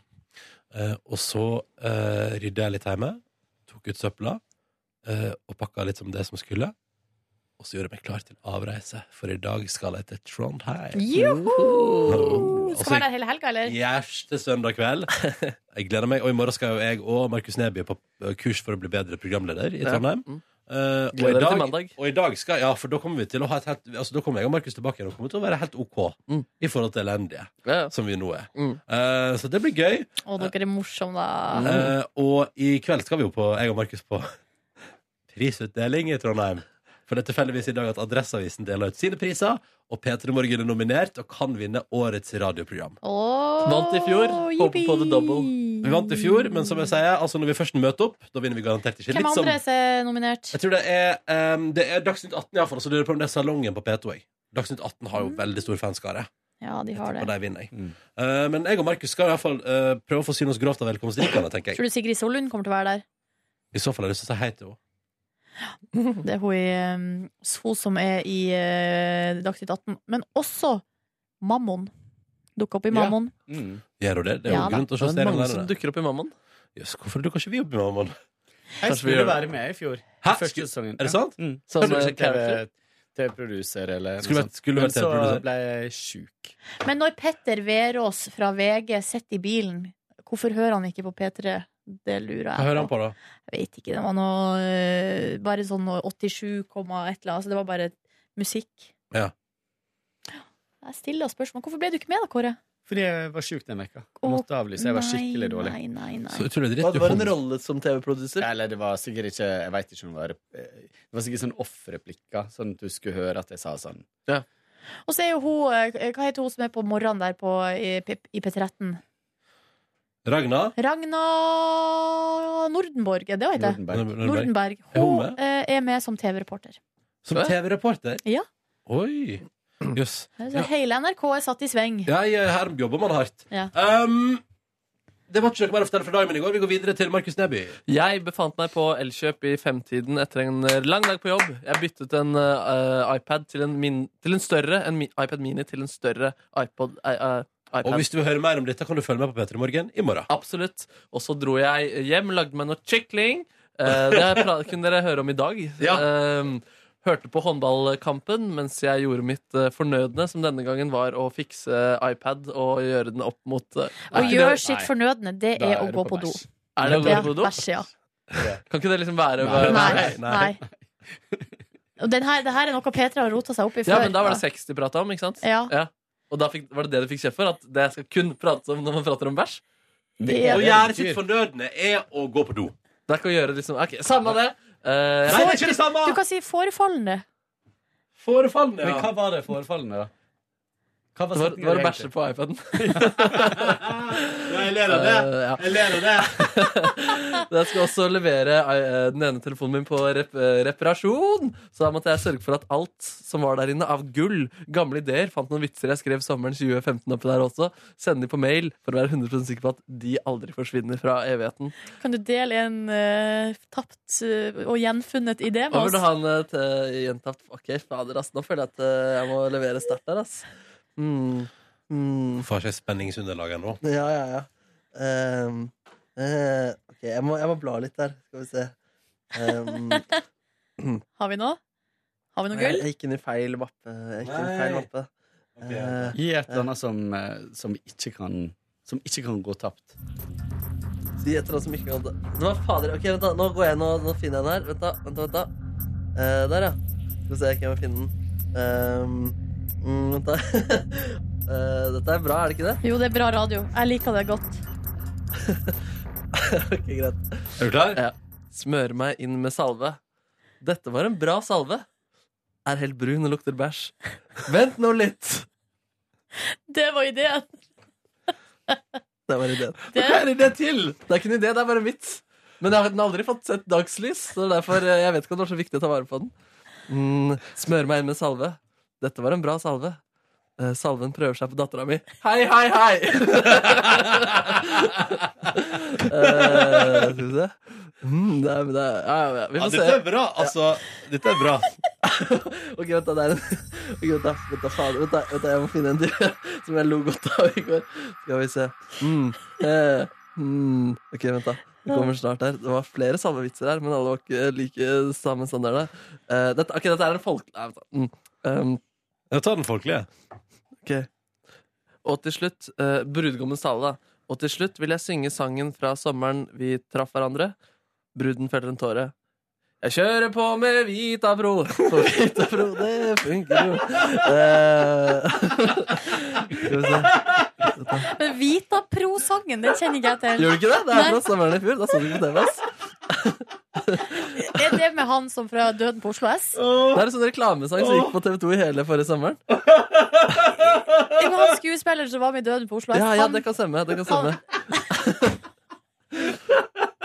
S2: Eh, og så uh, rydda jeg litt hjemme, tok ut søpla eh, og pakka litt som det som skulle. Og så gjorde jeg meg klar til avreise, for i dag skal jeg til Trondheim.
S3: Joho!
S2: Altså,
S3: Skal være der hele helga, eller?
S2: Gjeste søndag kveld. Jeg gleder meg. Og i morgen skal jo jeg og Markus Neby på eh, kurs for å bli bedre programleder i Trondheim.
S4: Ja. Mm.
S2: Eh, og, i
S4: Gleder dere til
S2: dag,
S4: mandag?
S2: og i dag skal Ja, for da kommer vi til å ha et helt Altså da kommer jeg og Markus tilbake igjen og kommer til å være helt OK
S4: Mm.
S2: i forhold til elendige,
S4: Ja, ja.
S2: som vi nå er.
S4: Mm.
S2: Eh, så det blir gøy.
S3: Å, dere er morsomme, da.
S2: Eh, og i kveld skal vi jo på, jeg og Markus, på *laughs* prisutdeling i Trondheim. For det er tilfeldigvis i dag at Adresseavisen deler ut sine priser, og P3 Morgen er nominert og kan vinne årets radioprogram.
S3: Åh,
S4: Vant i fjor. Håper på the double.
S3: yippee.
S2: Vi vant i fjor, men som jeg sier, altså når vi først møter opp, da vinner vi garantert ikke.
S3: Hvem
S2: Litt som,
S3: andre er nominert?
S2: jeg tror det er, ehm, det er Dagsnytt 18 iallfall, så lurer jeg på om det er salongen på P2. Jeg. Dagsnytt 18 har jo veldig stor fanskare,
S3: Ja, de Mm. har
S2: og
S3: det.
S2: de vinner jeg.
S9: Mm.
S2: Eh, men jeg og Markus skal iallfall uh, prøve å få syne oss grovt av velkomstdrikkene, tenker jeg.
S3: Tror du Sigrid Sollund kommer til å være der?
S2: I så fall har jeg lyst til å si hei til henne.
S3: Det er hun, i, um, hun som er i uh, Dagsnytt 18. Men også Mammon. Dukka opp i
S2: Ja.
S3: Mammon.
S9: Mm.
S2: Gjør hun det? Det er jo
S3: Ja da.
S2: grunn til å se
S4: Det er
S2: serien
S4: mange som
S2: der.
S4: dukker opp i Mammon.
S2: Jøss, hvorfor dukker ikke vi opp i morgen?
S9: Jeg
S4: Kanskje vi
S9: skulle
S4: gjør det.
S9: være med i fjor.
S2: Hæ?
S9: Første
S2: Skulle,
S9: sesongen.
S2: er det sant?
S9: Mm.
S4: Sånn som
S9: Kan du
S4: en
S9: ikke TV-
S4: character?
S9: TV-produser eller
S2: Skulle
S9: noe
S2: vært-
S9: sånt.
S2: skulle
S9: Men
S2: vært
S9: så
S2: TV-produser.
S9: ble jeg sjuk.
S3: Men når Petter Verås fra VG sitter i bilen, hvorfor hører han ikke på P3? Det lurer
S2: Hva hører
S3: jeg
S2: han på, da?
S3: Jeg vet ikke. Det var noe uh, Bare sånn noe 87, komma et eller annet. Altså, det var bare musikk.
S2: Ja.
S3: Jeg stiller spørsmål. Hvorfor ble du ikke med, da, Kåre?
S9: Fordi jeg var sjuk den veka.
S3: Å,
S9: Måtte avlyse. Jeg var skikkelig
S3: nei,
S9: dårlig.
S3: Nei, nei,
S2: Så *laughs*
S3: nei.
S2: utrolig dritt.
S4: Hva
S2: du
S4: var en
S2: kom.
S4: rolle som TV-produser?
S9: Eller det var sikkert ikke Jeg vet ikke om det var eh, Det var sikkert sånn off-replikker, sånn at du skulle høre at jeg sa sånn.
S3: Og så er jo hun uh, Hva heter hun som er på morgenen der på, i, P- i P13?
S2: Ragna?
S3: Ragna Nordenborg, er det hva heter?
S9: Nordenberg.
S3: Nordenberg.
S2: Er hun
S3: Hun
S2: med?
S3: eh, er med som TV-reporter.
S2: Som TV-reporter?
S3: Ja.
S2: Oi. Jøss.
S3: Så
S2: Ja.
S3: Hele NRK er satt i sving.
S2: Ja, i- her eh, jobber man hardt.
S3: Ja.
S2: Um, det var ikke noe mer å fortelle fra dagen min i går. Vi går videre til Markus Neby.
S4: Jeg befant meg på Elkjøp i femtiden etter en eh, lang dag på jobb. Jeg byttet en eh, iPad til en, min, til en større, en mi, iPad Mini til en større iPod, eh, eh, iPad.
S2: Og hvis du vil høre mer om dette, kan du følge med på P3 Morgen i morgen.
S4: Absolutt. Og så dro jeg hjem, lagde meg noe kykling. Eh, det har jeg
S2: *laughs*
S4: pra- kunne dere høre om i dag. Eh, hørte på håndballkampen mens jeg gjorde mitt eh, fornødne, som denne gangen var å fikse eh, iPad og gjøre den opp mot eh,
S3: Å
S4: er ikke
S3: gjøre
S4: det-
S3: sitt
S9: nei.
S3: fornødne, det
S9: Da
S3: er å
S9: er du
S3: gå
S9: på
S3: på do.
S9: bæsj.
S4: Er det å
S3: sånn- Ja,
S4: gå på do?
S3: bæsj, ja.
S4: Kan ikke det liksom være
S9: Nei.
S3: Nei. nei. Og den her, det her er noe Petra har rota seg opp i før.
S4: Ja, men da var det sex de prata om, ikke sant?
S3: Ja.
S4: Og da fikk, var det det du fikk kjeft for? At det skal kun prates om når man prater om bæsj?
S9: Det
S3: Ja.
S9: er
S2: Å
S9: det
S2: gjøre
S9: det
S2: sitt
S9: betyr.
S2: fornødne er å gå på do.
S4: Det er ikke å gjøre liksom Ok, Samme det! Eh,
S2: Nei, det er ikke det samme!
S3: Du kan si forefallende.
S2: Forefallende.
S9: Men
S2: Ja.
S9: hva var det forefallende, da?
S4: det var,
S9: Hva
S4: det
S9: setningen
S4: var å
S9: egentlig?
S4: bæsje på iPaden.
S2: Ja, jeg ler av det.
S4: Eh, ja.
S2: Jeg ler av det.
S4: Jeg skal også levere eh, den ene telefonen min på rep eh, reparasjon. Så da måtte jeg sørge for at alt som var der inne av gull, gamle ideer Fant noen vitser jeg skrev sommeren 2015 oppi der også. Sende de på mail for å være 100 sikker på at de aldri forsvinner fra evigheten.
S3: Kan du dele en eh, tapt eh, og gjenfunnet idé med
S4: Og burde
S3: oss?
S4: ha en eh, te- gjentatt Ok, fader, ass. Nå føler jeg at eh, jeg må levere sterkt der, ass. Mm. Mm.
S2: Får ikke jeg spenningsunderlaget nå.
S4: Ja, ja, ja. Ehm, eh, ok, jeg må, jeg må bla litt der. Skal vi se. Ehm,
S3: Har vi noe? Har vi noe gull?
S4: Jeg gikk inn i feil mappe. Jeg gikk inn i feil
S2: Nei.
S4: mappe. Eh,
S9: *laughs* Gi et eller annet som, eh, som, ikke kan, som ikke kan gå tapt.
S4: si et eller annet som ikke kan Det var fader. Ok, vent da, Nå går jeg inn og nå finner jeg den her. Vent, da. vent, da, vent da. Eh, Der, ja. Skal vi se, jeg kan finne den. Ehm, mm, vent, da. *laughs* Eh, dette er bra, er det ikke det?
S3: Jo, det er bra radio. Jeg liker det godt.
S4: *laughs* ok, greit.
S2: Er du klar?
S4: Smør meg inn med salve. Dette var en bra salve. Er helt brun og lukter bæsj. Vent nå litt!
S3: Det var ideen.
S4: Det var ideen.
S3: Det-
S4: Hva er det til? Det er ikke en idé, det er bare en vits. Men jeg har den har aldri fått sett dagslys, så det er derfor eh, jeg vet ikke om det var så viktig å ta vare på den. Mm, smør meg inn med salve. Dette var en bra salve. Eh, salven prøver seg på dattera mi. Hei, hei, hei! *laughs* Eh, Skal vi se mm, det er, det er, ja, ja, ja. Vi
S2: Ja,
S4: får
S2: dette
S4: se.
S2: er bra. Altså, dette er bra.
S4: Ok, vent da, det er en Ok, *laughs* vent da, vent da, fader, vent da, vent da Jeg må finne en dyr *laughs* som jeg lo godt av i går Skal vi se mm. Eh, mm. Ok, vent da Det kommer snart her Det var flere samme vitser her Men alle var ikke like samme standard der Eh, dette, Ok, dette er en folk Nei, vent da mm. Em,
S2: Ja, ta den folkelige.
S4: Og til slutt, eh, brudgommens tale da. Og til slutt vil jeg synge sangen fra sommeren vi traff hverandre. Bruden feller en tåre. Jeg kjører på med Vita Bro, *laughs* for Vita Bro, det funker jo. Eh, *laughs* Skal vi se.
S3: Men Vitapro-sangen, den kjenner ikke jeg til.
S4: Gjør du ikke det? Det er
S3: Nei.
S4: fra sommeren i fjor. Da så du på TV. ass.
S3: Er det med han som fra Døden på Oslo S?
S4: Det er en sånn reklamesang som gikk på TV2 i hele forrige sommeren.
S3: Det er med han skuespilleren som var med i Døden på Oslo S.
S4: Ja, ja,
S3: Han-
S4: det kan stemme. Det kan stemme.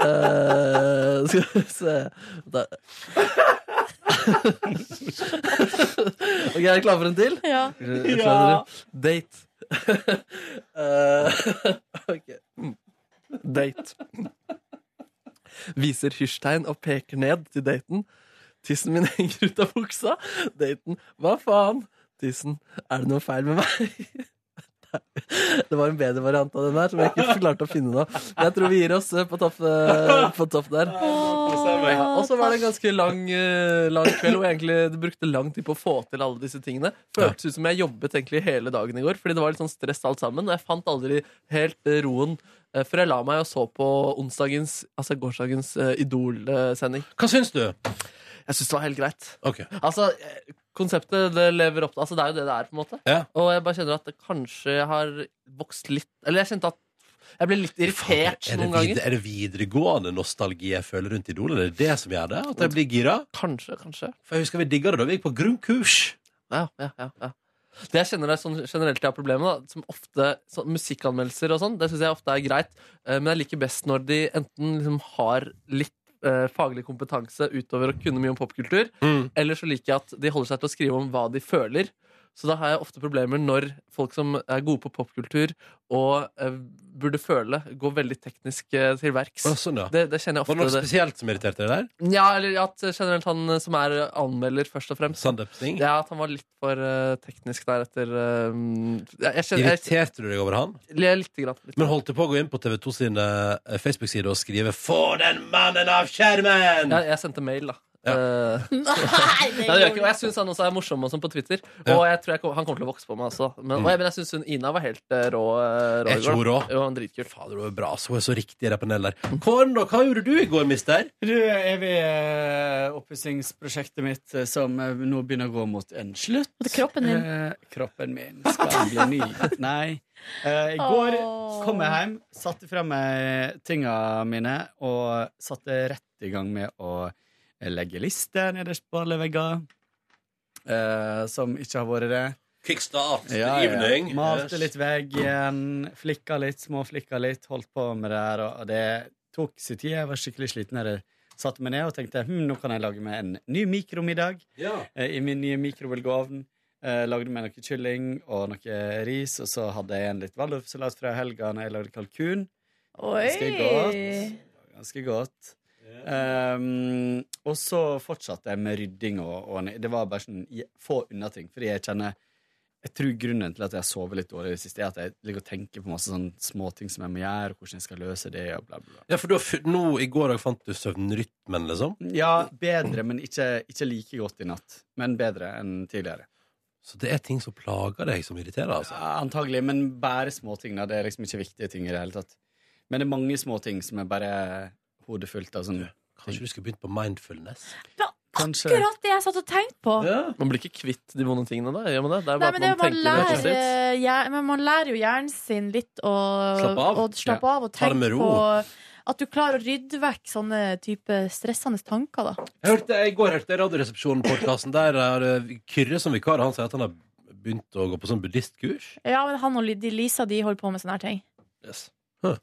S4: Eh, skal vi se da. Ok, jeg er klar for en til.
S3: ja.
S4: Jeg skjønner det. Date. Eh, *laughs* ok. Date. Viser hysjtegn og peker ned til daten. Tissen min henger ut av buksa. Daten. Hva faen? Tissen. Er det noe feil med meg? *laughs* Det var en bedre variant av den der som jeg ikke klarte å finne nå. Men jeg tror vi gir oss eh, på topp, eh, på topp der. Ja, og så var det en ganske lang, eh, lang kveld, og egentlig det brukte lang tid på å få til alle disse tingene. Føltes ut som jeg jobbet egentlig hele dagen i går, fordi det var litt sånn stress alt sammen. Og jeg fant aldri helt eh, roen eh, før jeg la meg og så på onsdagens, altså gårsdagens eh, Idol-sending.
S2: Hva syns du?
S4: Jeg syns det var helt greit.
S2: Ok.
S4: Altså, eh, konseptet det lever opp Altså, det er jo det det er, på en måte.
S2: Ja.
S4: Og jeg bare kjenner at det kanskje har vokst litt Eller jeg kjente at jeg ble litt irritert
S2: Er det,
S4: noen
S2: vid
S4: ganger.
S2: er det videregående nostalgi jeg føler rundt Idol? Er det det som gjør det? At jeg blir gira?
S4: Kanskje, kanskje.
S2: For jeg husker vi digga det da vi gikk på grunnkurs.
S4: Ja, ja, ja, ja. Det jeg kjenner er sånn generelt jeg har problemer med, da, som ofte sånn musikkanmeldelser og sånn, det syns jeg ofte er greit, eh, men jeg liker best når de enten liksom har litt eh, faglig kompetanse utover å kunne mye om popkultur, eller så liker jeg at de holder seg til å skrive om hva de føler. Så da har jeg ofte problemer når folk som er gode på popkultur og eh, burde føle, går veldig teknisk eh, til verks.
S2: Å, sånn, ja.
S4: Det, det kjenner jeg
S2: Var det noe
S4: ofte. Det.
S2: spesielt som irriterte deg der?
S4: Ja, eller at generelt han eh, som er anmelder, først og fremst.
S2: Sandeep Singh?
S4: *laughs* Ja, at han var litt for eh, teknisk der etter eh, Jeg, jeg kjenner jeg,
S2: Irriterte du deg over han?
S4: jeg, lite grann. Litt.
S2: Men holdt du på å gå inn på TV2 sine eh, Facebook-sider og skrive 'Få den mannen av skjermen'?
S4: Jeg, jeg sendte mail, da.
S2: Ja.
S4: Eh,
S3: Nei, det
S4: Nei, det gjør jeg
S3: gjorde
S4: ikke. Og jeg syns han også er morsom og sånn på Twitter.
S2: Ja.
S4: Og jeg tror jeg kom, han kommer til å vokse på meg også. Men, og jeg, men jeg syns hun Ina var helt eh, rå. eh,
S2: Er
S4: rå i
S2: ikke
S4: går.
S2: hun rå?
S4: Jo, han er dritkul.
S2: Fader, du er bra. Så er så riktig i det panelet der. Kåren, da, hva gjorde du i går, mister?
S9: Du, jeg vil eh, oppussingsprosjektet mitt eh, som eh, nå begynner å gå mot en slutt.
S3: Og det er kroppen din.
S9: Eh, kroppen min skal bli ny. Nei. Eh, I går
S3: Åh.
S9: kom jeg hjem, satte fra meg tinga mine og satte rett i gang med å eh, legge lister nederst på alle vegger. eh, som ikke har vært det.
S2: Kickstart.
S9: Ja, ja.
S2: Evening.
S9: Malte litt veggen, flikka litt, småflikka litt, holdt på med det her. Og det tok sin tid. Jeg var skikkelig sliten. Jeg satte meg ned og tenkte hm, nå kan jeg lage meg en ny mikromiddag
S2: Ja.
S9: eh, i min nye mikrobølgeovn. Eh, lagde meg noe kylling og noe ris, og så hadde jeg en litt valdorfsalat fra helga når jeg lagde kalkun. Ganske
S3: Oi.
S9: godt. Ganske godt. Ehm, og så fortsatte jeg med rydding og, og Det var bare sånn i- få unna ting. Fordi jeg kjenner Jeg tror grunnen til at jeg har sovet litt dårlig i det siste, er at jeg ligger og tenker på masse sånn småting som jeg må gjøre, hvordan jeg skal løse det, og bla, bla, bla.
S2: ja, for du har funnet, nå i går òg fant du søvnrytmen, liksom.
S9: Ja, bedre, men ikke, ikke like godt i natt. Men bedre enn tidligere.
S2: Så det er ting som plager deg, som irriterer, altså.
S9: Ja, Antagelig, men bare småting. da. Det er liksom ikke viktige ting i det hele tatt. Men det er mange småting som er bare hodet fullt av sånn
S2: Kanskje du skulle begynt på mindfulness?
S3: Det var
S9: Kanskje-
S3: akkurat det jeg satt og tenkte på.
S2: Ja.
S4: Man blir ikke kvitt de vonde tingene, da? Gjør man det? Det
S3: Nei,
S4: er bare
S3: men, det, er
S4: at
S3: man,
S4: man
S3: lærer,
S4: tenker det er
S3: eh, hjer- men man lærer jo hjernen sin litt å
S2: Slappe av.
S3: å slappe av og
S2: Ta det
S3: tenke
S2: med ro.
S3: på at du klarer å rydde vekk sånne type stressende tanker. Da.
S2: Jeg hørte, I går hørte jeg Radioresepsjonen-podkasten. Der er eh, Kyrre som vikar. og Han sier at han har begynt å gå på sånn buddhistkurs.
S3: Ja, men Han og Li- de Lisa de holder på med sånne her ting.
S4: Yes.
S2: Huh.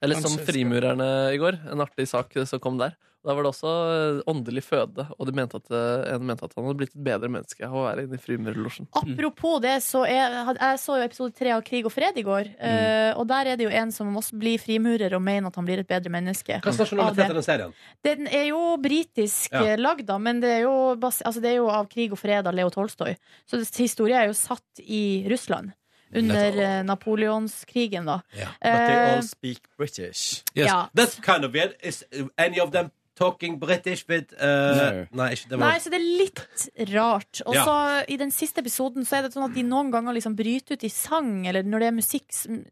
S4: Eller som
S9: Kanskje skal-
S4: Frimurerne i går. En artig sak eh, som kom der. Da var det også eh, åndelig føde, og de mente at, eh, en mente at han hadde blitt et bedre menneske av å være inne i Frimurerlosjen.
S2: Mm.
S3: Apropos det, så er, had- jeg så jo episode tre av Krig og fred i går.
S2: Mm.
S3: eh, og der er det jo en som også blir frimurer og mener at han blir et bedre menneske.
S2: Hva slags nasjonalitet er den serien?
S3: Den er jo britisk
S2: Ja.
S3: eh, lagd, da, men det er, jo bas altså, det er jo av Krig og fred av Leo Tolstoy. Så det- historien er jo satt i Russland. Under eh, napoleonskrigen, da.
S2: Ja. altså,
S9: But they
S3: Eh,
S9: all speak British.
S2: Yes.
S3: Ja.
S2: That's kind of weird. Is any of them talking British with uh, Nei, ikke det var
S3: Nei, så det er litt rart. Og
S2: Ja.
S3: så i den siste episoden så er det sånn at de noen ganger liksom bryter ut i sang, eller når det er musikk s- m-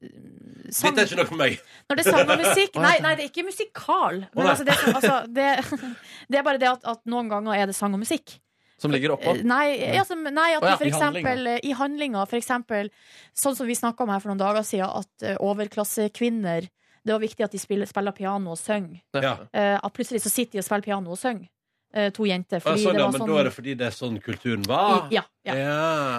S3: sang,
S2: Dette er ikke noe for meg.
S3: Når det er
S2: *laughs*
S3: sang og musikk Nei, nei det er ikke musikal. Men
S2: nei.
S3: altså, det, er sånn- altså, det, det er *laughs* bare det at, at noen ganger er det sang og musikk.
S4: Som ligger oppå.
S3: Eh, Nei, altså, nei at
S4: Å
S3: vi
S4: ja,
S3: for
S4: i handlinga.
S3: eksempel eh, i handlinga, for eksempel sånn som vi snakka om her for noen dager siden, at eh, overklassekvinner Det var viktig at de spiller, spiller piano og synger.
S2: Ja.
S3: Eh, at plutselig så sitter de og spiller piano og synger, eh, to jenter.
S2: Ah,
S3: Fordi
S2: sånn,
S3: det
S2: ja,
S3: var
S2: men
S3: sånn
S2: da er det fordi det er sånn kulturen var?
S3: I- ja, ja.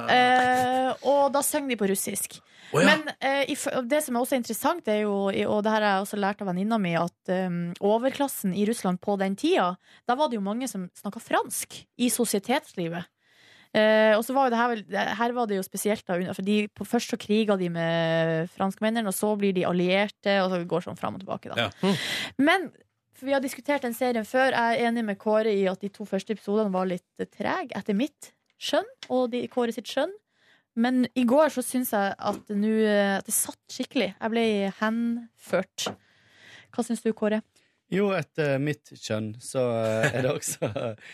S3: Eh, og da synger de på russisk.
S2: Å, ja.
S3: Men eh, i f- det som er også interessant, er jo, og det her har jeg også lært av venninna mi, at eh, overklassen i Russland på den tida, da var det jo mange som snakka fransk i sosietetslivet. Eh, og så var jo det her, vel- det- her var det jo spesielt da, under- for de, på, Først så kriga de med franskmennene, og så blir de allierte, og så går sånn fram og tilbake. Da.
S2: Ja. Hm.
S3: Men for vi har diskutert den serien før. Jeg er enig med Kåre i at de to første episodene var litt eh, treg etter mitt skjønn og de, Kåre sitt skjønn. Men i går så syns jeg at, det nå, eh, at det satt skikkelig. Jeg ble henført. Hva syns du, Kåre?
S9: Jo, etter mitt kjønn så eh, er det
S3: *laughs*
S9: også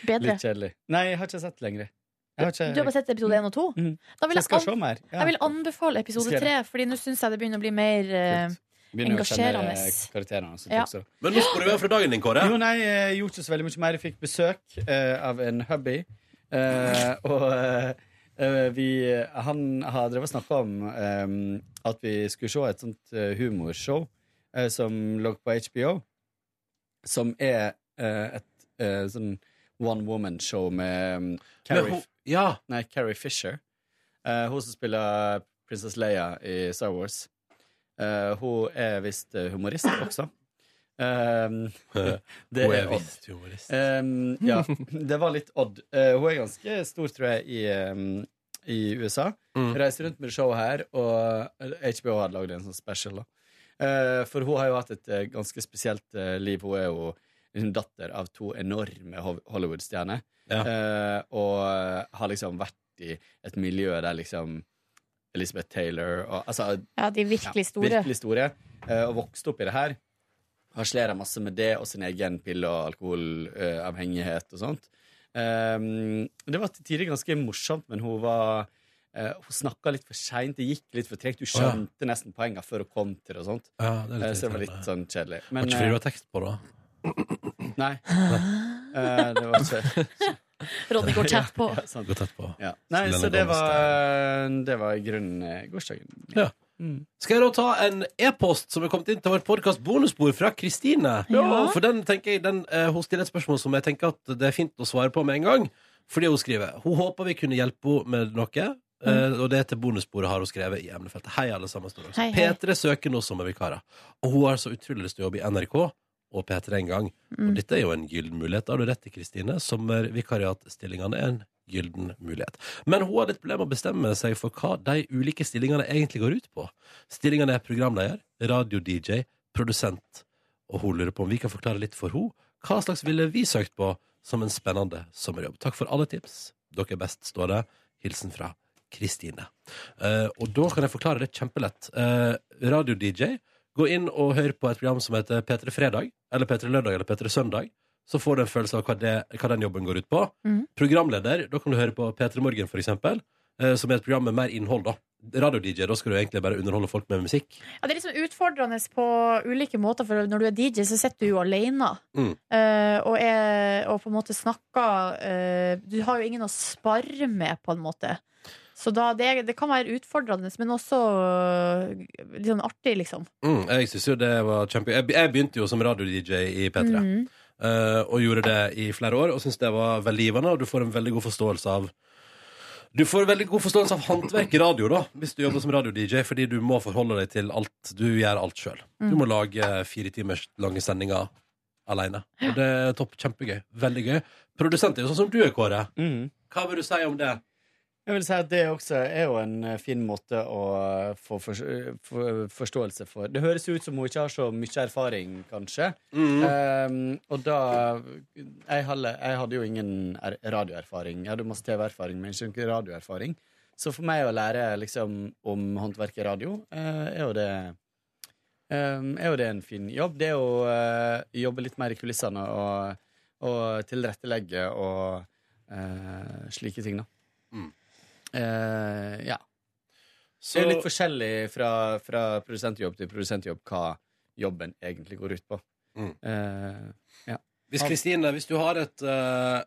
S3: Bedre?
S9: litt kjedelig. Nei, jeg har ikke sett lenger. Jeg har ikke,
S3: Du har bare sett episode én og to?
S9: Mhm.
S3: Da vil
S9: jeg
S3: jeg,
S9: skal
S3: an-
S9: se mer. Ja.
S3: jeg vil anbefale episode
S9: Skal jeg
S3: tre, Fordi nå syns jeg det begynner å bli mer eh,
S9: Kult. Begynner å kjenne eh,
S3: engasjerende.
S9: karakterene hans.
S3: Ja.
S9: også.
S2: Men nå sporer vi av fra dagen din, Kåre.
S9: Jo, nei, jeg gjorde ikke så veldig mye mer. Jeg fikk besøk eh, av en hubby. eh, og eh, eh, vi Han har drevet og snakka om eh, at vi skulle se et sånt eh, humorshow eh, som lå på HBO, som er eh, et eh, sånn one woman-show med um,
S2: Men
S9: Carrie,
S2: hun- ja.
S9: nei, Carrie Fisher. Eh, hun som spiller prinsesse Leia i Star Wars. Eh, hun er visst eh, humorist også. Um, *laughs* det
S2: Hun er
S9: odd.
S2: visst humorist.
S9: Ehm, *laughs* Um, ja, det var litt odd. Eh, hun er ganske stor, tror jeg, i, um, i USA.
S2: Mm.
S9: Reiser rundt med show her, og HBO hadde lagd en sånn special. da. Eh, For hun har jo hatt et eh, ganske spesielt eh, liv. Hun er jo en datter av to enorme Ho- Hollywood-stjerner.
S2: Ja.
S9: Eh, Og har liksom vært i et miljø der liksom Elizabeth Taylor og altså
S3: Ja, de virkelig store.
S9: ja, virkelig store. eh, Og vokste opp i det her. Harslerer masse med det og sin egen pille- og alkoholavhengighet og sånt. Ehm, det var til tider ganske morsomt, men hun var eh, Hun snakka litt for seint, det gikk litt for tregt. Du
S2: Å, ja.
S9: skjønte nesten poengene før hun kom til det og sånt.
S2: Ja, det er
S9: Eh,
S2: litt
S9: Så det var litt
S2: irriterende.
S9: sånn kjedelig.
S2: Var
S9: Men
S2: ikke fordi du
S9: eh,
S2: har tekst på, da?
S9: nei. Eh, det var ikke *laughs*
S3: Ronny går tett på.
S9: ja, sant.
S2: Gått tett på.
S9: Ja. Nei,
S2: Som
S9: så
S2: Lena
S9: det
S2: Gomez.
S9: var, det var i grunnen eh, gårsdagen.
S2: Ja. Skal jeg da ta en e-post som er kommet inn til vårt podkast bonusbord fra Kristine?
S3: Ja.
S2: For den tenker jeg, den, eh, Hun stiller et spørsmål som jeg tenker at det er fint å svare på med en gang. Fordi hun skriver Hun håper vi kunne hjelpe henne med noe.
S3: Mm.
S2: eh, og det er til bonusbordet har hun skrevet i emnefeltet. Hei, alle sammen. står det også.
S3: Hei, hei.
S2: P3 søker nå sommervikarer. Og hun har så utrolig lyst til å jobbe i NRK og P3 en gang.
S3: Mm.
S2: Og dette er jo en gyllen mulighet. Da har du rett til Kristine. Sommervikariatstillingene er en gyllen mulighet. Men hun har litt problemer med å bestemme seg for hva de ulike stillingene egentlig går ut på. Stillingene er programleder, radio-DJ, produsent. Og hun lurer på om vi kan forklare litt for henne. Hva slags ville vi søkt på som en spennende sommerjobb? Takk for alle tips. Dere er best, står det. Hilsen fra Kristine. Eh, og da kan jeg forklare det kjempelett. Eh, Radio-DJ, gå inn og hør på et program som heter P3 Fredag, eller P3 Lørdag, eller P3 Søndag. Så får du en følelse av hva, det, hva den jobben går ut på.
S3: Mhm.
S2: Programleder, da kan du høre på P3 Morgen, for eksempel, eh, som er et program med mer innhold, da. Radio-DJ, da skal du egentlig bare underholde folk med musikk.
S3: Ja, det er liksom utfordrende på ulike måter, for når du er DJ, så sitter du jo alene.
S2: Mm.
S3: eh, og, er, og på en måte snakker eh, Du har jo ingen å spare med, på en måte. Så da, det, er- det kan være utfordrende, men også eh, litt sånn artig, liksom.
S2: Mm, jeg synes jo det var kjempe... Jeg, be- jeg begynte jo som radio-DJ i P3.
S3: Mhm.
S2: eh, og gjorde det i flere år, og syntes det var veldig givende. Og du får en veldig god forståelse av Du får en veldig god forståelse av håndverk i radio, da, hvis du jobber som radio-DJ, fordi du må forholde deg til alt. Du gjør alt sjøl. Du må lage fire timers lange sendinger aleine. Og det er topp. Kjempegøy. Veldig gøy. Produsent er jo sånn som du er, Kåre.
S9: Mm.
S2: Hva vil du si om det?
S9: Jeg vil si at det også er jo en eh, fin måte å eh, få for, for, forståelse for. Det høres ut som hun ikke har så mye erfaring, kanskje. Ehm, og da jeg hadde, jeg hadde jo ingen er- radioerfaring. Jeg hadde masse TV-erfaring, men ikke radioerfaring. Så for meg å lære liksom, om håndverket radio, eh, er jo det ehm, er jo det en fin jobb. Det er å eh, jobbe litt mer i kulissene og, og tilrettelegge og eh, slike ting, da.
S2: Mm.
S9: Eh, ja. Det
S2: Så,
S9: er jo litt forskjellig fra, fra produsentjobb til produsentjobb hva jobben egentlig går ut på.
S2: Mm.
S9: Eh,
S2: hvis Kristine, hvis du har et eh,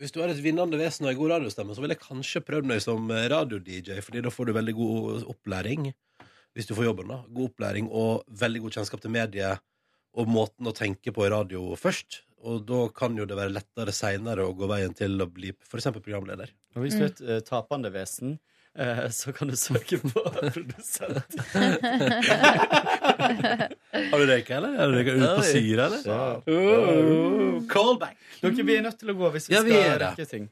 S2: hvis du har et vinnende vesen og en god radiostemme, så vil jeg kanskje prøve deg som radio-DJ, fordi da får du veldig god opplæring. Hvis du får jobben, da. God opplæring og veldig god kjennskap til mediet og måten å tenke på i radio først. Og da kan jo det være lettere seinere å gå veien til å bli f.eks. programleder.
S9: og hvis du er et eh, tapende vesen, eh, så kan du søke på *laughs* produsent.
S2: Har du røyka, eller? Har du røyka ut på
S4: Oi.
S2: syre, eller?
S9: Så-
S2: Oh, callback!
S9: Dere, vi er nødt til å gå hvis vi
S2: Ja, vi
S9: skal
S2: er det.
S9: rekke ting.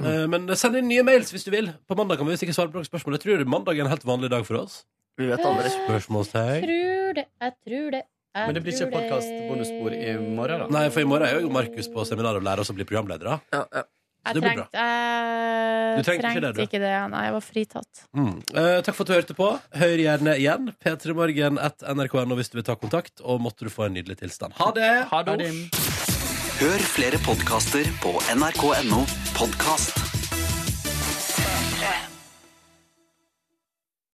S2: Eh, Men send inn nye mails hvis du vil. På mandag kan vi sikkert svare på noen spørsmål. Jeg tror mandag er en helt vanlig dag for oss.
S4: Vi vet aldri.
S2: Spørsmålstegn.
S3: Tror det, jeg tror det, jeg
S9: Men det blir ikke
S3: tror det.
S9: podcast-bonusspor i morgen, da?
S2: Nei, for i morgen er jo Markus på seminar og lærer oss å bli programledere.
S4: Ja, ja.
S3: Jeg
S2: det blir
S3: trengte, jeg
S2: Du trengte ikke det, du.
S3: ikke det. Nei, jeg var fritatt.
S2: Mm. Eh, takk for at du hørte på. Hør gjerne igjen. p3morgen.nrk.no hvis du vil ta kontakt. Og måtte du få en nydelig tilstand. Ha det!
S9: Ha det.
S10: Hør flere podkaster på nrk.no podkast.